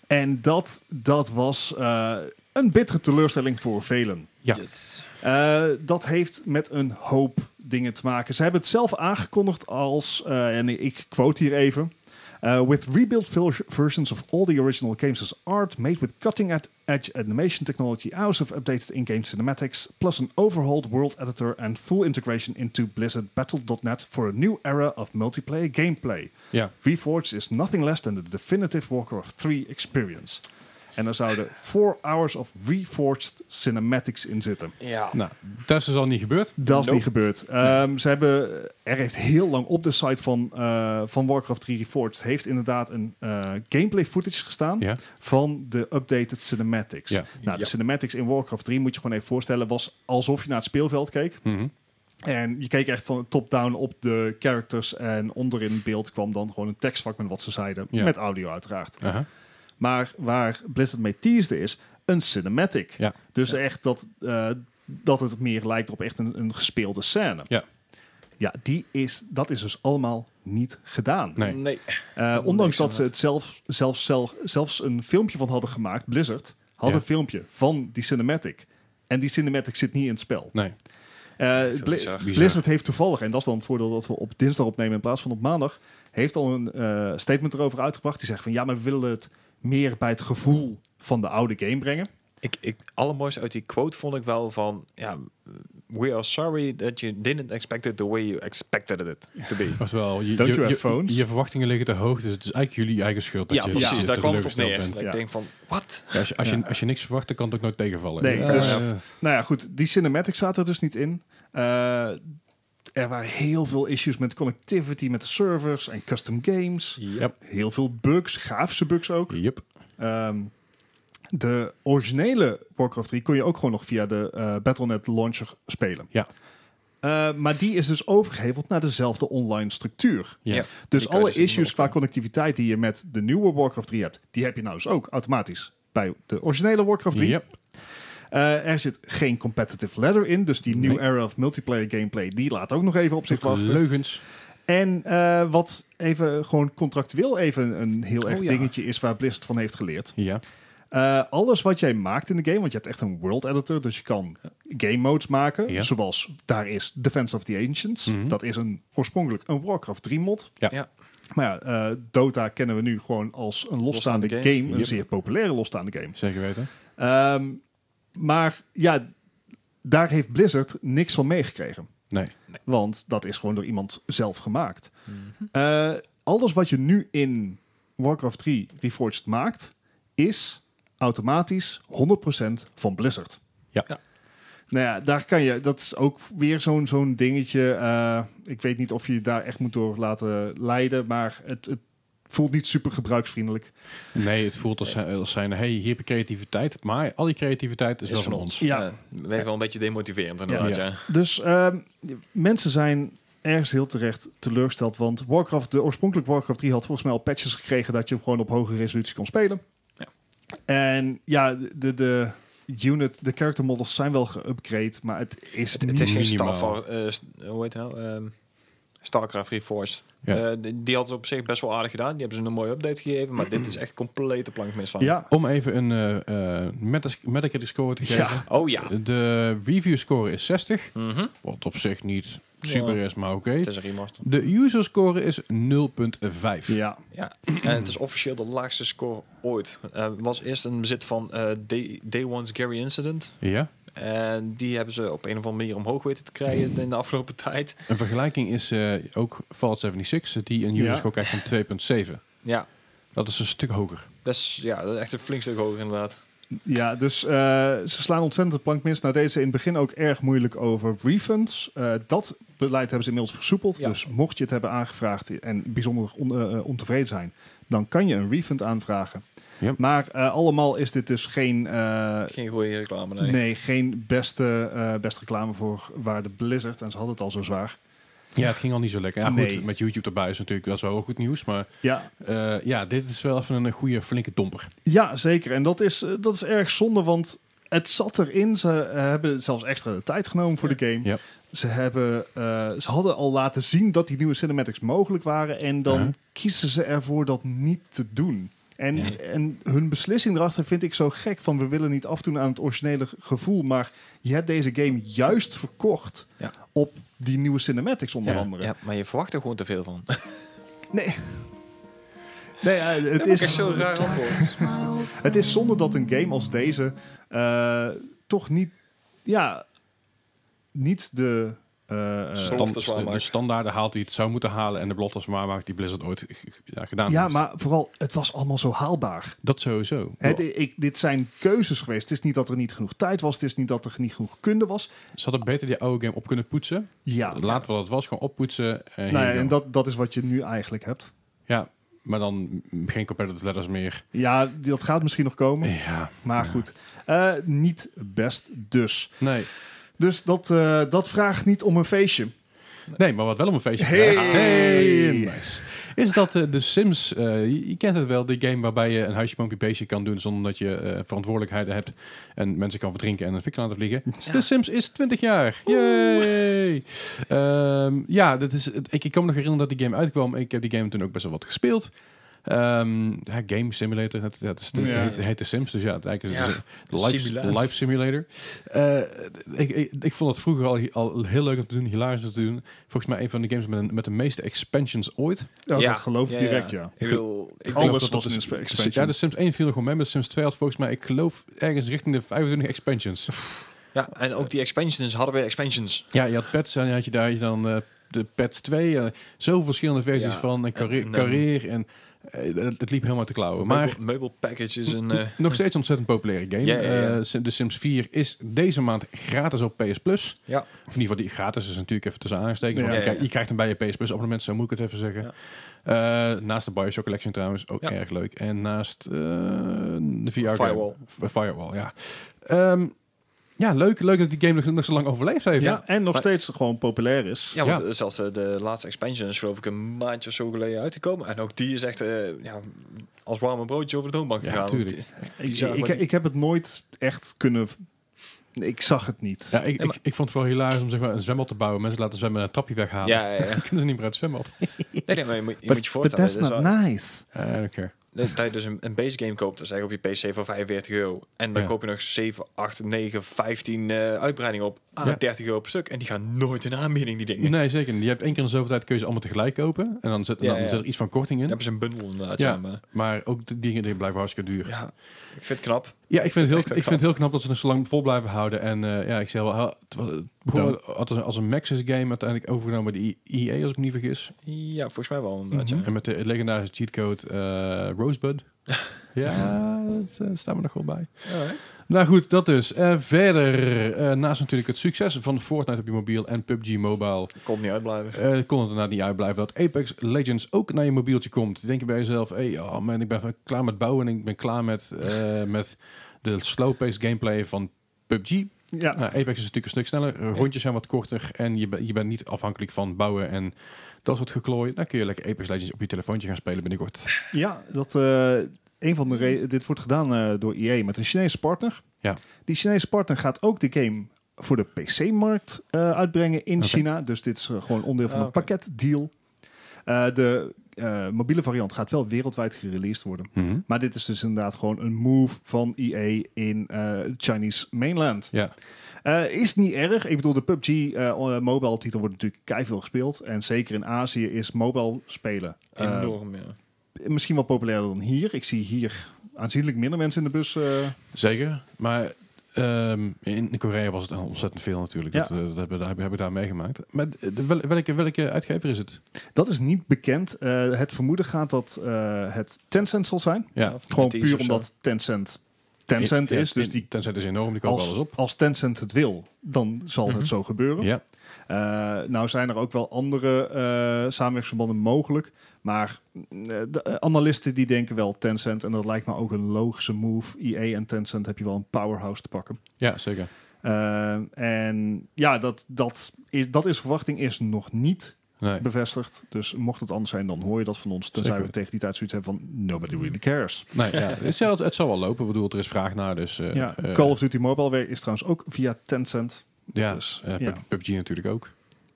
Speaker 3: En dat, dat was eh, een bittere teleurstelling voor velen.
Speaker 1: Ja.
Speaker 2: Yes.
Speaker 3: Eh, dat heeft met een hoop dingen te maken. Ze hebben het zelf aangekondigd als, eh, en ik quote hier even. eh, with rebuilt vil- versions of all the original games as art, made with cutting-edge animation technology, hours of updates to in-game cinematics, plus an overhauled world editor and full integration into Blizzard Battle.net for a new era of multiplayer gameplay.
Speaker 1: Ja.
Speaker 3: Reforged is nothing less than the definitive Warcraft 3 experience. En er zouden 4 hours of Reforged cinematics in zitten.
Speaker 2: Ja.
Speaker 1: Nou, dat is dus al niet gebeurd.
Speaker 3: Dat is
Speaker 2: Nope.
Speaker 3: niet gebeurd. Ehm, ze hebben, er heeft heel lang op de site van, eh, van Warcraft 3 Reforged... heeft inderdaad een eh, gameplay footage gestaan
Speaker 1: Ja.
Speaker 3: van de updated cinematics.
Speaker 1: Ja.
Speaker 3: Nou,
Speaker 2: Ja.
Speaker 3: de cinematics in Warcraft 3, moet je gewoon even voorstellen... was alsof je naar het speelveld keek.
Speaker 1: Mhm.
Speaker 3: En je keek echt van top-down op de characters... en onderin beeld kwam dan gewoon een tekstvak met wat ze zeiden.
Speaker 1: Ja.
Speaker 3: Met audio uiteraard.
Speaker 1: Aha.
Speaker 3: Maar waar Blizzard mee teasde is een cinematic.
Speaker 1: Ja.
Speaker 3: Dus echt dat, eh, dat het meer lijkt op echt een, een gespeelde scène.
Speaker 1: Ja.
Speaker 3: Ja, die is, dat is dus allemaal niet gedaan.
Speaker 1: Nee.
Speaker 3: Eh,
Speaker 2: Niks
Speaker 3: ondanks dat ze
Speaker 2: aan
Speaker 3: het zelf, zelf, zelf, zelfs een filmpje van hadden gemaakt, Blizzard had
Speaker 1: Ja.
Speaker 3: een filmpje van die cinematic. En die cinematic zit niet in het spel.
Speaker 1: Nee.
Speaker 3: Eh,
Speaker 2: is
Speaker 3: Bli-
Speaker 2: bizar.
Speaker 3: Blizzard heeft toevallig, en dat is dan het voordeel dat we op dinsdag opnemen in plaats van op maandag, heeft al een eh, statement erover uitgebracht. Die zegt van ja, maar we willen het meer bij het gevoel van de oude game brengen.
Speaker 2: Ik, ik, allermooiste uit die quote vond ik wel van... Ja, we are sorry that you didn't expect it the way you expected it to be.
Speaker 1: Oftewel, je,
Speaker 3: Don't
Speaker 1: je,
Speaker 3: you have
Speaker 1: je,
Speaker 3: phones?
Speaker 1: je verwachtingen liggen te hoog, dus het is eigenlijk jullie eigen schuld dat
Speaker 2: ja,
Speaker 1: je
Speaker 2: precies.
Speaker 1: dat je
Speaker 2: Daar kwam het op
Speaker 1: teleurgesteld
Speaker 2: neer.
Speaker 1: bent.
Speaker 2: Dat
Speaker 3: Ja.
Speaker 2: Ik denk van, wat?
Speaker 1: Ja, als, je, als, je, als je niks verwacht, dan kan het ook nooit tegenvallen.
Speaker 3: Nee,
Speaker 1: Ja,
Speaker 3: dus-
Speaker 1: ja, ja.
Speaker 3: Nou ja, goed, die cinematic zaten er dus niet in. Eh, er waren heel veel issues met connectivity met de servers en custom games.
Speaker 1: Yep.
Speaker 3: Heel veel bugs, grafische bugs ook.
Speaker 1: Yep.
Speaker 3: Ehm, de originele Warcraft 3 kon je ook gewoon nog via de eh, Battle.net launcher spelen.
Speaker 1: Ja.
Speaker 3: Eh, maar die is dus overgeheveld naar dezelfde online structuur.
Speaker 1: Ja.
Speaker 2: Ja.
Speaker 3: Dus
Speaker 2: Die kun je
Speaker 3: alle
Speaker 2: dus niet
Speaker 3: issues
Speaker 2: meer
Speaker 3: qua connectiviteit die je met de nieuwe Warcraft 3 hebt, die heb je nou dus ook automatisch bij de originele Warcraft 3.
Speaker 1: Yep.
Speaker 3: Eh, er zit geen competitive ladder in, dus die new
Speaker 1: Nee.
Speaker 3: era of multiplayer gameplay, die laat ook nog even op zich wachten.
Speaker 1: Eh, Leugens.
Speaker 3: En eh, wat even gewoon contractueel even een heel erg
Speaker 2: Oh ja.
Speaker 3: dingetje is waar Blizzard van heeft geleerd.
Speaker 1: Ja.
Speaker 3: Eh, alles wat jij maakt in de game, want je hebt echt een world editor, dus je kan game modes maken,
Speaker 1: Ja.
Speaker 3: zoals daar is Defense of the Ancients.
Speaker 1: Mhm.
Speaker 3: Dat is een, oorspronkelijk een Warcraft 3 mod.
Speaker 1: Ja.
Speaker 2: Ja.
Speaker 3: Maar ja, eh, Dota kennen we nu gewoon als een losstaande,
Speaker 2: Losstaande
Speaker 3: game,
Speaker 2: game.
Speaker 3: een
Speaker 1: Yep.
Speaker 3: zeer populaire losstaande game.
Speaker 1: Zeker weten.
Speaker 3: Ehm, maar ja, daar heeft Blizzard niks van meegekregen.
Speaker 1: Nee.
Speaker 3: Want dat is gewoon door iemand zelf gemaakt.
Speaker 1: Hm.
Speaker 3: Eh, alles wat je nu in Warcraft 3 Reforged maakt, is automatisch 100% van Blizzard.
Speaker 1: Ja.
Speaker 2: Ja.
Speaker 3: Nou ja, daar kan je, dat is ook weer zo'n zo'n dingetje. eh, ik weet niet of je je daar echt moet door laten leiden, maar het, het voelt niet super gebruiksvriendelijk.
Speaker 1: Nee, het voelt als, als zijn, hey, hier heb je creativiteit, maar al die creativiteit is, wel van ons.
Speaker 3: Ja.
Speaker 2: Ja. Werkt wel een beetje demotiverend inderdaad,
Speaker 1: Ja.
Speaker 2: ja.
Speaker 3: Dus ehm, mensen zijn ergens heel terecht teleurgesteld. Want Warcraft, de oorspronkelijk Warcraft 3 had volgens mij al patches gekregen dat je hem gewoon op hoge resolutie kon spelen.
Speaker 2: Ja.
Speaker 3: En ja, de, de unit, de character models zijn wel geüpgrade, maar het is
Speaker 2: Het, het is geen
Speaker 1: Minimaal.
Speaker 2: Starfall, eh, st- hoe heet het nou? Ehm, Starcraft Reforged.
Speaker 1: Ja.
Speaker 2: Eh, d- die had het op zich best wel aardig gedaan. Die hebben ze een mooie update gegeven. Maar dit is echt complete plank misslaan.
Speaker 3: Ja,
Speaker 1: Om even een eh, eh, metas- Metacritic score te geven.
Speaker 3: Ja.
Speaker 2: Oh ja.
Speaker 1: De review score is 60.
Speaker 2: Mhm.
Speaker 1: Wat op zich niet super is, maar oké.
Speaker 2: Het is een remaster.
Speaker 1: De user score is 0.5.
Speaker 3: Ja,
Speaker 2: Ja. en het is officieel de laagste score ooit. Eh was eerst een bezit van eh, Day, Day One's Gary Incident.
Speaker 1: Ja?
Speaker 2: En die hebben ze op een of andere manier omhoog weten te krijgen in de afgelopen tijd.
Speaker 1: Een vergelijking is eh, ook Fallout 76, die een user
Speaker 3: Ja.
Speaker 1: score krijgt van 2.7.
Speaker 2: Ja,
Speaker 1: Dat is een stuk hoger.
Speaker 2: dat is, ja, dat is echt een flink stuk hoger inderdaad.
Speaker 3: ja dus eh, ze slaan ontzettend de plank mis. Nou, deze in het begin ook erg moeilijk over refunds. Eh, dat beleid hebben ze inmiddels versoepeld.
Speaker 2: Ja.
Speaker 3: Dus mocht je het hebben aangevraagd en bijzonder on- eh, eh, ontevreden zijn, dan kan je een refund aanvragen.
Speaker 1: Ja.
Speaker 3: Maar eh, allemaal is dit dus geen, eh,
Speaker 2: Geen goede reclame, nee.
Speaker 3: Nee, geen beste, eh beste reclame voor waar de Blizzard. En ze hadden het al zo zwaar.
Speaker 1: Ja, het ging al niet zo lekker. Ja, goed,
Speaker 3: Nee.
Speaker 1: met YouTube erbij is natuurlijk dat is wel goed nieuws. Maar
Speaker 3: Ja,
Speaker 1: eh, ja, dit is wel even een goede flinke domper.
Speaker 3: ja zeker. En dat is, eh, dat is erg zonde, want het zat erin. Ze eh, hebben zelfs extra de tijd genomen voor de game.
Speaker 1: Ja.
Speaker 3: Ze, hebben, eh, ze hadden al laten zien dat die nieuwe cinematics mogelijk waren. En dan
Speaker 1: Ja.
Speaker 3: kiezen ze ervoor dat niet te doen. En,
Speaker 1: Ja.
Speaker 3: en hun beslissing erachter vind ik zo gek van we willen niet afdoen aan het originele gevoel. Maar je hebt deze game juist verkocht
Speaker 2: Ja.
Speaker 3: op die nieuwe cinematics onder
Speaker 1: Ja.
Speaker 3: andere.
Speaker 2: Ja, maar je verwacht er gewoon te veel van.
Speaker 3: Nee, ja, het,
Speaker 2: Dat is
Speaker 3: is,
Speaker 2: zo raar antwoord.
Speaker 3: het is zonde dat een game als deze eh, toch niet, ja, niet de... eh, eh,
Speaker 2: Stop. Beloftes waarmaakt.
Speaker 1: de standaarden haalt die het zou moeten halen. En de beloftes waarmaakt die Blizzard ooit g- g- ja, gedaan
Speaker 3: ja,
Speaker 1: heeft.
Speaker 3: maar vooral, het was allemaal zo haalbaar.
Speaker 1: Dat sowieso.
Speaker 3: Het, ik, dit zijn keuzes geweest. Het is niet dat er niet genoeg tijd was. Het is niet dat er niet genoeg kunde was.
Speaker 1: Ze hadden beter die oude game op kunnen poetsen.
Speaker 3: Ja,
Speaker 1: Laten we dat was, gewoon oppoetsen. En
Speaker 3: nou,
Speaker 1: hier
Speaker 3: ja, en
Speaker 1: gaan.
Speaker 3: dat, dat is wat je nu eigenlijk hebt.
Speaker 1: Ja, maar dan geen competitive letters meer.
Speaker 3: Ja, dat gaat misschien nog komen.
Speaker 1: Ja,
Speaker 3: Maar goed, Eh, niet best dus.
Speaker 1: nee.
Speaker 3: Dus dat, eh, dat vraagt niet om een feestje.
Speaker 1: Nee, maar wat wel om een feestje
Speaker 3: Hey!
Speaker 1: vraagt. Hey, nice. Is dat eh, de Sims, eh, je, je kent het wel, die game waarbij je een huisje, boompje, beestje kan doen zonder dat je eh, verantwoordelijkheden hebt en mensen kan verdrinken en een fik kan laten vliegen. De Sims is 20 jaar. Yay! Ehm, ja, dat is, het- ik, ik kan me nog herinneren dat die game uitkwam. Ik heb die game toen ook best wel wat gespeeld. Ehm, ja, game simulator, het, ja, het, is, het
Speaker 3: Ja.
Speaker 1: heet, het heet de Sims, dus ja, het eigenlijk is het
Speaker 2: Ja,
Speaker 1: een life
Speaker 2: simulator.
Speaker 1: simulator. Life simulator. Eh, ik, ik, ik vond het vroeger al, al heel leuk om te doen, hilarisch om te doen. Volgens mij een van de games met, een- met de meeste expansions ooit.
Speaker 3: Ja, Dat geloof ik direct, ja.
Speaker 2: Ik wil... Ik
Speaker 3: Alles
Speaker 1: geloof dat
Speaker 3: was
Speaker 1: dat
Speaker 3: een
Speaker 1: is-
Speaker 3: exp- expansion.
Speaker 1: Ja, de Sims 1 viel er gewoon mee, maar de Sims 2 had volgens mij, ik geloof, ergens richting de 25 expansions.
Speaker 2: Ja, en ook die expansions hadden we expansions.
Speaker 1: Ja, je had pets en had je daar had je dan eh, de pets 2. eh, zoveel verschillende versies
Speaker 2: Ja,
Speaker 1: van en carrière. en,
Speaker 2: en,
Speaker 1: eh, het, het liep helemaal te klauwen. Maar
Speaker 2: Meubel- meubelpackages en... eh,
Speaker 1: nog steeds ontzettend populaire game.
Speaker 2: Ja, ja, ja.
Speaker 1: Eh, Sim- de Sims 4 is deze maand gratis op PS Plus.
Speaker 2: ja.
Speaker 1: Of in ieder geval, die gratis is natuurlijk even tussen aanstekens. want
Speaker 3: Ja,
Speaker 1: je,
Speaker 2: ja,
Speaker 1: krijgt- je krijgt hem bij je PS Plus abonnement, zo moet ik het even zeggen. Eh, naast de Bioshock Collection trouwens, ook
Speaker 2: Ja.
Speaker 1: erg leuk. En naast eh, de VR game.
Speaker 2: Firewall.
Speaker 1: F- Firewall, ja. Ehm, ja, leuk, leuk dat die game nog, nog zo lang overleefd heeft.
Speaker 3: Ja, en nog
Speaker 2: Maar-
Speaker 3: steeds gewoon populair is.
Speaker 2: Ja, want
Speaker 1: Ja.
Speaker 2: eh, zelfs eh, de laatste expansion is geloof ik een maandje of zo geleden uitgekomen. En ook die is echt eh, ja, als warme broodje over de toonbank
Speaker 1: Ja,
Speaker 2: gegaan. Want
Speaker 1: tuurlijk.
Speaker 2: die-
Speaker 3: Ik,
Speaker 2: Bizar,
Speaker 3: ik,
Speaker 2: maar die-
Speaker 3: ik heb het nooit echt kunnen... Ik zag het niet.
Speaker 1: Ja, ik,
Speaker 2: Ja, maar-
Speaker 1: ik, ik vond het wel hilarisch om zeg maar, een zwembad te bouwen. Mensen laten zwemmen en een trapje weghalen.
Speaker 2: Ja, ja, ja.
Speaker 1: Dan kunnen ze niet meer uit het zwembad.
Speaker 2: Nee, nee, maar je, moet-
Speaker 3: But-
Speaker 2: je moet je
Speaker 3: but
Speaker 2: voorstellen.
Speaker 3: that's
Speaker 2: Dat is
Speaker 3: not
Speaker 2: wel-
Speaker 3: nice.
Speaker 1: Eh, I don't care.
Speaker 2: dat dat je dus een, een base game koopt, dat is eigenlijk op je PC voor 45 euro. En dan
Speaker 1: Ja.
Speaker 2: koop je nog 7, 8, 9, 15 eh uitbreidingen op. Ah,
Speaker 1: Ja.
Speaker 2: 30 euro per stuk. En die gaan nooit in aanbieding, die dingen. Dan
Speaker 1: Nee, zeker niet. Je hebt één keer in de zoveel tijd kun je ze allemaal tegelijk kopen. En dan zit,
Speaker 2: Ja,
Speaker 1: dan
Speaker 2: ja.
Speaker 1: zit er iets van korting in.
Speaker 2: hebben ze een bundel inderdaad.
Speaker 1: Ja.
Speaker 2: Ja. maar,
Speaker 1: Maar ook de dingen die blijven hartstikke duur.
Speaker 2: ja, ik vind het knap.
Speaker 1: Ja, ik vind, het heel,
Speaker 2: Echt
Speaker 1: ik vind het heel knap dat ze het zo lang vol blijven houden. En eh, ja, ik zei wel, ha- het was- het begon als een, als een Maxis game uiteindelijk overgenomen door de EA, als ik me niet vergis.
Speaker 2: Ja, volgens mij wel inderdaad.
Speaker 3: Mhm.
Speaker 2: ja.
Speaker 1: En met de legendarische cheatcode eh Rosebud. ja, dat eh, staat me nog wel bij.
Speaker 2: Alright.
Speaker 1: Nou goed, dat dus. Eh, verder, eh, naast natuurlijk het succes van Fortnite op je mobiel en PUBG Mobile,
Speaker 2: Kon niet uitblijven.
Speaker 1: eh, kon het daarna niet uitblijven dat Apex Legends ook naar je mobieltje komt. Denk je bij jezelf, hey, oh man, ik ben van- klaar met bouwen en ik ben klaar met, eh, met de slow-paced gameplay van PUBG.
Speaker 3: Ja,
Speaker 1: Nou, Apex is natuurlijk een stuk sneller, eh, rondjes zijn wat korter en je, ben- je bent niet afhankelijk van bouwen en dat soort geklooi. Dan kun je lekker Apex Legends op je telefoontje gaan spelen binnenkort.
Speaker 3: ja dat, eh, een van de re- dit wordt gedaan eh, door EA met een Chinese partner.
Speaker 1: Ja.
Speaker 3: Die Chinese partner gaat ook de game voor de PC-markt eh, uitbrengen in
Speaker 1: Oké.
Speaker 3: China. Dus dit is eh, gewoon onderdeel van
Speaker 2: Ah,
Speaker 3: een
Speaker 2: oké.
Speaker 3: pakketdeal. Eh, de eh, mobiele variant gaat wel wereldwijd gereleased worden.
Speaker 1: Mhm.
Speaker 3: Maar dit is dus inderdaad gewoon een move van EA in eh, Chinese mainland.
Speaker 1: Ja.
Speaker 3: Eh, is niet erg. Ik bedoel, de PUBG eh, mobile titel wordt natuurlijk keiveel gespeeld. En zeker in Azië is mobile spelen eh,
Speaker 2: Enorm, ja.
Speaker 3: misschien wel populairder dan hier. Ik zie hier aanzienlijk minder mensen in de bus. eh,
Speaker 1: Zeker. Maar ehm, in Korea was het ontzettend veel natuurlijk.
Speaker 3: Ja.
Speaker 1: Dat, eh, dat hebben, we daar hebben we daar meegemaakt. Maar eh, de- wel- welke, welke uitgever is het?
Speaker 3: dat is niet bekend. Eh, het vermoeden gaat dat eh, het Tencent zal zijn.
Speaker 1: Ja.
Speaker 2: Of
Speaker 3: Gewoon
Speaker 2: NetEase
Speaker 3: puur
Speaker 2: of zo.
Speaker 3: omdat Tencent Tencent
Speaker 1: Ja,
Speaker 3: is. Dus
Speaker 1: in-
Speaker 3: die,
Speaker 1: Tencent is enorm, die koopt alles
Speaker 3: als,
Speaker 1: op.
Speaker 3: als Tencent het wil, dan zal
Speaker 2: Mhm.
Speaker 3: het zo gebeuren.
Speaker 1: Ja.
Speaker 3: Eh, nou zijn er ook wel andere eh samenwerkingsverbanden mogelijk. Maar mm, eh, de eh, analisten die denken wel Tencent. En dat lijkt me ook een logische move. EA en Tencent heb je wel een powerhouse te pakken.
Speaker 1: ja, zeker.
Speaker 3: Eh, en ja, dat, dat, is, dat is verwachting is nog niet
Speaker 1: Nee.
Speaker 3: bevestigd. Dus mocht het anders zijn, dan hoor je dat van ons. Tenzij
Speaker 1: Zeker.
Speaker 3: we tegen die tijd zoiets hebben van nobody really cares.
Speaker 1: Nee, ja. het, zal, het zal wel lopen. Ik bedoel, er is vraag naar. Dus, eh,
Speaker 3: ja.
Speaker 1: eh,
Speaker 3: Call of Duty Mobile weer is trouwens ook via Tencent.
Speaker 1: ja,
Speaker 3: dus,
Speaker 1: eh,
Speaker 3: ja.
Speaker 1: Pub- PUBG natuurlijk ook.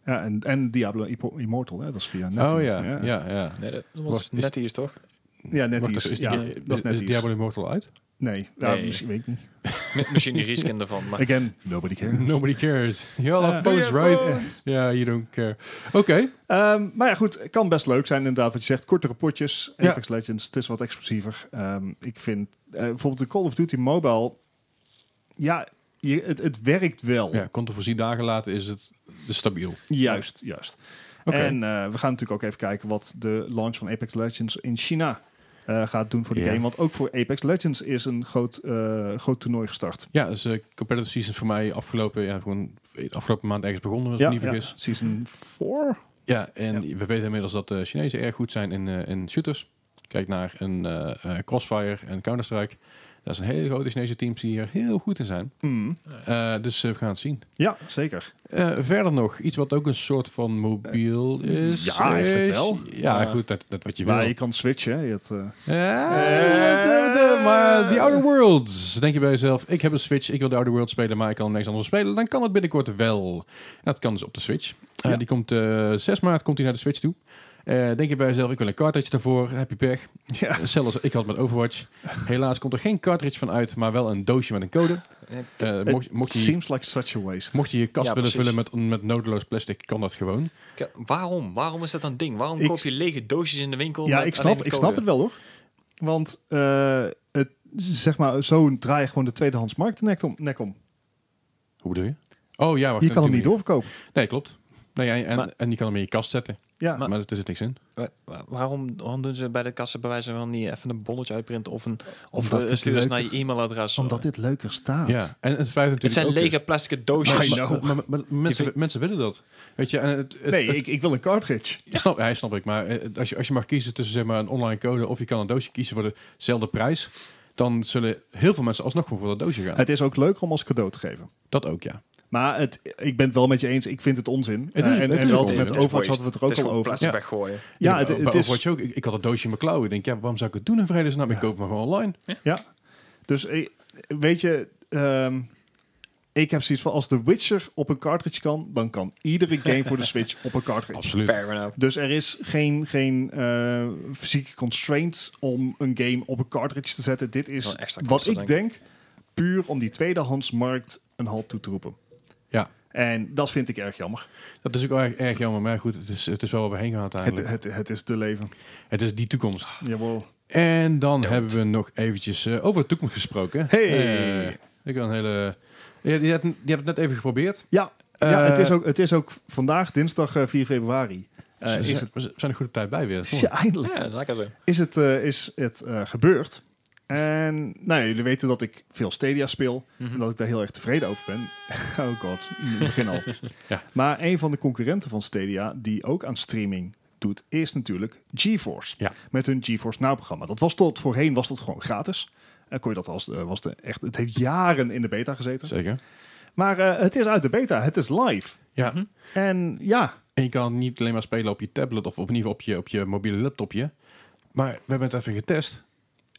Speaker 3: Ja, en, en Diablo Ipo- Immortal, hè? dat is via Net.
Speaker 1: oh ja, ja, ja.
Speaker 2: Nee, dat
Speaker 1: Wacht,
Speaker 2: was
Speaker 1: is-
Speaker 2: net hier, toch?
Speaker 3: Ja, net
Speaker 1: Wacht
Speaker 3: iets.
Speaker 1: even, is
Speaker 3: ja,
Speaker 1: die-
Speaker 3: dat is net
Speaker 1: is
Speaker 3: iets.
Speaker 1: Diablo Immortal uit?
Speaker 3: Nee, ja,
Speaker 2: Nee.
Speaker 3: misschien weet ik niet.
Speaker 2: Met misschien die risken ervan, maar
Speaker 3: Again, nobody cares.
Speaker 1: Nobody cares. You all have
Speaker 3: Eh,
Speaker 1: phones,
Speaker 2: doe je
Speaker 1: right? Ja, you don't care. Oké.
Speaker 3: Ehm, maar ja, goed, kan best leuk zijn inderdaad wat je zegt. Kortere potjes,
Speaker 1: Ja.
Speaker 3: Apex Legends, het is wat explosiever. Ehm, ik vind eh, bijvoorbeeld de Call of Duty Mobile, ja, je, het, het werkt wel.
Speaker 1: Ja, controversie dagen later is het dus stabiel. Oké.
Speaker 3: Juist, juist. En eh, we gaan natuurlijk ook even kijken wat de launch van Apex Legends in China eh, gaat doen voor de
Speaker 1: Ja.
Speaker 3: game. Want ook voor Apex Legends is een groot, eh, groot toernooi gestart.
Speaker 1: Ja, dus eh competitive season voor mij afgelopen, ja, gewoon afgelopen maand ergens begonnen, als ik me niet vergis.
Speaker 3: season 4.
Speaker 1: Ja, en we weten inmiddels dat de Chinezen erg goed zijn in, eh, in shooters. Kijk naar een eh, eh, Crossfire en Counter-Strike. Dat zijn hele grote Chinese teams die hier heel goed in zijn. Eh, dus eh, we gaan het zien.
Speaker 3: Hmm. Ja, zeker.
Speaker 1: Eh, verder nog, iets wat ook een soort van mobiel
Speaker 3: Eh,
Speaker 1: is.
Speaker 3: ja, eigenlijk
Speaker 1: is-
Speaker 3: wel.
Speaker 1: Ja,
Speaker 2: Ja.
Speaker 1: goed, dat, dat wat je wil.
Speaker 3: Maar je kan switchen. hè. Je hebt, eh,
Speaker 1: Ja,
Speaker 3: Eh.
Speaker 1: dat- dat- maar The Outer Worlds. Denk je bij jezelf, ik heb een Switch, ik wil The Outer Worlds spelen, maar ik kan niks anders spelen. Dan kan het binnenkort wel. En dat kan dus op de Switch. Eh,
Speaker 3: Ja.
Speaker 1: Die komt eh 6 maart komt die naar de Switch toe. Eh, denk je bij jezelf, ik wil een cartridge daarvoor, heb je pech. Eh,
Speaker 3: ja.
Speaker 1: Zelfs ik had met Overwatch. Helaas komt er geen cartridge van uit, maar wel een doosje met een code. Eh, mocht, mocht,
Speaker 3: It
Speaker 1: je,
Speaker 3: seems like such a waste.
Speaker 1: mocht je je kast
Speaker 2: Ja,
Speaker 1: willen
Speaker 2: precies.
Speaker 1: vullen met, met nodeloos plastic, kan dat gewoon.
Speaker 2: K- waarom? Waarom is dat een ding? Waarom
Speaker 3: Ik-
Speaker 2: koop je lege doosjes in de winkel?
Speaker 3: ja,
Speaker 2: met
Speaker 3: ik
Speaker 2: alleen
Speaker 3: snap,
Speaker 2: een
Speaker 3: ik
Speaker 2: code?
Speaker 3: snap het wel hoor. Want eh, het, zeg maar, zo draai je gewoon de tweedehands markt de nek om. Nek om.
Speaker 1: Hoe bedoel je? Oh ja, wacht.
Speaker 3: Je kan hem
Speaker 1: natuurlijk.
Speaker 3: niet doorverkopen.
Speaker 1: Nee, klopt. Nee, en, en,
Speaker 2: Maar-
Speaker 1: en je kan hem in je kast zetten.
Speaker 3: Ja,
Speaker 1: Maar, er zit niks in.
Speaker 2: Wa- wa- Waarom, waarom doen ze bij de kassen bij wijze van niet even een bonnetje uitprinten of een of
Speaker 3: Omdat
Speaker 2: eh,
Speaker 3: het
Speaker 2: stuur eens naar je
Speaker 3: leuker-
Speaker 2: e-mailadres?
Speaker 3: omdat dit leuker staat.
Speaker 1: Ja, en het feit natuurlijk
Speaker 2: het zijn
Speaker 1: ook is-
Speaker 2: lege plastic doosjes.
Speaker 3: I
Speaker 1: Maar,
Speaker 3: know.
Speaker 1: maar- maar- maar mensen,
Speaker 2: vind-
Speaker 1: mensen willen dat. Weet je, en het, het-
Speaker 3: nee,
Speaker 1: het-
Speaker 3: ik, ik wil een cartridge.
Speaker 1: snap, hij snap ik. Maar eh, als je, als je mag kiezen tussen zeg maar, een online code of je kan een doosje kiezen voor dezelfde prijs, dan zullen heel veel mensen alsnog gewoon voor dat doosje gaan.
Speaker 3: Het is ook leuker om als cadeau te geven.
Speaker 1: dat ook, ja.
Speaker 3: Maar het, ik ben het wel met je eens, ik vind het onzin.
Speaker 1: Het
Speaker 3: Eh,
Speaker 1: is-
Speaker 3: en
Speaker 1: het
Speaker 3: en
Speaker 1: is
Speaker 3: wel
Speaker 1: onzin,
Speaker 3: met
Speaker 1: hè?
Speaker 3: Overwatch hadden we het er ook al over.
Speaker 2: plastic
Speaker 1: Ja.
Speaker 2: weggooien.
Speaker 3: Ja,
Speaker 1: Bij-
Speaker 3: het, het
Speaker 1: bij
Speaker 3: is,
Speaker 1: Overwatch ook. Ik, ik had dat doosje in mijn klauwen. Ik denk, ja, waarom zou ik het doen in vredesnaam? Ik koop hem gewoon online.
Speaker 3: ja. Dus eh, weet je, ehm, ik heb zoiets van als The Witcher op een cartridge kan, dan kan iedere game voor de Switch op een cartridge.
Speaker 1: Absoluut.
Speaker 2: Fair enough.
Speaker 3: Dus er is geen, geen eh, fysieke constraint om een game op een cartridge te zetten. Dit is
Speaker 2: Wel extra
Speaker 3: wat
Speaker 2: kosten,
Speaker 3: ik denk, puur om die tweedehandsmarkt een halt toe te roepen.
Speaker 1: Ja,
Speaker 3: En dat vind ik erg jammer.
Speaker 1: dat is ook erg, erg jammer. Maar goed, het is, het is wel waar we heen gaan
Speaker 3: Het,
Speaker 1: uiteindelijk. Het,
Speaker 3: het, het is de leven.
Speaker 1: is die toekomst.
Speaker 3: Jawel.
Speaker 1: En dan hebben we nog eventjes eh, over de toekomst gesproken.
Speaker 3: Hey.
Speaker 1: Eh, ik wil een hele... Je, je, hebt, je hebt het net even geprobeerd.
Speaker 3: Ja, ja
Speaker 1: Eh,
Speaker 3: het, is ook, het is ook vandaag, dinsdag eh, 4 februari. eh,
Speaker 1: Ze-
Speaker 3: is
Speaker 1: ze-
Speaker 3: het,
Speaker 1: we zijn er goed op tijd bij weer.
Speaker 3: ja, eindelijk
Speaker 2: Ja, lekker zo.
Speaker 3: is het, eh, is het eh, gebeurd. En nou, ja, jullie weten dat ik veel Stadia speel.
Speaker 1: Mhm.
Speaker 3: En dat ik daar heel erg tevreden over ben. Oh god, in het begin al.
Speaker 1: Ja.
Speaker 3: Maar een van de concurrenten van Stadia, die ook aan streaming doet, is natuurlijk GeForce.
Speaker 1: Ja.
Speaker 3: Met hun GeForce Now-programma. Dat was tot voorheen was dat gewoon gratis. En kon je dat als eh, was de echt. Het heeft jaren in de beta gezeten.
Speaker 1: Zeker.
Speaker 3: Maar eh, het is uit de beta. Het is live.
Speaker 1: Ja.
Speaker 3: En ja,
Speaker 1: En je kan het niet alleen maar spelen op je tablet of opnieuw op je, op je mobiele laptopje. Maar we hebben het even getest.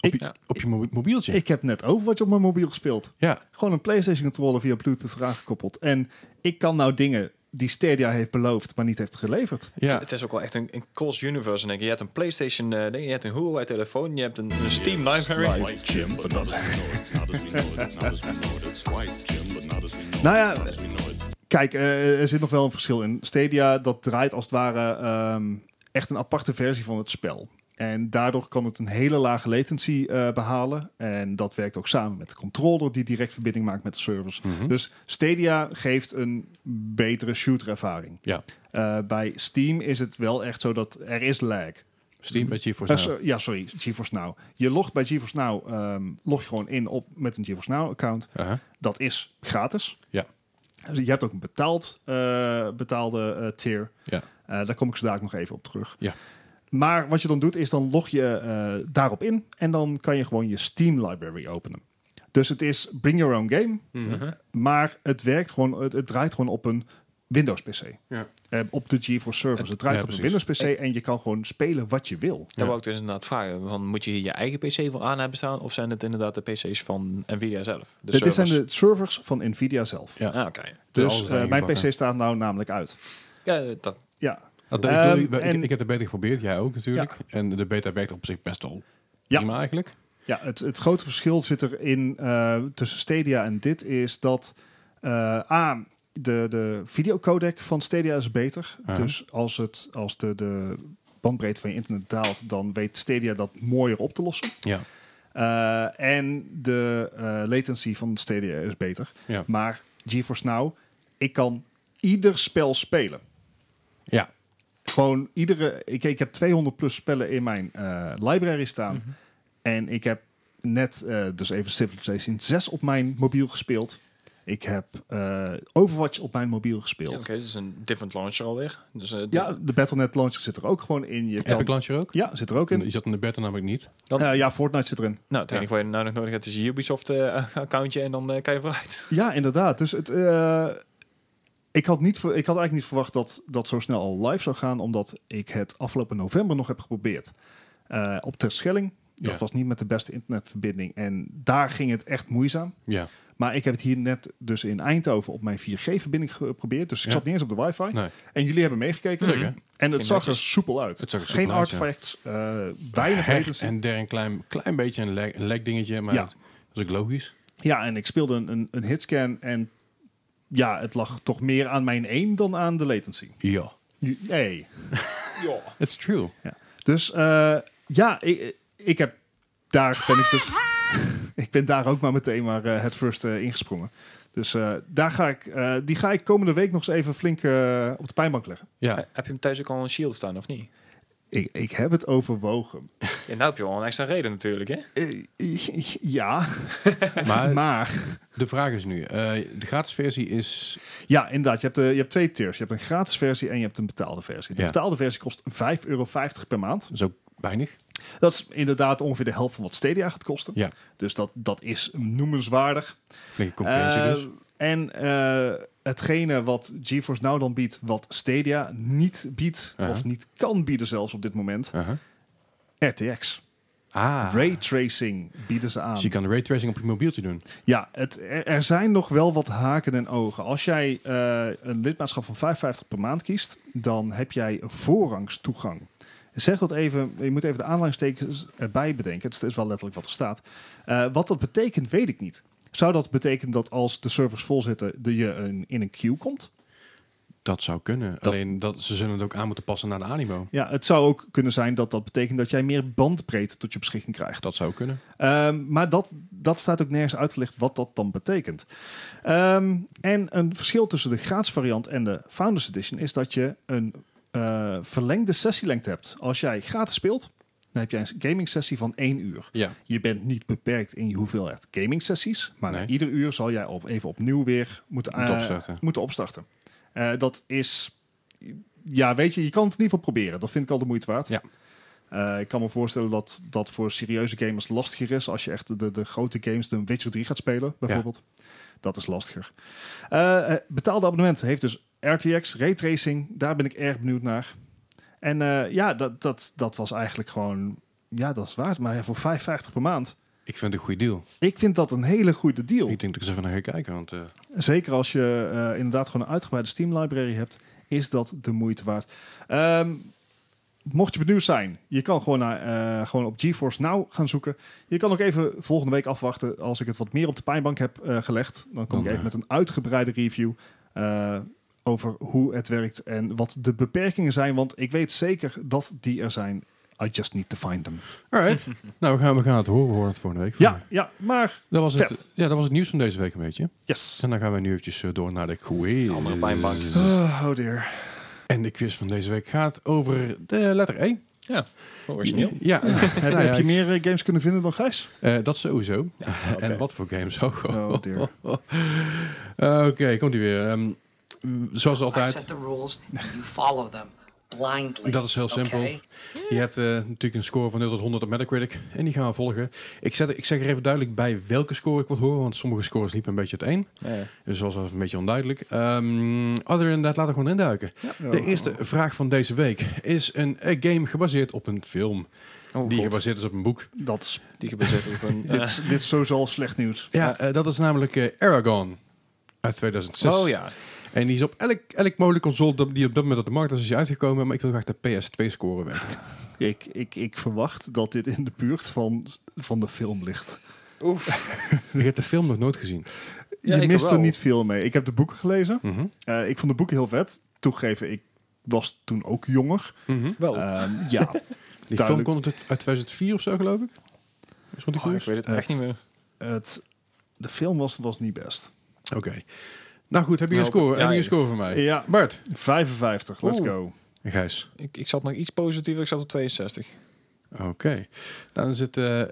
Speaker 1: Op,
Speaker 3: Ik-
Speaker 1: je, op je mobi- mobieltje.
Speaker 3: ik heb net over wat op mijn mobiel gespeeld.
Speaker 1: ja.
Speaker 3: Gewoon een PlayStation controller via Bluetooth eraan gekoppeld. En ik kan nou dingen die Stadia heeft beloofd, maar niet heeft geleverd.
Speaker 1: Ja,
Speaker 2: Het is ook wel echt een, een cross universe. En ik, je hebt een PlayStation, eh, ding, je hebt een Huawei telefoon, je hebt een, een Steam library.
Speaker 5: Like Jim, but not as we know it. Not as we know it. Not as we know it. It's like Jim, but not as we know
Speaker 3: Nou
Speaker 5: it.
Speaker 3: ja,
Speaker 5: Not as we know it.
Speaker 3: Kijk, eh, er zit nog wel een verschil in. Stadia, dat draait als het ware ehm, echt een aparte versie van het spel. En daardoor kan het een hele lage latency eh, behalen. En dat werkt ook samen met de controller die direct verbinding maakt met de servers. Dus Stadia geeft een betere shooter-ervaring.
Speaker 1: Ja.
Speaker 3: Eh, bij Steam is het wel echt zo dat er is lag.
Speaker 1: Steam met
Speaker 3: Eh,
Speaker 1: GeForce Now.
Speaker 3: so- ja, sorry, GeForce Now. Je logt bij GeForce Now, ehm, log je gewoon in op met een GeForce Now-account.
Speaker 1: Aha.
Speaker 3: Dat is gratis.
Speaker 1: Ja.
Speaker 3: Dus je hebt ook een betaald, eh, betaalde eh, tier.
Speaker 1: Ja.
Speaker 3: Eh, daar kom ik zo dadelijk nog even op terug.
Speaker 1: Ja.
Speaker 3: Maar wat je dan doet, is dan log je eh, daarop in. En dan kan je gewoon je Steam library openen. Dus het is bring your own game. Maar het werkt gewoon, het, het draait gewoon op een Windows PC.
Speaker 1: Ja.
Speaker 3: Eh, op de GeForce servers. Het draait
Speaker 1: ja,
Speaker 3: op een
Speaker 1: precies.
Speaker 3: Windows PC en je kan gewoon spelen wat je wil.
Speaker 2: Daar wou ik dus inderdaad vragen. Van, moet je hier je eigen PC voor aan hebben staan? Of zijn het inderdaad de PC's van Nvidia zelf? De
Speaker 3: Dit zijn
Speaker 2: servers?
Speaker 3: de servers van Nvidia zelf.
Speaker 1: Ja.
Speaker 2: Ah, oké.
Speaker 3: Dus
Speaker 1: alles
Speaker 3: eh, mijn
Speaker 1: ingebakken.
Speaker 3: PC staat nou namelijk uit.
Speaker 2: Ja, dat,
Speaker 3: Ja,
Speaker 1: Dat, ik, bedoel,
Speaker 3: Ehm,
Speaker 1: ik,
Speaker 3: en-
Speaker 1: ik, ik heb de beta geprobeerd, jij ook natuurlijk. En de beta werkt op zich best wel
Speaker 3: Ja.
Speaker 1: prima eigenlijk.
Speaker 3: Ja, het, het grote verschil zit erin eh tussen Stadia en dit is dat eh, A, de, de videocodec van Stadia is beter.
Speaker 1: Ja.
Speaker 3: Dus als, het, als de, de bandbreedte van je internet daalt, dan weet Stadia dat mooier op te lossen.
Speaker 1: Ja.
Speaker 3: Eh, en de eh, latency van Stadia is beter.
Speaker 1: Ja.
Speaker 3: Maar GeForce Now, ik kan ieder spel spelen.
Speaker 1: Ja.
Speaker 3: Gewoon iedere... Ik, ik heb 200 plus spellen in mijn eh, library staan. En ik heb net eh, dus even Civilization 6 op mijn mobiel gespeeld. Ik heb eh, Overwatch op mijn mobiel
Speaker 2: ja,
Speaker 3: gespeeld.
Speaker 2: oké, dat is een different launcher alweer. Dus, eh,
Speaker 3: Ja, de Battle.net launcher zit er ook gewoon in. Je
Speaker 1: Epic
Speaker 3: kan,
Speaker 1: Launcher ook?
Speaker 3: ja, zit er ook in.
Speaker 1: Die zat in de beta namelijk niet.
Speaker 2: Dan-
Speaker 3: Eh, ja, Fortnite zit erin.
Speaker 2: Nou, het enige wat je nou nog nodig hebt is je Ubisoft-accountje en dan eh, kan je vooruit.
Speaker 3: Ja, inderdaad. Dus het, eh, ik, had niet, ver- ik had eigenlijk niet verwacht dat dat zo snel al live zou gaan, omdat ik het afgelopen november nog heb geprobeerd. Eh, op Terschelling. Dat
Speaker 1: Ja.
Speaker 3: was niet met de beste internetverbinding. En daar ging het echt moeizaam.
Speaker 1: Ja.
Speaker 3: Maar ik heb het hier net dus in Eindhoven op mijn 4G-verbinding geprobeerd. Dus ik
Speaker 1: Ja.
Speaker 3: zat niet eens op de wifi.
Speaker 1: Nee.
Speaker 3: En jullie hebben meegekeken.
Speaker 1: Zeker.
Speaker 3: En het
Speaker 2: Ging
Speaker 3: zag er
Speaker 2: netjes.
Speaker 3: soepel uit.
Speaker 1: Het zag er
Speaker 3: Geen
Speaker 1: soepel uit, ja.
Speaker 3: artifacts, eh, weinig
Speaker 1: Hecht
Speaker 3: latency.
Speaker 1: en der een klein, klein beetje een lag, een lag dingetje, maar
Speaker 3: Ja.
Speaker 1: dat is ook logisch.
Speaker 3: Ja, en ik speelde een, een, een hitscan en ja, het lag toch meer aan mijn aim dan aan de latency.
Speaker 1: Ja.
Speaker 3: Hey.
Speaker 1: It's true.
Speaker 3: Dus eh, ja, ik, ik heb daar ben ik dus. ik ben daar ook maar meteen maar eh, het first eh, ingesprongen. Dus eh, daar ga ik, eh, die ga ik komende week nog eens even flink eh, op de pijnbank leggen.
Speaker 1: Ja.
Speaker 2: Heb je hem thuis ook al een shield staan of niet?
Speaker 3: Ik, ik heb het overwogen.
Speaker 2: Ja, nou heb je wel een extra reden natuurlijk, hè?
Speaker 3: Eh, ja,
Speaker 1: Eh, Maar
Speaker 3: maar.
Speaker 1: de vraag is nu, eh, de gratis versie is...
Speaker 3: Ja, inderdaad. Je hebt, eh, je hebt twee tiers. Je hebt een gratis versie en je hebt een betaalde versie. De
Speaker 1: Ja.
Speaker 3: betaalde versie kost 5,50 euro per maand.
Speaker 1: Dat is ook weinig.
Speaker 3: Dat is inderdaad ongeveer de helft van wat Stadia gaat kosten.
Speaker 1: Ja.
Speaker 3: Dus dat, dat is noemenswaardig.
Speaker 1: Flinke concurrentie
Speaker 3: Eh,
Speaker 1: dus.
Speaker 3: En eh, hetgene wat GeForce Now dan biedt, wat Stadia niet biedt,
Speaker 1: Uh-huh.
Speaker 3: of niet kan bieden zelfs op dit moment,
Speaker 1: Aha.
Speaker 3: RTX.
Speaker 1: Ah.
Speaker 3: Raytracing bieden ze aan.
Speaker 1: Dus je kan de raytracing op je mobieltje doen.
Speaker 3: Ja, het, er, er zijn nog wel wat haken en ogen. Als jij eh, een lidmaatschap van 5,50 per maand kiest, dan heb jij voorrangstoegang. Zeg dat even, je moet even de aanleidingstekens erbij bedenken. Het is- het is wel letterlijk wat er staat. Eh, wat dat betekent, weet ik niet. Zou dat betekenen dat als de servers vol zitten, de je een, in een queue komt?
Speaker 1: Dat zou kunnen. Alleen dat, ze zullen het ook aan moeten passen naar de animo.
Speaker 3: Ja, het zou ook kunnen zijn dat dat betekent dat jij meer bandbreedte tot je beschikking krijgt.
Speaker 1: Dat zou kunnen.
Speaker 3: Ehm, maar dat, dat staat ook nergens uitgelegd wat dat dan betekent. Ehm, en een verschil tussen de gratis variant en de Founders Edition is dat je een eh, verlengde sessielengte hebt. Als jij gratis speelt, dan heb jij een gaming sessie van één uur.
Speaker 1: Ja.
Speaker 3: Je bent niet beperkt in je hoeveelheid gaming sessies, maar
Speaker 1: Nee.
Speaker 3: na ieder uur zal jij op, even opnieuw weer moeten,
Speaker 1: Moeten
Speaker 3: eh,
Speaker 1: opstarten.
Speaker 3: moeten opstarten. Eh, dat is, ja, weet je, je kan het in ieder geval proberen. Dat vind ik al de moeite waard.
Speaker 1: Ja.
Speaker 3: Eh, ik kan me voorstellen dat dat voor serieuze gamers lastiger is. Als je echt de, de grote games, de Witcher 3 gaat spelen, bijvoorbeeld. Dat is lastiger. Eh, eh, betaalde abonnement heeft dus RTX, raytracing. Daar ben ik erg benieuwd naar. En eh, ja, dat, dat, dat was eigenlijk gewoon... Ja, dat is waard. Maar ja, voor 5,50 per maand.
Speaker 1: Ik vind het een goede deal.
Speaker 3: Ik vind dat een hele goede deal.
Speaker 1: Ik denk dat ik eens even naar ga kijken. Want eh,
Speaker 3: Zeker als je eh, inderdaad gewoon een uitgebreide Steam library hebt, is dat de moeite waard. Ehm, mocht je benieuwd zijn, je kan gewoon, naar, eh, gewoon op GeForce Now gaan zoeken. Je kan ook even volgende week afwachten als ik het wat meer op de pijnbank heb eh, gelegd. Dan kom
Speaker 1: Oh,
Speaker 3: ik even
Speaker 1: ja.
Speaker 3: met een uitgebreide review eh, over hoe het werkt en wat de beperkingen zijn. Want ik weet zeker dat die er zijn. I just need to find them.
Speaker 1: alright. nou, we gaan, we gaan het horen. We horen het volgende week.
Speaker 3: Ja, ja, maar
Speaker 1: Dat was,
Speaker 3: Vet.
Speaker 1: het, ja, dat was het nieuws van deze week een beetje.
Speaker 3: yes.
Speaker 1: En dan gaan we nu eventjes eh, door naar de quiz.
Speaker 2: Andere pijnbankjes.
Speaker 3: Oh, oh dear.
Speaker 1: En de quiz van deze week gaat over de letter E.
Speaker 2: Oh, Origineel.
Speaker 1: Ja,
Speaker 3: Heb,
Speaker 1: Nou ja,
Speaker 3: heb je
Speaker 1: ik-
Speaker 3: meer eh, games kunnen vinden dan Gijs?
Speaker 1: eh, dat sowieso.
Speaker 3: oké.
Speaker 1: En wat voor games ook.
Speaker 3: Oh, dear.
Speaker 1: Eh, Oké, komt ie weer. Ehm, mm, zoals
Speaker 6: I
Speaker 1: altijd,
Speaker 6: set the rules and you follow them blindly.
Speaker 1: Dat is heel simpel.
Speaker 6: okay?
Speaker 1: je hebt eh, natuurlijk een score van 0 tot 100 op Metacritic. En die gaan we volgen. Ik, zet, ik zeg er even duidelijk bij welke score ik wil horen. Want sommige scores liepen een beetje het een. Dus dat was wel een beetje onduidelijk. Ehm other than that, laten we gewoon induiken. De eerste vraag van deze week is een eh, game gebaseerd op een film.
Speaker 2: Oh,
Speaker 1: die
Speaker 2: God.
Speaker 1: gebaseerd is op een boek.
Speaker 3: Dat is,
Speaker 2: Die gebaseerd op een... eh,
Speaker 3: dit, is, dit is sowieso al slecht nieuws.
Speaker 1: Ja, eh, dat is namelijk eh, Aragon uit 2006.
Speaker 2: oh ja.
Speaker 1: En die is op elk, elk mogelijke console dat- die op dat moment op de markt is, is die uitgekomen. Maar ik wil graag de PS2-score weten.
Speaker 3: Ik, ik, ik verwacht dat dit in de buurt van, van de film ligt.
Speaker 1: Ik heb de film nog nooit gezien.
Speaker 2: Ja,
Speaker 3: Je
Speaker 2: ik
Speaker 3: mist er
Speaker 2: wel.
Speaker 3: niet veel mee. Ik heb de boeken gelezen.
Speaker 1: Mhm.
Speaker 3: Eh, ik vond de boeken heel vet. Toegeven, ik was toen ook jonger.
Speaker 1: Mhm.
Speaker 2: Wel.
Speaker 3: Ehm, ja,
Speaker 1: Die
Speaker 3: Duidelijk.
Speaker 1: film komt uit 2004 of zo, geloof ik. Is rond die
Speaker 2: Oh, ik
Speaker 1: koers?
Speaker 2: weet het echt niet meer.
Speaker 3: het, de film was, was niet best.
Speaker 1: Oké. Nou goed, heb je een
Speaker 2: Nou,
Speaker 1: score?
Speaker 2: ja,
Speaker 1: heb je een
Speaker 2: ja.
Speaker 1: score voor mij?
Speaker 3: Ja,
Speaker 1: Bart
Speaker 3: 55, let's
Speaker 2: Oeh.
Speaker 3: go.
Speaker 1: en Gijs.
Speaker 2: Ik, ik zat nog iets positiever. Ik zat op 62.
Speaker 1: Oké. Dan zit eh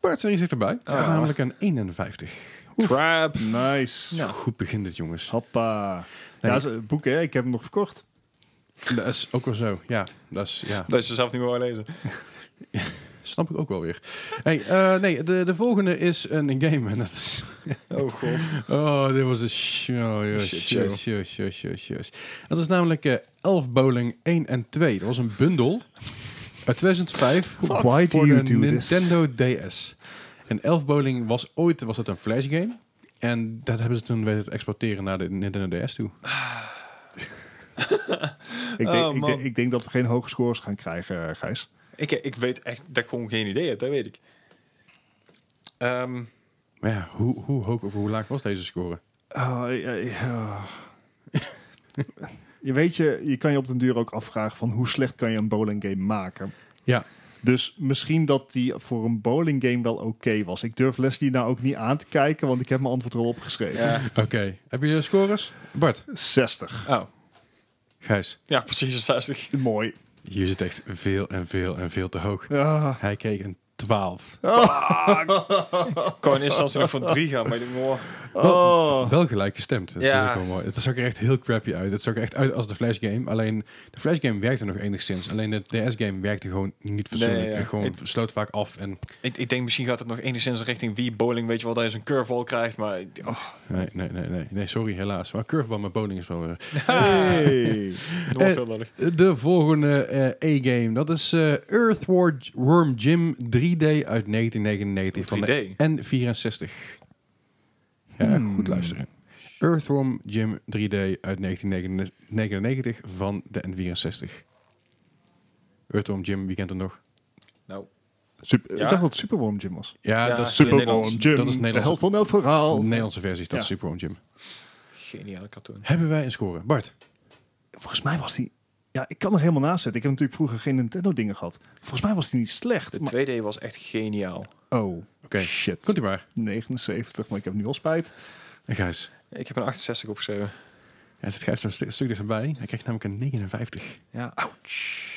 Speaker 1: Bart zijn zit erbij.
Speaker 2: Ah.
Speaker 1: Namelijk een 51.
Speaker 2: Crap.
Speaker 3: Nice.
Speaker 2: Ja.
Speaker 1: Goed begin dit, jongens.
Speaker 3: Hoppa. Ja, ze- boeken, hè? ik heb hem nog verkocht.
Speaker 1: Dat is ook wel zo. Ja, dat is... Ja.
Speaker 2: Dat is ze zelf niet meer wou lezen.
Speaker 1: Snap ik ook wel weer. Hey, eh, nee, de, de volgende is een, een game. En dat is...
Speaker 2: Oh god.
Speaker 1: Oh, dit was een sh- oh, yes,
Speaker 2: Shit
Speaker 1: yes,
Speaker 2: show.
Speaker 1: yes, yes, yes, yes. Dat is namelijk eh Elf Bowling 1 en 2. Dat was een bundel uit 2005
Speaker 3: What? Why do
Speaker 1: voor
Speaker 3: you
Speaker 1: de
Speaker 3: do this?
Speaker 1: Nintendo DS. En Elf Bowling was ooit was dat een flash game. En dat hebben ze toen weten te exporteren naar de Nintendo DS toe.
Speaker 3: Ik denk,
Speaker 2: Oh,
Speaker 3: ik,
Speaker 2: man.
Speaker 3: denk, ik denk dat we geen hoge scores gaan krijgen, eh, Gijs.
Speaker 2: Ik, ik weet echt dat ik gewoon geen idee heb. Dat weet ik. Ehm,
Speaker 1: Maar ja, hoe, hoe hoog of hoe laag was deze score?
Speaker 3: Ah, ja, ja. je weet je, je kan je op den duur ook afvragen van hoe slecht kan je een bowling game maken.
Speaker 1: Ja.
Speaker 3: Dus misschien dat die voor een bowling game wel oké was. Ik durf Leslie nou ook niet aan te kijken, want ik heb mijn antwoord al opgeschreven.
Speaker 2: ja.
Speaker 1: Oké, heb je de scores? Bart,
Speaker 3: 60.
Speaker 2: Oh.
Speaker 1: Gijs,
Speaker 2: Ja, precies 60.
Speaker 3: Mooi.
Speaker 1: hier zit echt veel en veel en veel te hoog.
Speaker 3: Ah,
Speaker 1: Hij kreeg een 12.
Speaker 2: Ik kon eerst als ze nog van 3 gaan, maar ik denk, oh.
Speaker 3: oh.
Speaker 1: Wel gelijk gestemd. Dat
Speaker 2: Ja.
Speaker 1: is ook wel mooi. Het zag er echt heel crappy uit. Het zag er echt uit als de Flash game. Alleen de Flash game werkte nog enigszins. Alleen de DS game werkte gewoon niet fatsoenlijk.
Speaker 2: Nee, ja.
Speaker 1: En gewoon
Speaker 2: Ik-
Speaker 1: sloot vaak af. En
Speaker 2: Ik, ik denk misschien gaat het nog enigszins richting wie bowling, weet je wel, dat je zo'n curveball krijgt, maar ik- oh,
Speaker 1: nee, nee, nee, nee, nee, sorry helaas. Maar curveball met bowling is wel weer.
Speaker 3: Hey.
Speaker 2: nooit heel lullig.
Speaker 1: Eh, De volgende eh E-game dat is eh Earthworm Jim 3D uit 1999 van de
Speaker 2: 3D.
Speaker 1: N64. Ja, goed luisteren. Earthworm Jim 3D uit 1999 van de N64. Earthworm Jim, wie kent hem nog?
Speaker 2: Nou,
Speaker 3: Super,
Speaker 2: Ja?
Speaker 3: Ik dacht dat het Superworm Jim was.
Speaker 1: Ja,
Speaker 2: Ja,
Speaker 1: dat is
Speaker 2: Super-
Speaker 1: de
Speaker 3: Superworm
Speaker 2: Nederlands.
Speaker 3: Jim,
Speaker 1: Dat is
Speaker 3: de
Speaker 1: Nederlands.
Speaker 3: helft van elk verhaal.
Speaker 1: Nederlandse versie, is dat
Speaker 3: Ja.
Speaker 1: is Superworm Jim.
Speaker 2: geniale cartoon.
Speaker 1: Hebben wij een score? Bart,
Speaker 3: Volgens mij was die... Ja, ik kan er helemaal naast zitten. Ik heb natuurlijk vroeger geen Nintendo dingen gehad. Volgens mij was die niet slecht.
Speaker 2: De
Speaker 3: Maar...
Speaker 2: 2D was echt geniaal.
Speaker 3: Oh,
Speaker 1: Oké.
Speaker 3: shit.
Speaker 1: komt u maar.
Speaker 3: 79, maar ik heb nu al spijt.
Speaker 1: En Gijs.
Speaker 2: Ik heb een 68 opgeschreven.
Speaker 1: Hij zit Gijs nog een stu- stuk dichterbij. Hij krijgt namelijk een 59.
Speaker 2: Ja.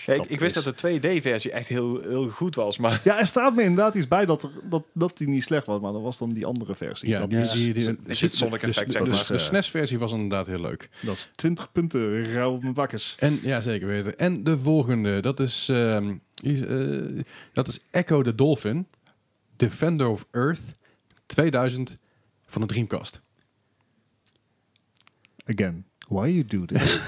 Speaker 2: Ja, ik, ik wist
Speaker 3: is-
Speaker 2: dat de 2D-versie echt heel, heel goed was, maar
Speaker 3: Ja, er staat me inderdaad iets bij dat, er, dat, dat die niet slecht was, maar dat was dan die andere versie.
Speaker 1: Ja,
Speaker 3: dat,
Speaker 1: die,
Speaker 3: is,
Speaker 1: die, die,
Speaker 2: Er zit Sonic
Speaker 1: dus-
Speaker 2: Effect, zeg
Speaker 1: dus
Speaker 2: maar.
Speaker 1: De SNES-versie was inderdaad heel leuk.
Speaker 3: dat is 20 punten, rauw op mijn bakkers.
Speaker 1: En ja, zeker weten. En de volgende, dat is, ehm, is, eh, dat is Echo the Dolphin, Defender of Earth 2000 van de Dreamcast.
Speaker 3: Again. Why you do this?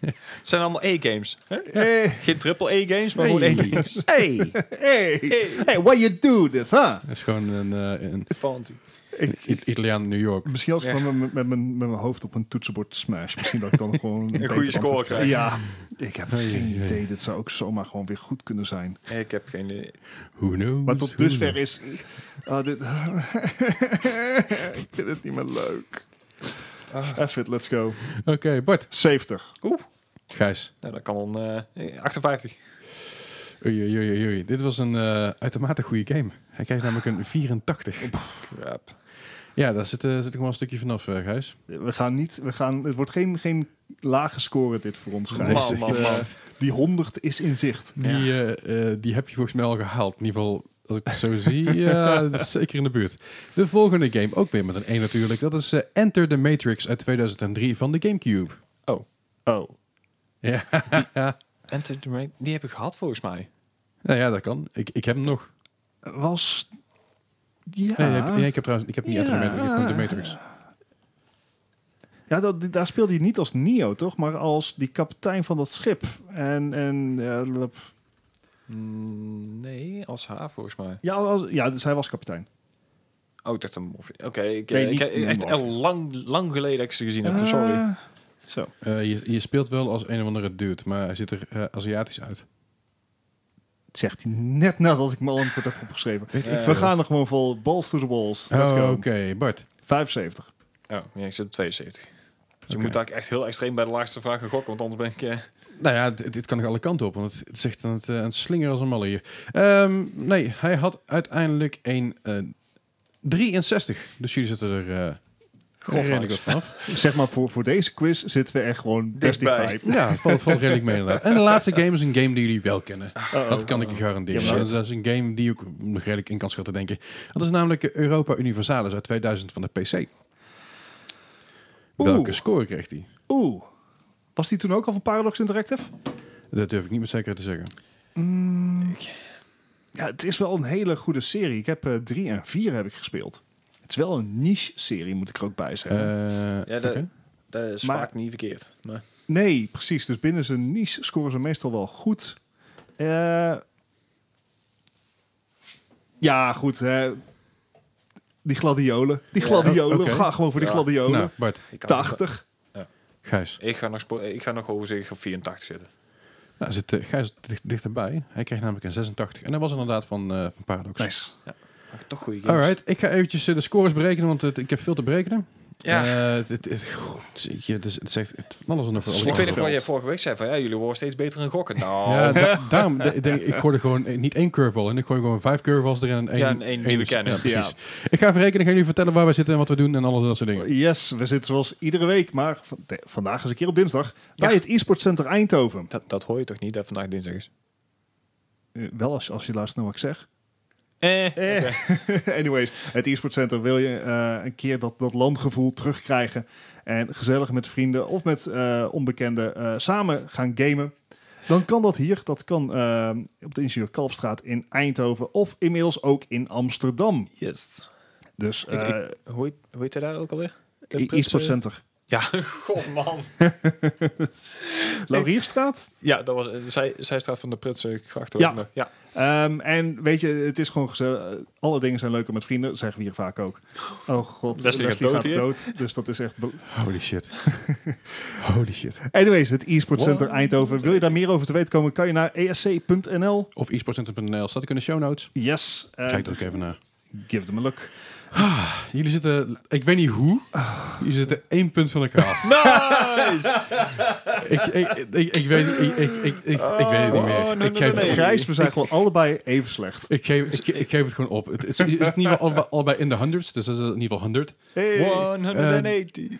Speaker 2: Het zijn allemaal E-games. hè?
Speaker 3: hey,
Speaker 2: Geen triple E-games, maar gewoon E-games.
Speaker 3: hey, hey, hey, why you do this, huh?
Speaker 1: Het is gewoon een, eh, een
Speaker 2: Fancy.
Speaker 3: Ik,
Speaker 1: I- Italiaan in New York.
Speaker 3: misschien als ik
Speaker 2: Ja.
Speaker 3: gewoon met, met, mijn, met mijn hoofd op een toetsenbord smash, misschien dat ik dan gewoon... Een,
Speaker 2: goede
Speaker 3: beter
Speaker 2: score
Speaker 3: antwoord
Speaker 2: krijg.
Speaker 3: Ja, ik heb geen
Speaker 1: ai, ai.
Speaker 3: idee. Dit zou ook zomaar gewoon weer goed kunnen zijn.
Speaker 2: Ik heb geen idee.
Speaker 1: Who knows?
Speaker 3: Maar tot
Speaker 1: who
Speaker 3: dusver
Speaker 1: knows?
Speaker 3: is... ah, dit, ik vind het niet meer leuk.
Speaker 2: Ah.
Speaker 3: F it, let's go.
Speaker 1: Oké, Bart.
Speaker 3: 70.
Speaker 1: Gijs.
Speaker 2: Nou, dat kan dan eh 58.
Speaker 1: Oei, oei, oei, oei. Dit was een eh, uitermate goede game. Hij krijgt namelijk een 84.
Speaker 2: Crap.
Speaker 1: Ja, daar zit, eh, zit er gewoon een stukje vanaf, eh, Gijs.
Speaker 3: We gaan niet... We gaan, het wordt geen, geen lage score dit voor ons. Gijs.
Speaker 1: Nee,
Speaker 2: man, man,
Speaker 3: Eh,
Speaker 2: man.
Speaker 3: die 100 is in zicht.
Speaker 1: Die, eh, eh, die heb je volgens mij al gehaald. In ieder geval, als ik het zo zie, ja, dat is zeker in de buurt. De volgende game, ook weer met een 1 natuurlijk. Dat is eh, Enter the Matrix uit 2003 van de Gamecube.
Speaker 3: Oh.
Speaker 1: Ja,
Speaker 2: Enter the Matrix, die heb ik gehad volgens mij.
Speaker 1: nou ja, dat kan. Ik, ik heb hem nog.
Speaker 3: Was... Ja.
Speaker 1: Nee, ik, heb, nee, ik heb trouwens ik heb niet Enter the
Speaker 3: Ja.
Speaker 1: Matrix, ik heb gewoon de Matrix.
Speaker 3: Ja, dat, die- daar speelde hij niet als Neo, toch? Maar als die kapitein van dat schip. En, en eh, lop.
Speaker 2: Mm, Nee, als haar volgens mij.
Speaker 3: ja, als, ja, zij was kapitein.
Speaker 2: Oh, ik dacht een movie. Oké, ik,
Speaker 3: Nee,
Speaker 2: eh, ik,
Speaker 3: niet
Speaker 2: eh, echt
Speaker 3: een
Speaker 2: al lang, lang geleden dat ik ze gezien heb. sorry.
Speaker 3: Ah, zo.
Speaker 1: Eh, je, je speelt wel als een of andere dude, maar hij ziet er eh, Aziatisch uit.
Speaker 3: Zegt hij net nadat ik mijn antwoord heb opgeschreven.
Speaker 2: ik
Speaker 3: We
Speaker 2: veel.
Speaker 3: gaan er gewoon vol. Balls to the walls. Let's
Speaker 1: Oh,
Speaker 3: go.
Speaker 1: Oké, Bart.
Speaker 3: 75.
Speaker 2: Oh, ja, ik zit op 72. Dus je
Speaker 1: Oké.
Speaker 2: moet eigenlijk echt heel extreem bij de laagste vraag gaan gokken, want anders ben ik... eh,
Speaker 1: Nou ja, dit, dit kan ik alle kanten op, want het, het is echt aan het, eh, aan het slingeren als een malle hier. Ehm, nee, hij had uiteindelijk een eh, 63. Dus jullie zitten er eh
Speaker 2: Grof
Speaker 1: redelijk wat
Speaker 2: langs.
Speaker 1: vanaf.
Speaker 3: Zeg maar, voor, voor deze quiz zitten we echt gewoon best
Speaker 2: Dichtbij.
Speaker 3: dichtbij.
Speaker 1: ja, het valt, valt redelijk mee inderdaad. En de laatste game is een game die jullie wel kennen. Dat kan ik je garanderen.
Speaker 3: Ja, maar-
Speaker 1: dat is een game die ik nog redelijk in kan schatten, denk ik. Dat is namelijk Europa Universalis uit 2000 van de PC.
Speaker 3: Oeh.
Speaker 1: Welke score kreeg hij?
Speaker 3: Oeh. Was die toen ook al van Paradox Interactive?
Speaker 1: Dat durf ik niet met zekerheid te zeggen.
Speaker 3: Ja, het is wel een hele goede serie. Ik heb eh, drie en vier heb ik gespeeld. Het is wel een niche-serie, moet ik er ook bij zeggen.
Speaker 1: Eh,
Speaker 2: Ja, de-
Speaker 1: oké.
Speaker 2: Dat is
Speaker 3: Maar-
Speaker 2: vaak niet verkeerd. Maar
Speaker 3: Nee, precies. Dus binnen zijn niche scoren ze meestal wel goed. Eh, ja, goed. Hè. Die gladiolen. Die
Speaker 2: Ja,
Speaker 3: gladiolen.
Speaker 1: oké.
Speaker 3: Ga gewoon voor die
Speaker 2: Ja.
Speaker 3: gladiolen.
Speaker 1: Nou, Bart,
Speaker 2: ik kan-
Speaker 3: 80.
Speaker 1: Gijs.
Speaker 2: Ik ga nog, spo- ik ga nog overzicht op 84 zitten.
Speaker 1: Nou, zit, eh, Gijs dicht- dichterbij. Hij kreeg namelijk een 86. En dat was inderdaad van, eh, van Paradox.
Speaker 3: Nice.
Speaker 2: Maar toch goede games.
Speaker 1: Alright, ik ga eventjes eh, de scores berekenen, want het- ik heb veel te berekenen.
Speaker 2: Ja.
Speaker 1: Eh, het, het, het, goed, je, dus het zegt het, van alles en nog wat.
Speaker 2: ik weet nog wat jij vorige week zei van ja, jullie worden steeds beter in gokken. Nou,
Speaker 1: Ja, da- daarom de- denk ik, ik gooi er gewoon eh, niet één curveball in. Ik gooi gewoon vijf curveballs erin en één, dus-
Speaker 2: Ja, en één die we kennen.
Speaker 1: Ja, precies. Ik ga even rekenen, ik ga jullie vertellen waar we zitten en wat we doen en alles en dat soort dingen.
Speaker 3: Yes, we zitten zoals iedere week, maar van- de- vandaag is een keer op dinsdag bij het e-sport center Eindhoven.
Speaker 2: dat, dat hoor je toch niet dat vandaag dinsdag is?
Speaker 3: Eh, wel als, als je luistert naar wat ik zeg.
Speaker 2: Eh,
Speaker 3: Eh.
Speaker 2: oké.
Speaker 3: Anyways, het e-sport center wil je eh, een keer dat, dat landgevoel terugkrijgen. En gezellig met vrienden of met eh, onbekenden eh, samen gaan gamen. Dan kan dat hier. Dat kan eh, op de Ingenieur Kalfstraat in Eindhoven. Of inmiddels ook in Amsterdam.
Speaker 2: Yes.
Speaker 3: Dus
Speaker 2: Ik-
Speaker 3: eh
Speaker 2: Hoe heet, hoe heet hij daar ook alweer? De
Speaker 3: e-
Speaker 2: Prins,
Speaker 3: e-sport
Speaker 2: eh,
Speaker 3: center.
Speaker 2: Ja, god man. eh,
Speaker 3: Laurierstraat.
Speaker 2: Ja, dat was eh, zij, zijstraat van de Prutse gracht.
Speaker 3: Ja.
Speaker 2: hoor. ja.
Speaker 3: Ehm, en weet je, het is gewoon gezellig. Alle dingen zijn leuker met vrienden, zeggen we hier vaak ook. Oh god,
Speaker 2: Leslie gaat dood hier.
Speaker 3: dood. Dus dat is echt... be-
Speaker 1: Holy shit. Holy shit.
Speaker 3: Anyways, het e-sport center
Speaker 2: Wow.
Speaker 3: Eindhoven. Wil je daar meer over te weten komen, kan je naar E esc.nl.
Speaker 1: Of esportcenter.nl, staat ook in de show notes.
Speaker 3: Yes, eh,
Speaker 1: Kijk er ook even naar.
Speaker 3: give them a look.
Speaker 1: Jullie zitten, ik weet niet hoe, jullie zitten één punt van elkaar af.
Speaker 2: Nice!
Speaker 1: ik, ik, ik, ik weet ik, ik, ik, ik, ik weet het niet meer.
Speaker 2: Oh, nee, nee,
Speaker 1: ik, geef,
Speaker 2: nee, nee.
Speaker 3: Grijs, we zijn gewoon allebei even slecht.
Speaker 1: ik, geef, ik, ik geef het gewoon op. Het is, is in ieder geval allebei, allebei in de hundreds, dus dat is in ieder geval 100.
Speaker 3: Hey.
Speaker 2: 180.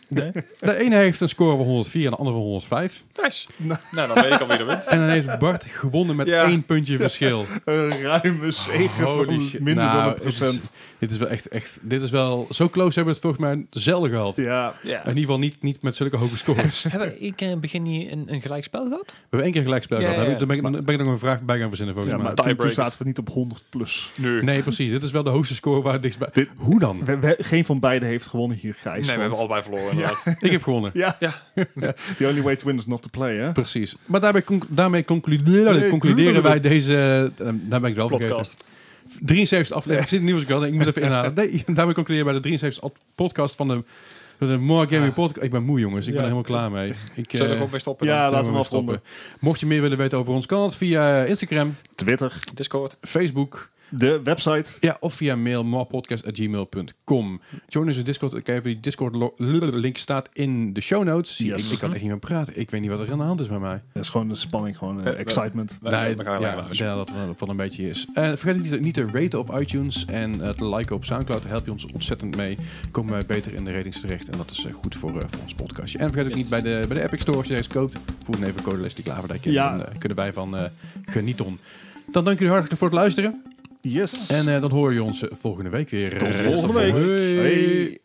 Speaker 2: Nee?
Speaker 1: De ene heeft een score van 104 en de andere van 105.
Speaker 2: Nice. Nou, dan weet ik al wie er wint.
Speaker 1: En dan heeft Bart gewonnen met
Speaker 2: Ja.
Speaker 1: één puntje verschil.
Speaker 3: Een ruime zegen
Speaker 1: Holy
Speaker 3: van
Speaker 1: shit.
Speaker 3: minder
Speaker 1: Nou,
Speaker 3: dan een
Speaker 1: het is-
Speaker 3: procent.
Speaker 1: Dit is wel echt, echt dit is wel... Zo close hebben we het volgens mij zelden gehad.
Speaker 3: Ja,
Speaker 2: Ja.
Speaker 1: In ieder geval niet, niet met zulke hoge scores. we
Speaker 2: Hebben we één keer in het begin niet een, een gelijkspel gehad?
Speaker 1: hebben één keer gelijk spel
Speaker 2: Ja,
Speaker 1: gehad.
Speaker 2: ja, ja.
Speaker 1: Daar ben ik, daar ben ik nog een vraag bij gaan verzinnen volgens
Speaker 3: ja maar
Speaker 1: mij.
Speaker 3: toen, toen
Speaker 2: Tiebreaker.
Speaker 3: zaten we niet op 100 plus.
Speaker 2: Nee.
Speaker 1: Nee, precies. Dit is wel de hoogste score waar het dichtst bij...
Speaker 3: Dit-
Speaker 1: Hoe dan?
Speaker 3: We- we- geen van beiden heeft gewonnen hier, Gijs.
Speaker 2: Nee, we
Speaker 3: want-
Speaker 2: hebben allebei verloren inderdaad.
Speaker 1: Ik heb gewonnen.
Speaker 3: Ja. The only way to win is not to play, hè?
Speaker 1: Precies. Maar daarbij conc- daarmee concluderen,
Speaker 3: Nee,
Speaker 1: concluderen wij deze... eh, daar ben ik wel vergeten.
Speaker 2: Podcast.
Speaker 1: 73 aflevering. Ik zit in het nieuws, ik had- ik moest even inhalen. Nee, daarmee concluderen bij de 73 ad- podcast van de, van de More Gaming Podcast. Ik ben moe, jongens. Ik ben
Speaker 3: Ah. Ja.
Speaker 1: er helemaal klaar mee. Ik,
Speaker 2: Zullen we
Speaker 1: eh,
Speaker 2: er ook mee stoppen?
Speaker 3: Ja,
Speaker 1: zullen
Speaker 3: laten
Speaker 1: we
Speaker 3: we hem
Speaker 1: weer
Speaker 3: afronden.
Speaker 1: stoppen. Mocht je meer willen weten over ons, kan dat via Instagram,
Speaker 3: Twitter,
Speaker 2: dan? Discord.
Speaker 1: Facebook...
Speaker 3: de website.
Speaker 1: Ja, of via mail moapodcast.gmail.com. Join onze Discord. Ik even die Discord lo- link staat in de show notes. Zie,
Speaker 3: Yes.
Speaker 1: ik, ik kan echt niet meer praten. Ik weet niet wat er aan de hand is bij mij.
Speaker 3: Dat is gewoon de spanning, gewoon eh,
Speaker 2: Eh, we-
Speaker 3: excitement.
Speaker 2: We,
Speaker 1: Nou,
Speaker 2: we
Speaker 1: ja,
Speaker 2: gaan lekker
Speaker 1: ik
Speaker 2: luisteren.
Speaker 1: denk dat dat wel een beetje is. En vergeet niet, niet te raten op iTunes en eh, te liken op Soundcloud. Daar help je ons ontzettend mee. Komen wij beter in de ratings terecht. En dat is eh, goed voor, eh, voor ons podcastje. En vergeet ook niet bij de, bij de Epic Store, als je deze koopt, voeg dan even code Leslie Klaverdijk in.
Speaker 3: Ja.
Speaker 1: Dan eh, kunnen wij van eh, genieten. Dan dank jullie hartelijk voor het luisteren.
Speaker 3: Yes.
Speaker 1: En eh, dan hoor je ons eh, volgende week weer.
Speaker 3: Tot volgende week.
Speaker 1: Hoi.
Speaker 3: Hey.